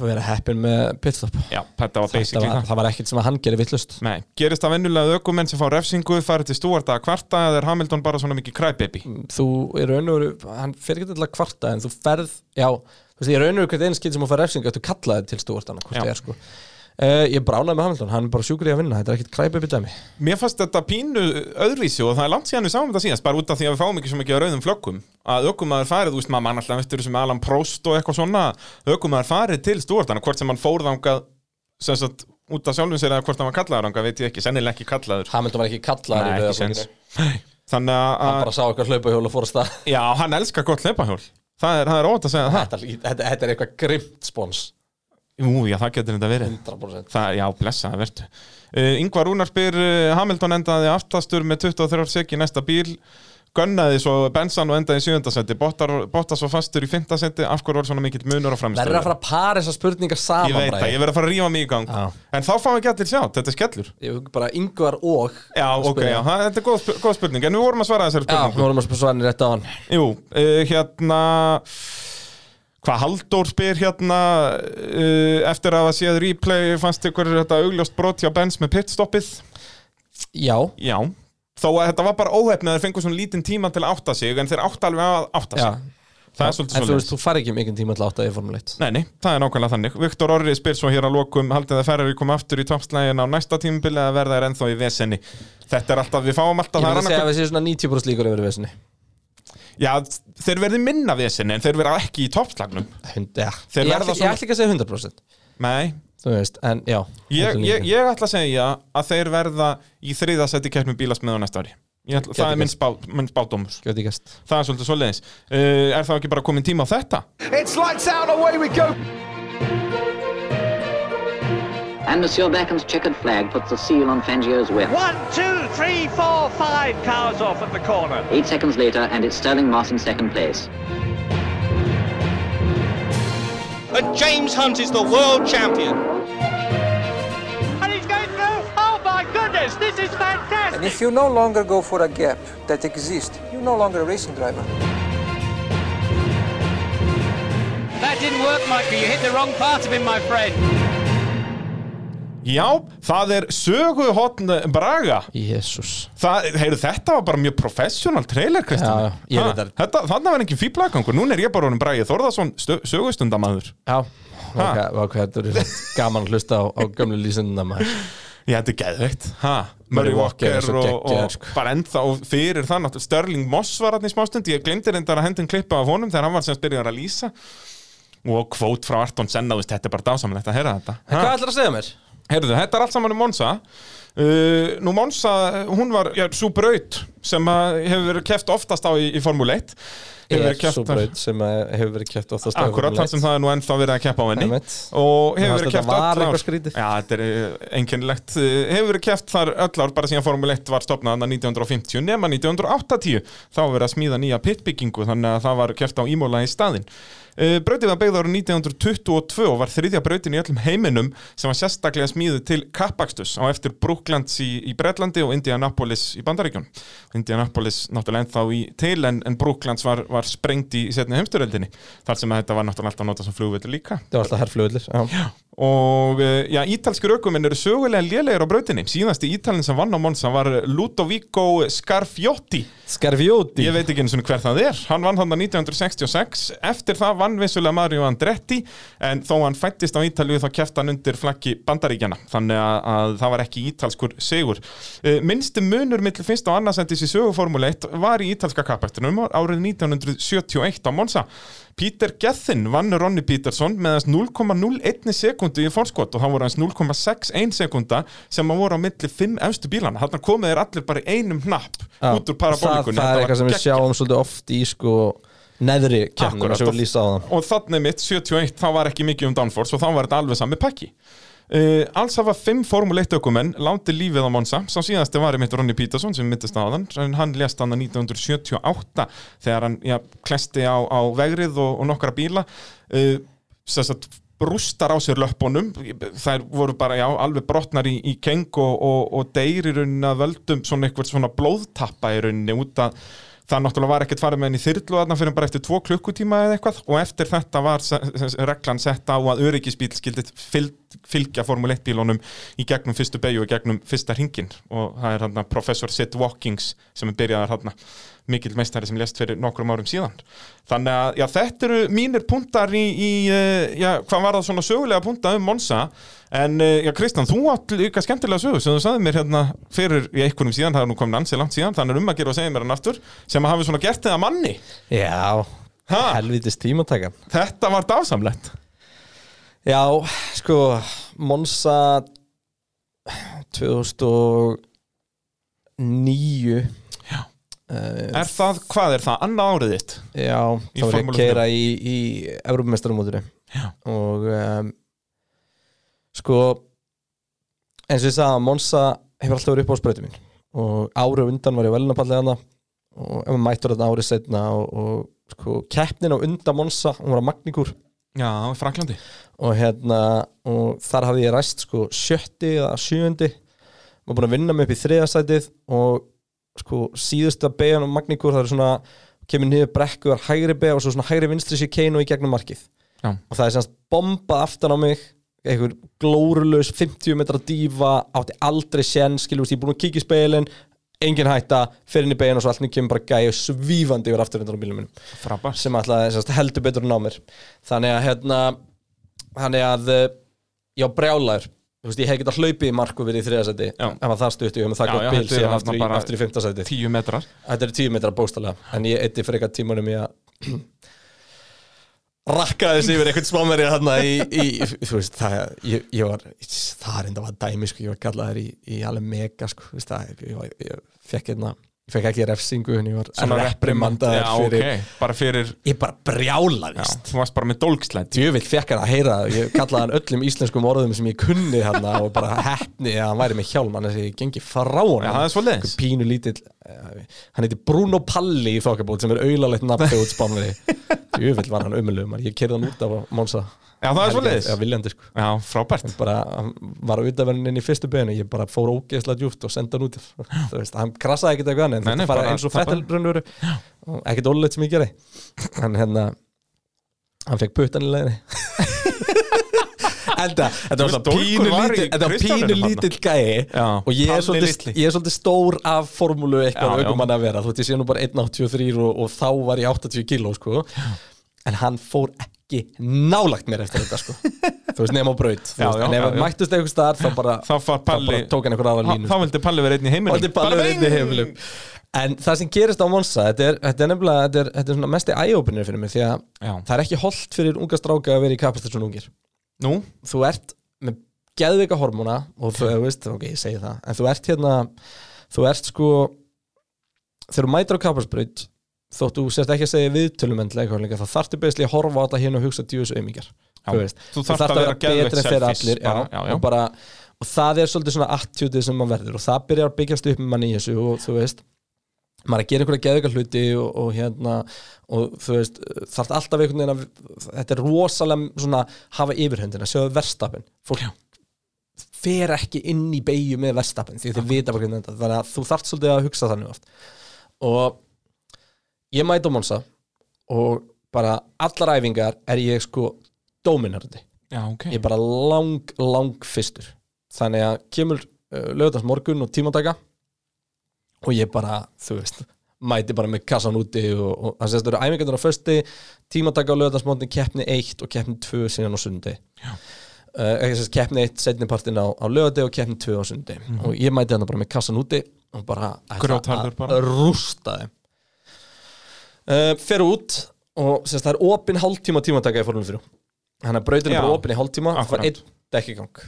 B: vera heppin með pitstop
C: Já, þetta var
B: Þetta
C: basically
B: var,
C: það
B: það var ekkert sem að hann gerði vittlust
C: Nei, gerist það vennulega aukumenn sem fá refsingu farið til stúarta að kvarta eða er Hamilton bara svona mikið crybaby?
B: þú í raun og veru, hann fer ekki til að kvarta en þú ferð, já, þú veist ég raun og veru hvert einn skil sem að fara refsingu að þú kallaði til stúartana hvort
C: Já.
B: það er sko uh, ég bránaði með Hamilton, hann er bara sjúkur í að vinna þetta er ekkert kræpa upp í dæmi
C: Mér fannst þetta pínu öðruvísi og það er langt síðan við sáum þetta síðast bara út af því að við fáum ekki svo mikið af rauðum flökkum að ökumæður farið, þú veist maður mann alltaf eftir þessum Alan Prost og eitthvað svona ökumæður farið til stúartana, hvort sem hann fór þangað sem sagt út af sjálfum sér eða hvort hann var kallaður þangað, veit ég ekki, sennilega ekki kallaður
B: Hamilton var ekki kallaði
C: Nei, ekki sens Þannig
B: hann
C: að,
B: bara sá eitthvað hlaupahjól og fór að stað
C: já, hann elskar gott hlaupahjól Það er, það er óvænt að segja það
B: þetta, lít- þetta, þetta er eitthvað grimt spons
C: Jú, já, það getur þetta verið
B: 100%
C: Það, já, blessa, það verður uh, Yngvar Rúnar spyr uh, Hamilton endaði aftastur með 23 sek í næsta bíl Gunnaði svo bensan og endaði í sjöndasætti Bottas svo fastur í fintasætti Af hverju var svona mikill
B: verður
C: munur á
B: að
C: framstöðu
B: fara að para þessar spurningar
C: Ég
B: saman
C: veit það, ég verður að fara að rífa mig í gang
B: Já.
C: En þá fáum ekki allir sjá, þetta er skellur
B: ég hugga bara yngvar og
C: Já, ok, já, það- þetta er góð, sp- góð spurning En við vorum að svara þessari
B: já,
C: spurningu
B: við vorum að svara rétt á hann
C: Jú, uh, hérna Hvað Halldór spyr hérna uh, Eftir að hafa séð replay Fannst ykkur þetta augljóst brot hjá Benz með pitstoppið
B: já,
C: Já, þó að þetta var bara óhefn að þeir fengu svona lítinn tíma til að átta sig en þeir átta alveg að átta
B: já
C: sig Það er
B: en
C: svolítið
B: þú veist,
C: svolítið
B: þú fari ekki mikið tíma til átt að ég formule 1
C: Nei, nei, það er nákvæmlega þannig Viktor Orri spyr svo hér að lokum Haldið að Ferrari koma aftur í toppslægin á næsta tímabili að verða er ennþá í vesenni Þetta er alltaf, við fáum
B: Ég
C: alltaf það
B: myndi að segja
C: er annað-
B: að við séum svona 90% líkur yfir vesinni
C: Já, þeir verði minna vesenni en þeir verða ekki í toppslagnum
B: Hund, ja.
C: Þeir
B: ég,
C: verða
B: ætla,
C: svona-
B: ég ætla ekki að segja 100%
C: Nei,
B: Þú veist, en já
C: ég,
B: þetta er
C: ég,
B: líkin.
C: ég ætla að segja að þeir verða í þriðasetti keppnum bílasmiða á næsta ári Ég ætla, Það
B: Gæti
C: er minn, spá, minn spádómur
B: Gjóti gæst
C: Það er svolítið svoleiðis uh, Er það ekki bara komin tíma á þetta?
A: It's lights out, away we go.
F: And Monsieur Beckham's checkered flag puts the seal on Fangio's whip.
G: One, two, three, four, five cars off at the corner.
F: Eight seconds later, and it's Sterling Moss in second place.
H: And James Hunt is the world champion.
G: And he's going through. Oh my goodness, this is fantastic.
I: And if you no longer go for a gap that exists, you're no longer a racing driver.
G: That didn't work, Michael. You hit the wrong part of him, my friend.
C: Já, það er söguhotn Braga
B: Jésús
C: Það, heyrðu, þetta var bara mjög professional trailer,
B: Já,
C: Kristján
B: já, ég veit það.
C: Þetta, þannig var engin fýblagangur, núna er ég bara honum Bragi Þórðarsson, stö- sögustundamaður
B: Já, hvað okay, þetta er samt gaman að hlusta á, á gömlu lýsendina maður
C: Já, þetta er geðveikt ha,
B: Murray
C: Murray
B: Walker
C: Walker
B: er svo
C: og,
B: geggjaður,
C: og
B: sko.
C: bara ennþá fyrir það náttúrulega Sterling Moss var hann í smástund Ég glemdi reyndar að hendum klippa af honum þegar hann var sem byrjar að lýsa Og kvót frá Arton Senna, þú veist, þetta er bara dásamlega þetta að heyra þetta
B: Hvað
C: Ha?
B: ætlar að segja um mér?
C: Heyrðu, þetta er allt saman um Monsa uh, Nú Monsa, hún var já, svo braut sem að hefur verið keft oftast á í, í Formule 1 Hefur
B: Er
C: verið keppt
B: svo
C: á-
B: braut sem að hefur verið kæft oftast á
C: Akkurat
B: Formule
C: þar sem
B: 1.
C: það er nú ennþá verið að keppa á henni
B: Einmitt.
C: og
B: Mér
C: hefur
B: fannst
C: verið
B: þetta
C: keppt
B: var
C: öll ár
B: eitthvað skrítið.
C: Já, þetta er eh, einkennilegt hefur verið keppt þar öll ár bara síðan Formule 1 var stopnað þarna 1950 nema 1980 þá var verið að smíða nýja pitbyggingu þannig að það var keppt á Ímóla í staðinn Eh, Brautin var byggð árið 1922 og var þriðja brautin í öllum heiminum sem var sérstaklega smíðu til Kappakstus á eftir Brooklands í, í Bretlandi og Indianapolis í Bandaríkjum. Indianapolis náttúrulega ennþá í til en, en Brooklands var, var sprengt í, í setni heimsturöldinni þar sem að þetta var náttúrulega alltaf notað sem flugvöldur líka.
B: Það var alltaf herrflöðlir Já,
C: Og eh, já, ítalskur ökuminn eru sögulega lélegir á brautinni. Síðasti ítalinn sem vann á Monsa var Ludovico Scarfiotti.
B: Skarfjóti
C: Ég veit ekki eins og hver það er Hann vann hann 1966 Eftir það vann vissulega Mario Andretti En þó hann fættist á Ítalju þá kefti hann undir flaggi bandaríkjana Þannig að, að það var ekki ítalskur sigur Eh, Minnsti munur mittl fyrst og annarsendis í söguformule 1 Var í ítalska kappæktunum árið 1971 á Monsa Peter Gethin vann Ronny Peterson með hans 0,01 sekundu í fórskot og það voru hans 0,61 sekunda sem að voru á milli 5 efstu bílana þannig komið þeir allir bara í einum hnapp út úr parabólikunni
B: Það, það er
C: Þetta var
B: eitthvað sem við
C: geggjað.
B: sjáum svolítið oft í sko neðri kemnum
C: Akkurat,
B: sem
C: og-
B: við lýsa á það
C: og þannig mitt 71 þá var ekki mikið um downforce og þá var þetta alveg sami pakki uh, alls hafa fimm Formule 1 ökumenn láti lífið á Monsa sá síðasti var einmitt Ronny Peterson sem myndist á þann en hann lést hann 1978 þegar hann já, klesti á, á vegrið og, og nokkra bíla uh, sem sagt rústar á sér löppunum þær voru bara já, alveg brotnar í, í keng og, og, og deyr í rauninni að völdum svona eitthvað svona blóðtappa í rauninni út að það náttúrulega var ekkert farið með henni í þyrlu þarna fyrir bara eftir tvo klukkutíma eða eitthvað og eftir þetta var se- se- se- reglan sett á að öryggisbíl skildi fylg, fylgja Formule 1 bílunum í gegnum fyrstu beigju og gegnum fyrsta ringin og það er hann professor Sid Walkings sem er byrjaðar hann mikill meistari sem lest fyrir nokkrum árum síðan þannig að já, þetta eru mínir puntar í, í eh, já, hvað var það svona sögulega punta um Monsa en eh, já, Kristján, þú átt líka skemmtilega sögu sem þú sagði mér hérna fyrir í einhvernum síðan, það er nú komin ansi langt síðan þannig er um að gera og segja mér hann aftur sem að hafi svona gert þið að manni
B: Já,
C: ha,
B: helvitist tímatakan
C: þetta var dásamlegt
B: Já, sko Monsa 2009
C: er það, hvað er það, annað árið þitt
B: Eh, Já,
C: Í
B: þá var ég
C: Formúlu
B: að keira í, í Evrópumestarumótinu
C: Já.
B: og um, sko eins og ég sagði að Monsa hefur alltaf verið upp á sprautu mín og árið undan var ég velunapallið hana og ef maður mættur þetta árið setna og, og sko keppnin á undan Monsa, hún var að Magníkur
C: já, í Fraklandi
B: og hérna og þar hafði ég ræst sko sjötti eða sjöundi var búin að vinna mig upp í þriðastætið og sko síðusta beigjan og magníkur það er svona kemur niður brekku er hægri beigja og svo svona hægri vinstri sér keinu í gegnum markið
C: Já.
B: og það er semst bombað aftan á mig einhver glórulaus 50 metra dífa átti aldrei sen skiljúst ég er búin að kíkja í speilin engin hætta, fer inn í beigjan og svo alltaf kemur bara gæja svífandi yfir afturvendan á bílum minnum
C: frábærs
B: sem alltaf semst, heldur betur en á mér þannig að hérna þannig að eh, já brjálar þú veist ég hef getað hlaupið í marku verið í þriðasæti
C: Já.
B: en það þar stutti ég með það
C: Já, já,
B: gott bíl
C: þetta er
B: síðan
C: þarna
B: aftur í,
C: bara
B: aftur í fimmtasæti
C: tíu metrar
B: þetta er tíu metra bóstalega en ég eitti frekar tímanum í að rakka þessi yfir einhvern smámerið þarna í, í, þú veist, það, ég, ég var það er enda var dæmi, sko, ég var kallað þær í, í alveg mega, sko, þú veist, það, ég, ég, ég fekk hérna ég fekk ekki refsingu en ég var
C: reprimand-
B: reprimandaður
C: Já,
B: fyrir
C: ok, bara fyrir
B: ég bara
C: Já,
B: brjálaðist
C: þú varst bara með dólkslætt
B: djöfitt fekk hann að heyra það. ég kallaði hann öllum íslenskum orðum sem ég kunni hann og bara heppni að hann væri með hjálm hann þess að ég gengi frá hann
C: Já, það er svoleiðis.
B: pínu lítill eh, hann heiti Bruno Palli í þokkabót sem er auðalegt nafni út spánari djöfitt var hann umulum ég kerði hann út af Monsa
C: Já, það er svoleiðis.
B: Já, viljandi sko
C: Já, frábært
B: bara hann var á utanverðinni í fyrstu beinu ég bara fór ógeðslega djúft og senda hann út þú veist, hann krasaði ekkert eitthvað annað
C: Nei,
B: en
C: nei,
B: þetta fara
C: bara-
B: eins og
C: það bara-
B: fettel brunnur og ekkert ólega sem ég gerði hann hérna hann fekk puttan í leiðinni Enda, þetta var
C: veist,
B: svona pínu
C: Dólgur var í
B: lítill þetta var
C: Kristjánum
B: pínu
C: þarna.
B: lítill gæi
C: Já,
B: og ég er,
C: Palli
B: svolítið,
C: litli.
B: ég er svolítið stór af formúlu eitthvað
C: Já, já.
B: aukumann að vera þú veist, ég sé nú bara 1.83 og, og þá var ég 80 kíló sko. en hann fór ekki nálagt mér eftir þetta sko. þú veist, nema á braut þú
C: Já,
B: veist,
C: já,
B: en ef
C: já,
B: hann
C: já.
B: mættust eitthvað starf þá bara,
C: Þá far Palli
B: bara tók hann einhver aðra
C: Þá-
B: línu
C: Þá vildi Palli vera einn í heiminum
B: og þetta er bara verið í
C: ving!
B: heimilum en það sem gerist á Monsa þetta er, þetta er nefnilega, þetta er, þetta er svona mesti eye-opener fyrir mig því að
C: Já.
B: það er ekki holdt fyrir unga stráka að vera í kapastur svona ungir
C: Nú,
B: þú ert með geðveika hormóna og þú þú veist, ok, ég segi það en þú ert hérna, þú ert sko þegar þú mætir á kapasbraut þótt þú sért ekki að segja viðtölum endilega eitthvað líka, þá þarftu beislega að horfa á þetta hérna og hugsa djúðis auðmingar
C: Já.
B: þú veist,
C: Þú þarft að vera
B: betri
C: geðveikt
B: en þeir
C: selfish,
B: allir já,
C: bara, já, já.
B: Og, bara, og það er svolítið svona attitútið sem maður verður og það byrjar að byggjast upp með manni í þessu og þú veist maður er að gera einhverja geðveika hluti og, og hérna og þú veist, þarf alltaf einhvern veginn að þetta er rosalega svona hafa yfirhundina, sjáðu verstapin fólk fer ekki inn í beigju með verstapin því þið vita bara hvernig þetta þannig að þú þarft svolítið að hugsa þannig oft og ég mæti á Monsa og bara allar æfingar er ég sko dóminarandi
C: já, ok
B: ég er bara lang, lang fyrstur þannig að kemur uh, lögðast morgun og tímataka og ég bara, þú veist mæti bara með kassan úti og, og það sést, það eru æfingarnar á fösti tímataka á lögðansmótni, keppni 1 og keppni 2 síðan á sundi uh, ekki sérst, keppni 1 setnipartin á, á lögði og keppni 2 á sundi og ég mæti hann bara með kassan úti og bara ætla
C: Mhm. Grjótharður bara.
B: að rústa þeim uh, fer út og sérst, það er opin hálftíma tímataka í formule 3 þannig að brautin er
C: Já.
B: bara opin í hálftíma það var
C: Akkurat.
B: einn dekkigang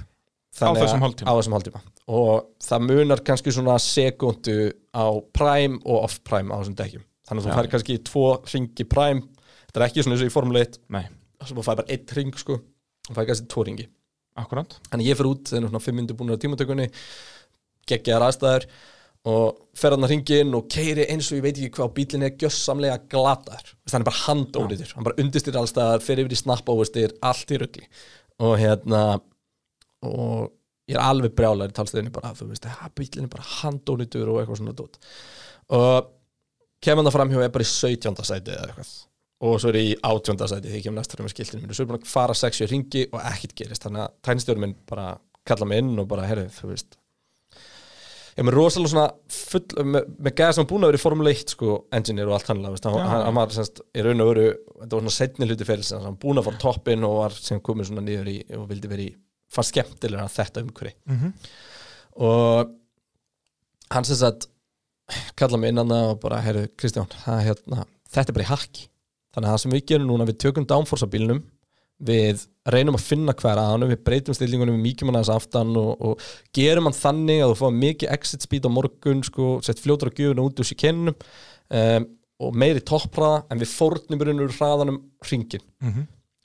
C: Á þessum hálftíma.
B: á þessum hálftíma og það munar kannski svona sekundu á prime og off prime á þessum dekkjum þannig að þú
C: Já.
B: fær kannski tvo ringi prime þetta er ekki svona eins og í Formule 1
C: Nei,
B: sem þú fær bara einn ring sko og fær kannski tvo ringi
C: akkurat
B: þannig að ég fyrir út þegar svona fimm myndir búin á tímatökunni geggjaðar aðstæður og fer hann að ringi inn og keiri eins og ég veit ekki hvað bílinn er gjössamlega glataður Þú veist, hann er bara handóriður, hann bara undistýr allstæðar fer yfir í snappóvistir, allt í rugli og hérna og ég er alveg brjálæri talstöðinni bara, þú veist, ha, bílinn er bara handóriður og eitthvað svona dót og kemur hann fram hjá er bara í 17. sæti eða eitthvað og svo er ég í átjönda sæti þegar ég kem næstur með skiltinu mínu, svo er ég búin að fara sexu ringi og ekkit gerist, þannig að tænstjórn minn bara kalla mig inn og bara, herri, þú veist ég er með rosalega svona full, með, með gæða sem er búin að vera í Formule 1 sko, engineer og allt hann veist, hann, hann, hann var semst, í raun og veru þetta var svona setni hluti fyrir sem hann búin að fara á toppinn og var sem komin svona niður í og vildi vera í, fann skemmtilega þetta umhverfi og hann sem sagt kalla mig innan og bara, herru, Kristján það, hérna, þetta er bara í hakki þannig að það sem við gerum núna, við tökum downforce á bílnum við reynum að finna hver að hann við breytum stillingunum, við mýkjum hann aðeins aftan og, og gerum hann þannig að þú fá mikið exit speed á morgun, sko, sett fljótur á gjöfuna út úr síkennum um, og meiri toppraða, en við fórnum raunur hraðanum hringin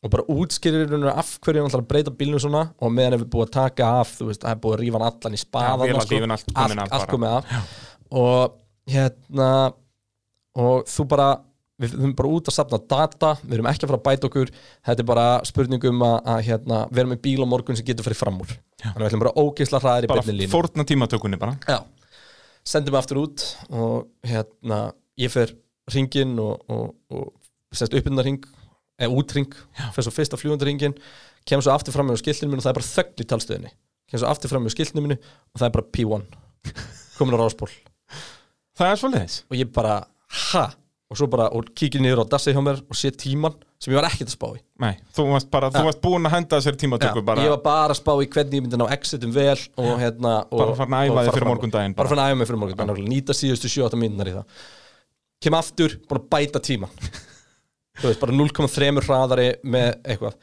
B: og bara útskýrir raunur af hverju hann ætlar að breyta bílnum svona og á meðan er við búið að taka af, þú veist, það er búið að rífa hann allan í spaðan
C: vélarlífin, allt komið af
B: allt
C: bara.
B: komið af og hérna og þú bara við við erum bara út að safna data, við erum ekki að fara að bæta okkur þetta er bara spurningum að, að hérna, vera með bíl á morgun sem getur farið fram úr þannig við ætlum bara ógeisla hraðir í
C: Bara
B: byrni línu
C: fórna tímatökunni bara
B: Já, sendum mig aftur út og hérna ég fer ringin og, og, og sest uppindarring eða útring, eh, fer svo fyrst á fljúandarringin kemur svo aftur fram með skiltinu minu og það er bara þögn í talstöðinni, kemur svo aftur fram með skiltinu minu og það er bara P1 komin á ráspól
C: Það er svolítið
B: og ég bara, ha og svo bara, og kíkir niður á dassi hjá mér og sé tíman sem ég var ekkert að spá í
C: Nei, þú varst bara, þú varst búin að henda þessari tímatöku bara
B: ég var bara að spá í hvernig ég myndi ná exitum vel og hérna og,
C: Bara farin að
B: og
C: æfa þig
B: fara
C: fyrir
B: fram-
C: morgundaginn bara.
B: bara farin að æfa mig fyrir morgundaginn, nákvæmlega. nýta síðustu 7-8 mínúnar í það kem aftur, búin að bæta tíman þú veist, bara 0,3 hraðari með eitthvað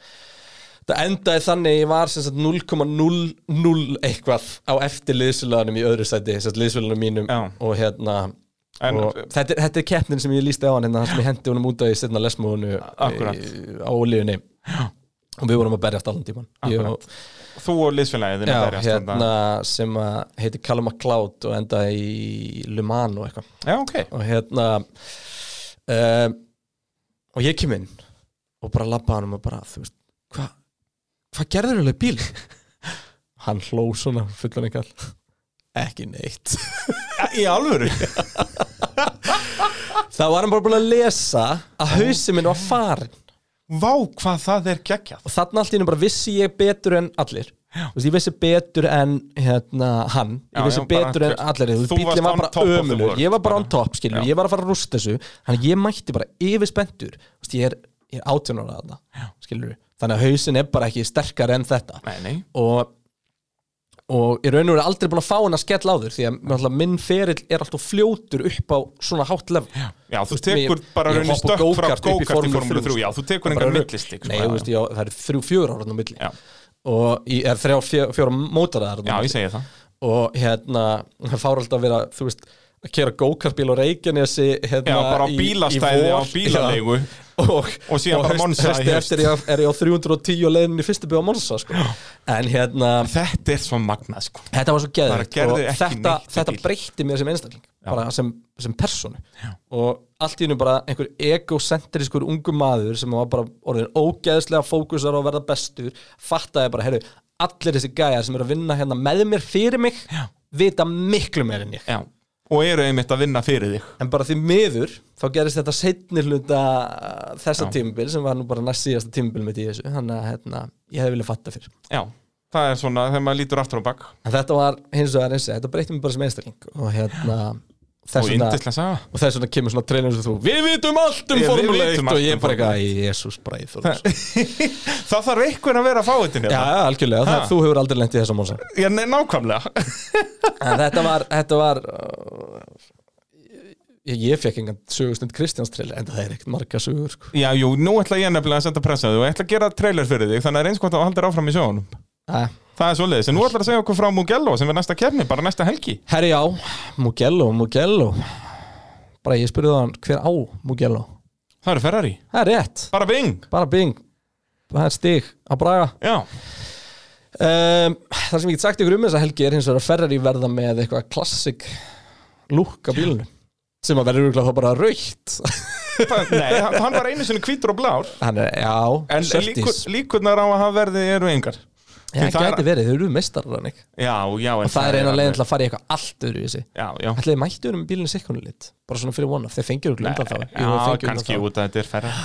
B: það endaði þannig að ég var sem sagt 0,00 eitthvað á eftir liðsfélagunum í öðru sæti, sem sagt liðsfélagunum mínum
C: Já.
B: og hérna
C: en
B: og þetta, er- þetta er keppnin sem ég lísti á hann hérna, hann sem ég hendi honum út að ég setna lesmónu
C: Akkurat.
B: á olíunni og við vorum að berjast allan tíman ég,
C: Akkurat.
B: og-
C: þú og
B: já,
C: liðsfélagið þín berjast um
B: hérna,
C: þarna.
B: sem að heiti Callum McCloud og enda í Le Mans og eitthvað
C: já, ok
B: og hérna um, og ég kem inn og bara labba hann og bara, þú veist, hvað hvað gerður alveg bíl? hann hló svona fullan ekki all ekki neitt
C: í alvöru
B: þá var hann bara búin að lesa að hausin minn var farin
C: vá hvað það er geggjað
B: og þarna allt í henni bara vissi ég betur en allir Þú veist, ég vissi betur en hérna, hann,
C: Já,
B: ég vissi
C: já, bara-
B: betur en allir Þú veist,
C: Þú varst
B: bíllinn
C: on
B: var
C: top of the
B: bara ömulur,
C: world,
B: ég var bara on
C: bara.
B: top skilur,
C: Já.
B: ég var að fara að rústa þessu þannig að ég mætti bara yfirspendur Vist, ég, er, ég er 18 ára þarna skilur, þannig að hausin er bara ekki sterkar en þetta
C: nei, nei
B: og og ég raun og verið aldrei búin að fá hann að skella á þur því að náttúrulega, minn ferill er alltaf fljótur upp á svona hátt level
C: Já, þú
B: veist,
C: tekur
B: ég-
C: bara
B: ég
C: rauninni
B: hoppa
C: stökk frá
B: go-kart upp
C: go-kart í Formúlu 3, já, þú tekur
B: Bara
C: engan
B: raun-
C: millistig, sko.
B: Nei,
C: svona.
B: þú veist, já, það er þrjú, fjör ára á milli
C: Já.
B: og ég er þrjá, fjör, fjör mótaraðar
C: já, ég segi það
B: og hérna, það fár alltaf að vera þú veist, að kera go-kartbíl á Reykjanesi hérna,
C: Já, bara á
B: í- í
C: bílastæði,
B: vor.
C: á bílaleigu.
B: Já. og,
C: Og síðan bara
B: haust-
C: Monza í
B: haustið
C: haust.
B: eftir ég á- er ég á 310 leiðinni í fyrstu bygg á Monsa sko. en hérna,
C: Þetta er svo magnað, sko
B: þetta var svo
C: Bara
B: geðið
C: gerði
B: og
C: ekki
B: þetta,
C: neitt í
B: þetta
C: bíl.
B: breytti mér sem einstakling bara sem, sem personu og allt í hennu bara einhver egocentriskur ungu maður sem var bara orðin ógeðslega fókusar á að verða bestur fattaði bara, heyrðu, allir þessi gæjar sem eru að vinna hérna með mér fyrir mig Já. vita miklu meir en ég
C: Já Og eru einmitt að vinna fyrir þig
B: en bara því miður þá gerist þetta setni hluta uh, þessa
C: Já.
B: tímabil sem var nú bara næst síðasta tímabil mitt í þessu þannig að hérna, ég hefði viljað fatta fyrir
C: Já, það er svona, þegar maður lítur aftur á bak
B: en þetta var hins vegar eins og þetta breytti mig bara sem einstakling og hérna
C: Og
B: þess vegna,
C: yndislega saga
B: og þess vegna kemur svona trailer sem þú við vitum allt um
C: Við
B: Formule
C: vitum
B: 1
C: allt
B: og
C: um
B: ég bara
C: Formúlu
B: eitthvað, jésús bræði þú já,
C: Það þarf einhvern að vera að fá þetta
B: já,
C: niður
B: algjörlega, það, þú hefur aldrei lent í þessum mónsa
C: Já, nei, nákvæmlega
B: en þetta var, þetta var uh, ég, ég fekk engan sögustund Kristjáns trailer en það er ekkert marga sögur sko.
C: Já, jú, nú ætla ég nefnilega að senda pressaðu og ég ætla að gera trailer fyrir þig Þannig að reyns hvort að haldir áfram í sjónum
B: Æ.
C: Það er svoleiðis, en nú ætlar að segja okkur frá Mugello sem er næsta kefni, bara næsta helgi
B: Herri já, Mugello, Mugello Bara ég spurði hann hver á Mugello
C: Það eru Ferrari,
B: Það er rétt,
C: bara bing
B: bara bing Það er stig að braga
C: Já,
B: um, Það sem ég get sagt ykkur um þessa helgi er hins vegar að Ferrari verða með eitthvað klassik lúk á bílunum sem að verður örugglega þá bara raukt
C: Það- nei, hann hann var einu sinni hvítur og blár
B: Hann er, já,
C: En líkur,
B: sörtís
C: líkurnar á að hann verði eru engar
B: Það
C: það er-
B: gæti verið, þau eru meistarar hann ekki
C: Já, já
B: Og það er eina leiðin til að fara í eitthvað allt öðru í þessi
C: Já, já
B: Ætliði mættu verið með bílunum sikkonu lit Bara svona fyrir one-off, þeir fengjur ykkur undan þá
C: Já, kannski út að þetta er færra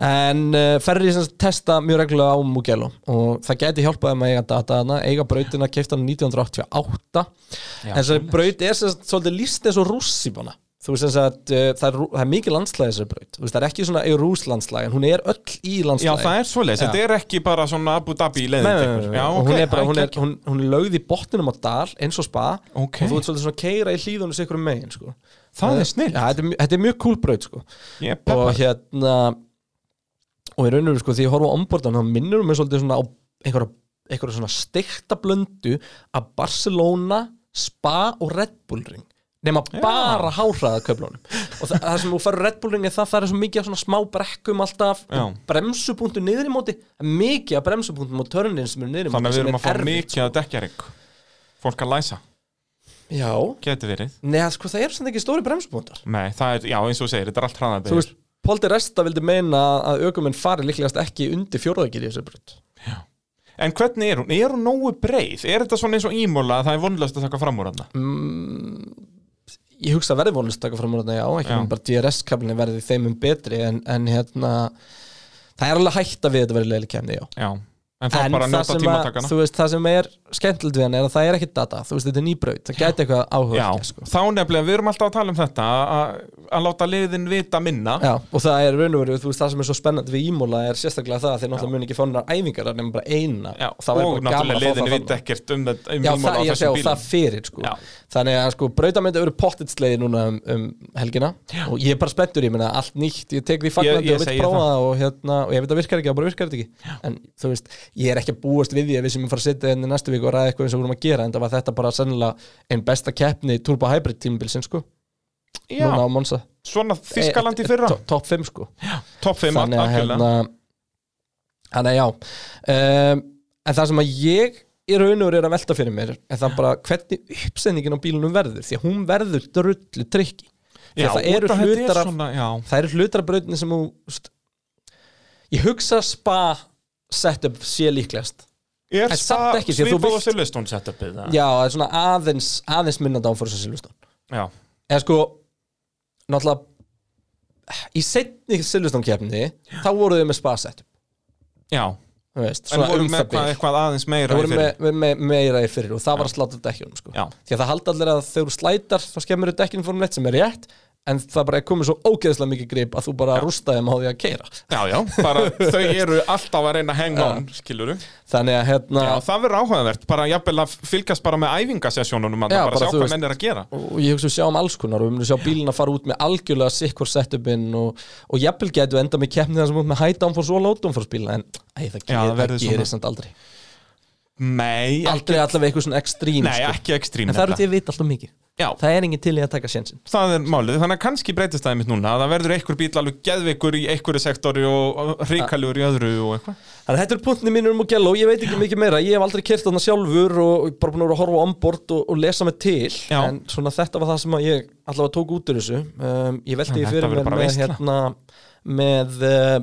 B: En uh, Ferrari sem sagt testa mjög reglulega á Mugello og það gæti hjálpaði með eiga dataðana, eiga brautina, keifta hann 1988 en þessari braut er sem sagt svolítið líst eins og rússíbana þú veist sem sagt, uh, það, er, rú- það er mikið landslæði þessari braut, þú veist það er ekki svona eigur rúslandslæði en hún er öll í
C: Já,
B: landslæði
C: það er svoleiðis, þetta er ekki bara svona Abu Dhabi leiðin
B: Nei,
C: til
B: nei, nei,
C: einhver.
B: nei.
C: Já,
B: og
C: ok,
B: hún er bara,
C: það
B: hún er,
C: geggjað.
B: hún, hún er lögð í botninum á dal eins og spa
C: Ok.
B: og þú ert svolítið svona keira í hlýðunum sikur um megin sko.
C: Það er snillt.
B: ja, þetta, er, mj- þetta er mjög cool braut sko.
C: Ég
B: og
C: er peppar.
B: hérna og í rauninu sko, því ég horfa á ombordan þá minnur mér svolítið svona á einhverja, einhverja svona steikta blöndu að Barcelona, Spa og Red Bull ring nema bara háhraða köflunum og það, það sem þú farið Red Bull ringi það, það er svo mikið af svona smá brekkum alltaf
C: Já.
B: bremsupunktu niður í móti það er mikið af bremsupunktum og törnin sem eru niður í móti
C: Þannig að við
B: sem
C: erum að fá
B: erfitt.
C: mikið að dekja ykk Fólk að læsa,
B: Já,
C: geti verið
B: neða sko það eru samt ekki stóri bremsupunktar
C: Nei, það er, já, eins og þú segir, þetta er allt
B: Þú
C: hraðabegir
B: veist, Póldi Resta vildi meina að aukumenn fari líklegast ekki undir fjóraðagir í þessu brönd
C: En hvernig er hún? Er hún nógu breið? Er þetta svona eins og ímóla að það er vonlöst að taka fram úr hann?
B: Mm. Ég hugsa að verði vonlust taka fram úr þarna, já, ekki
C: Já.
B: já. bara DRS-kablinni verði þeimum um betri en, en hérna það er alveg hægt að við þetta verði leiðileg kemni, já
C: Já, en það er
B: en
C: bara að
B: það
C: njóta
B: sem, að,
C: tímatakana
B: þú veist, það sem er skemmtilegt við hann er að það er ekki data, þú veist, þetta er nýbraut það gæti eitthvað áhuga
C: Já,
B: sko.
C: þá nefnilega, við erum alltaf að tala um þetta að- að láta liðin vita minna
B: Já, og það er raun og veru, þú veist, það sem er svo spennandi við ímóla er sérstaklega það að þeir náttúrulega muni ekki fá hennar æfingar nema bara eina
C: Já,
B: það væri
C: og
B: bara gaman að fá
C: náttúrulega liðin
B: það
C: vita
B: þarna.
C: ekkert um þetta um
B: Já, það,
C: ímóla á
B: ég sé
C: þessum
B: og það
C: bílum
B: fyrir sko.
C: Já.
B: þannig að sko, brautamönda eru pottitsleið núna um, um helgina og ég er bara spenntur, ég meina allt nýtt ég tek því
C: Ég-
B: fagnandi
C: ég
B: og vil
C: segi
B: prófa
C: það.
B: það og, hérna, og ég veit að virkar ekki, þá bara virkar þetta ekki en þú veist, ég er ekki að búast við því að við sem fara að setja henni næstu viku og ræða eitthvað eins og við vorum að gera en það var þetta bara sennilega einn besta keppni Turbo Hybrid tímabilsin sko
C: Já.
B: núna á Monza
C: Svona Þískaland í fyrra,
B: To- Topp 5 sko
C: topp 5
B: Þannig að
C: algjörlega
B: hérna Þannig að já um, En það sem að ég í raun og raunur er að velta fyrir mér er það bara hvernig uppsendingin á bílunum verður því að hún verður drullu trikki því
C: Já,
B: að það eru
C: út af þetta er
B: hlutar af
C: svona- já.
B: það eru hlutar af brautinni sem þú veist, ég hugsa spa setup sé líklegast
C: Er
B: En samt
C: það
B: ekki, því að þú
C: svipað og
B: vilt-
C: Silveston setupið? eða?
B: já, það er svona aðeins aðeins minnandi án fyrir þess að Silveston
C: Já,
B: eða sko, náttúrulega í setni Silveston kefni þá voruð þau með spa setup
C: já
B: þú veist,
C: En
B: svona
C: vorum
B: um
C: með
B: það
C: eitthvað,
B: bil
C: eitthvað aðeins meira
B: Það
C: í
B: voru
C: fyrra.
B: með, með, með, meira í fyrir og það var að sláta dekkjunum sko.
C: Já.
B: því að það halda allir að þegar þú slætar þá skemmur þú dekkjunum fórum leitt sem er rétt en það bara er komið svo ógeðslega mikið grip að þú bara rústa þeim á því að keira
C: Já, já, bara þau eru alltaf að reyna að hang on, skilur du
B: þannig að hérna
C: Já, það verður áhugavert, bara jafnvel að fylgjast bara með æfingasessjónunum að
B: Já,
C: bara,
B: bara,
C: sjá
B: þú
C: hvað
B: veist-
C: menn er að gera
B: og ég hugsa við sjáum alls konar og við munum sjá bílina fara út með algjörlega sikkur setupinn og, og jafnvel getur við enda með keppnið þar sem út með high downforce og low downforce bíla en ei, það,
C: Já,
B: gerir,
C: það verður
B: það gerir
C: svona.
B: samt aldrei
C: Nei,
B: aldrei allavega eitthvað svona ekstrím
C: Nei,
B: sko.
C: ekki ekstrím
B: en það eru
C: nefnilega.
B: því að vita alltaf mikið
C: Já.
B: það er engin til í að taka sjensin
C: það er málið, þannig að kannski breytist það mitt núna að það verður einhver bíl alveg geðveikur í einhverju sektori og ríkaljur í öðru og eitthvað
B: Þannig að þetta er punktni mínur um að gæla og ég veit ekki mikið meira Ég hef aldrei kert þarna sjálfur og og bara búin að vera að horfa á ombord og, og lesa mig til
C: Já.
B: En svona þetta var það sem að ég allavega tók út úr þessu um, Ég velti
C: Já,
B: því
C: þetta
B: fyrir
C: verður
B: mér
C: bara
B: með
C: veisla.
B: hérna með uh,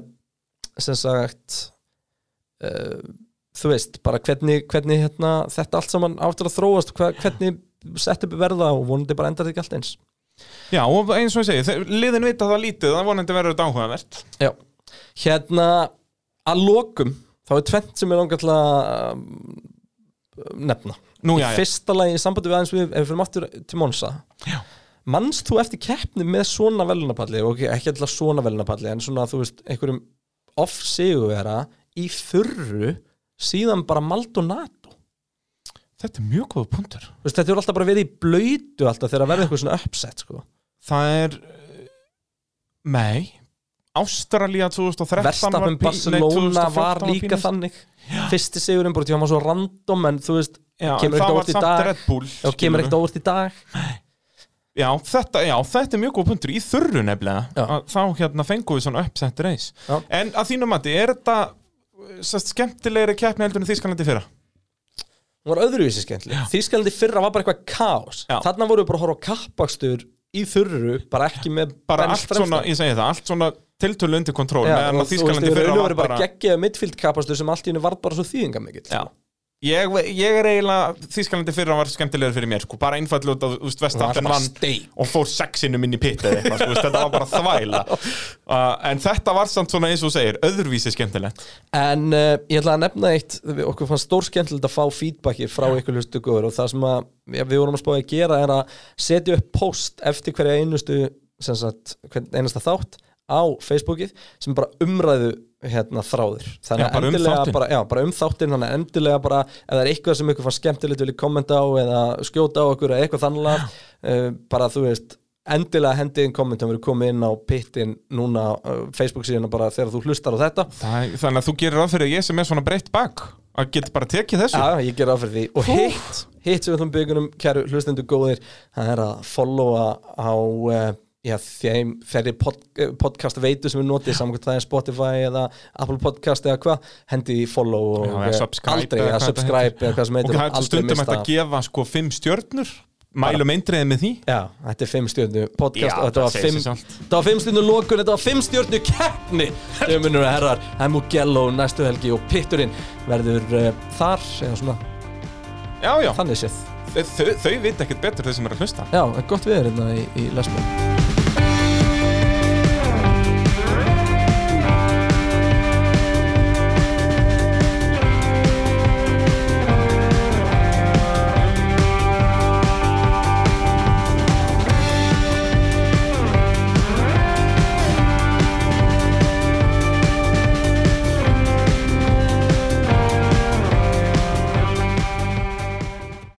B: sem sagt uh, þú veist, bara hvernig, hvernig hérna, þetta allt saman áttur að þróast hva, hvernig setup verða og vonandi bara endar þetta ekki allt eins
C: Já, og eins og ég segi, þeir- liðin vita það lítið það vonandi verður þetta áhugavert
B: Já, hérna að lokum, þá er tvent sem ég langar til að um, nefna
C: Nú,
B: Í
C: já, já.
B: fyrsta lagi í sambandi við aðeins við, ef við fyrir aftur til Monsa
C: Já.
B: Manst þú eftir keppni með svona velunapalli og ekki- ekki alltaf svona velunapalli en svona þú veist, einhverjum off-sigurvera í þurru síðan bara Maldonado
C: Þetta er mjög góða punktur
B: Þú veist, Þetta er alltaf bara verið í blöytu alltaf þegar að verða eitthvað svona uppsett sko.
C: Það er eh, Nei Ástralía 2013 var
B: Verstafn
C: pí- nei,
B: Barcelona
C: 2014
B: var líka
C: pínu-
B: þannig Fyrsti sigurinn bara því að hann var svo random en þú veist,
C: Já, en
B: kemur ekkert
C: það var
B: óvart í
C: samt
B: dag
C: Red Bull,
B: Já, kemur
C: skilurðu.
B: ekkert óvart í dag
C: Já, þetta, já, þetta er mjög góð punktur í þurru
B: Já.
C: nefnilega að þá hérna fengum við svona uppsett reis
B: Já.
C: en að þínum mati, er þetta eh, sest, skemmtilegri keppni heldur en Þískalandi fyrra?
B: Hún var öðruvísi skemmtileg Þýskalandi fyrra var bara eitthvað kaos
C: Já.
B: Þarna voru við bara að horfa á kappakstur í þurru Bara ekki með
C: bara
B: Benz
C: allt
B: fremstan.
C: svona, ég segi það, allt svona tiltölu undir kontról,
B: Já,
C: meðan
B: og þú
C: að
B: veist,
C: Þískalandi
B: í raun
C: fyrra
B: og
C: var
B: veru
C: bara
B: bara geggjað midfield kappastur sem allt í hennu var bara svo þýðinga mikill
C: Já. ég, ég er eiginlega, Þískalandi fyrra var skemmtilegur fyrir mér, sko, bara einfall út að, þú veist, Vestapen
B: bara
C: vann
B: steik.
C: og fór sexinum inn í pitt eða eitthvað, sko, þú veist, þetta var bara þvæla uh, en þetta var samt svona eins og þú segir, öðruvísi skemmtilegt
B: En uh, ég ætla að nefna eitt við- Okkur fannst stór skemmtilegt að fá feedbacki frá ykkur hlustu góður Og það sem að, ja, við vorum að spáði að gera er að setja upp post Eftir hverja einustu sem sagt, hvern einasta þátt á Facebookið sem bara umræðu hérna þráðir þannig
C: Já, bara um
B: endilega
C: þáttinn.
B: bara, já, bara um þáttinn þannig að endilega bara ef það er eitthvað sem ykkur fann skemmtilegt viljið kommenta á eða skjóta á okkur eða eitthvað þannlega uh, bara þú veist endilega hendiðin kommentum verið komið inn á pittin núna uh, Facebook síðan bara þegar þú hlustar á þetta
C: Það, þannig að þú gerir ráð fyrir að ég sem er svona breytt bak að geta bara tekið þessu
B: Já, ég ger áfyrir því Og hitt, hitt sem við ætlum byggunum, kæru hlustendur góðir Það er að followa á uh, já, þeim ferri pod, eh, podcast veitu sem við notið Samkvæmt það er Spotify eða Apple Podcast eða hvað Hendi í follow og
C: Já, eða
B: eh,
C: subscribe
B: aldrei að
C: eða hvað þetta
B: subscribe
C: heitir.
B: eða hvað sem
C: og
B: heitir
C: það er
B: aldrei
C: stundum
B: mista
C: hægt að gefa sko fimm stjörnur mælum eindriðið með því
B: Já, þetta er fimm stjörnu podcast
C: Já,
B: og þetta
C: það
B: var
C: segir
B: fimm,
C: sig sjálft.
B: þetta var fimm stjörnu lokun, þetta var fimm stjörnu keppni Dömunur og herrar, Mugello næstu helgi og pitturinn verður uh, þar, eða svona,
C: já, já,
B: þannig séð
C: þau, þau vita ekkert betur þau sem eru að hlusta
B: Já, gott við erum hérna í, í lesbjörn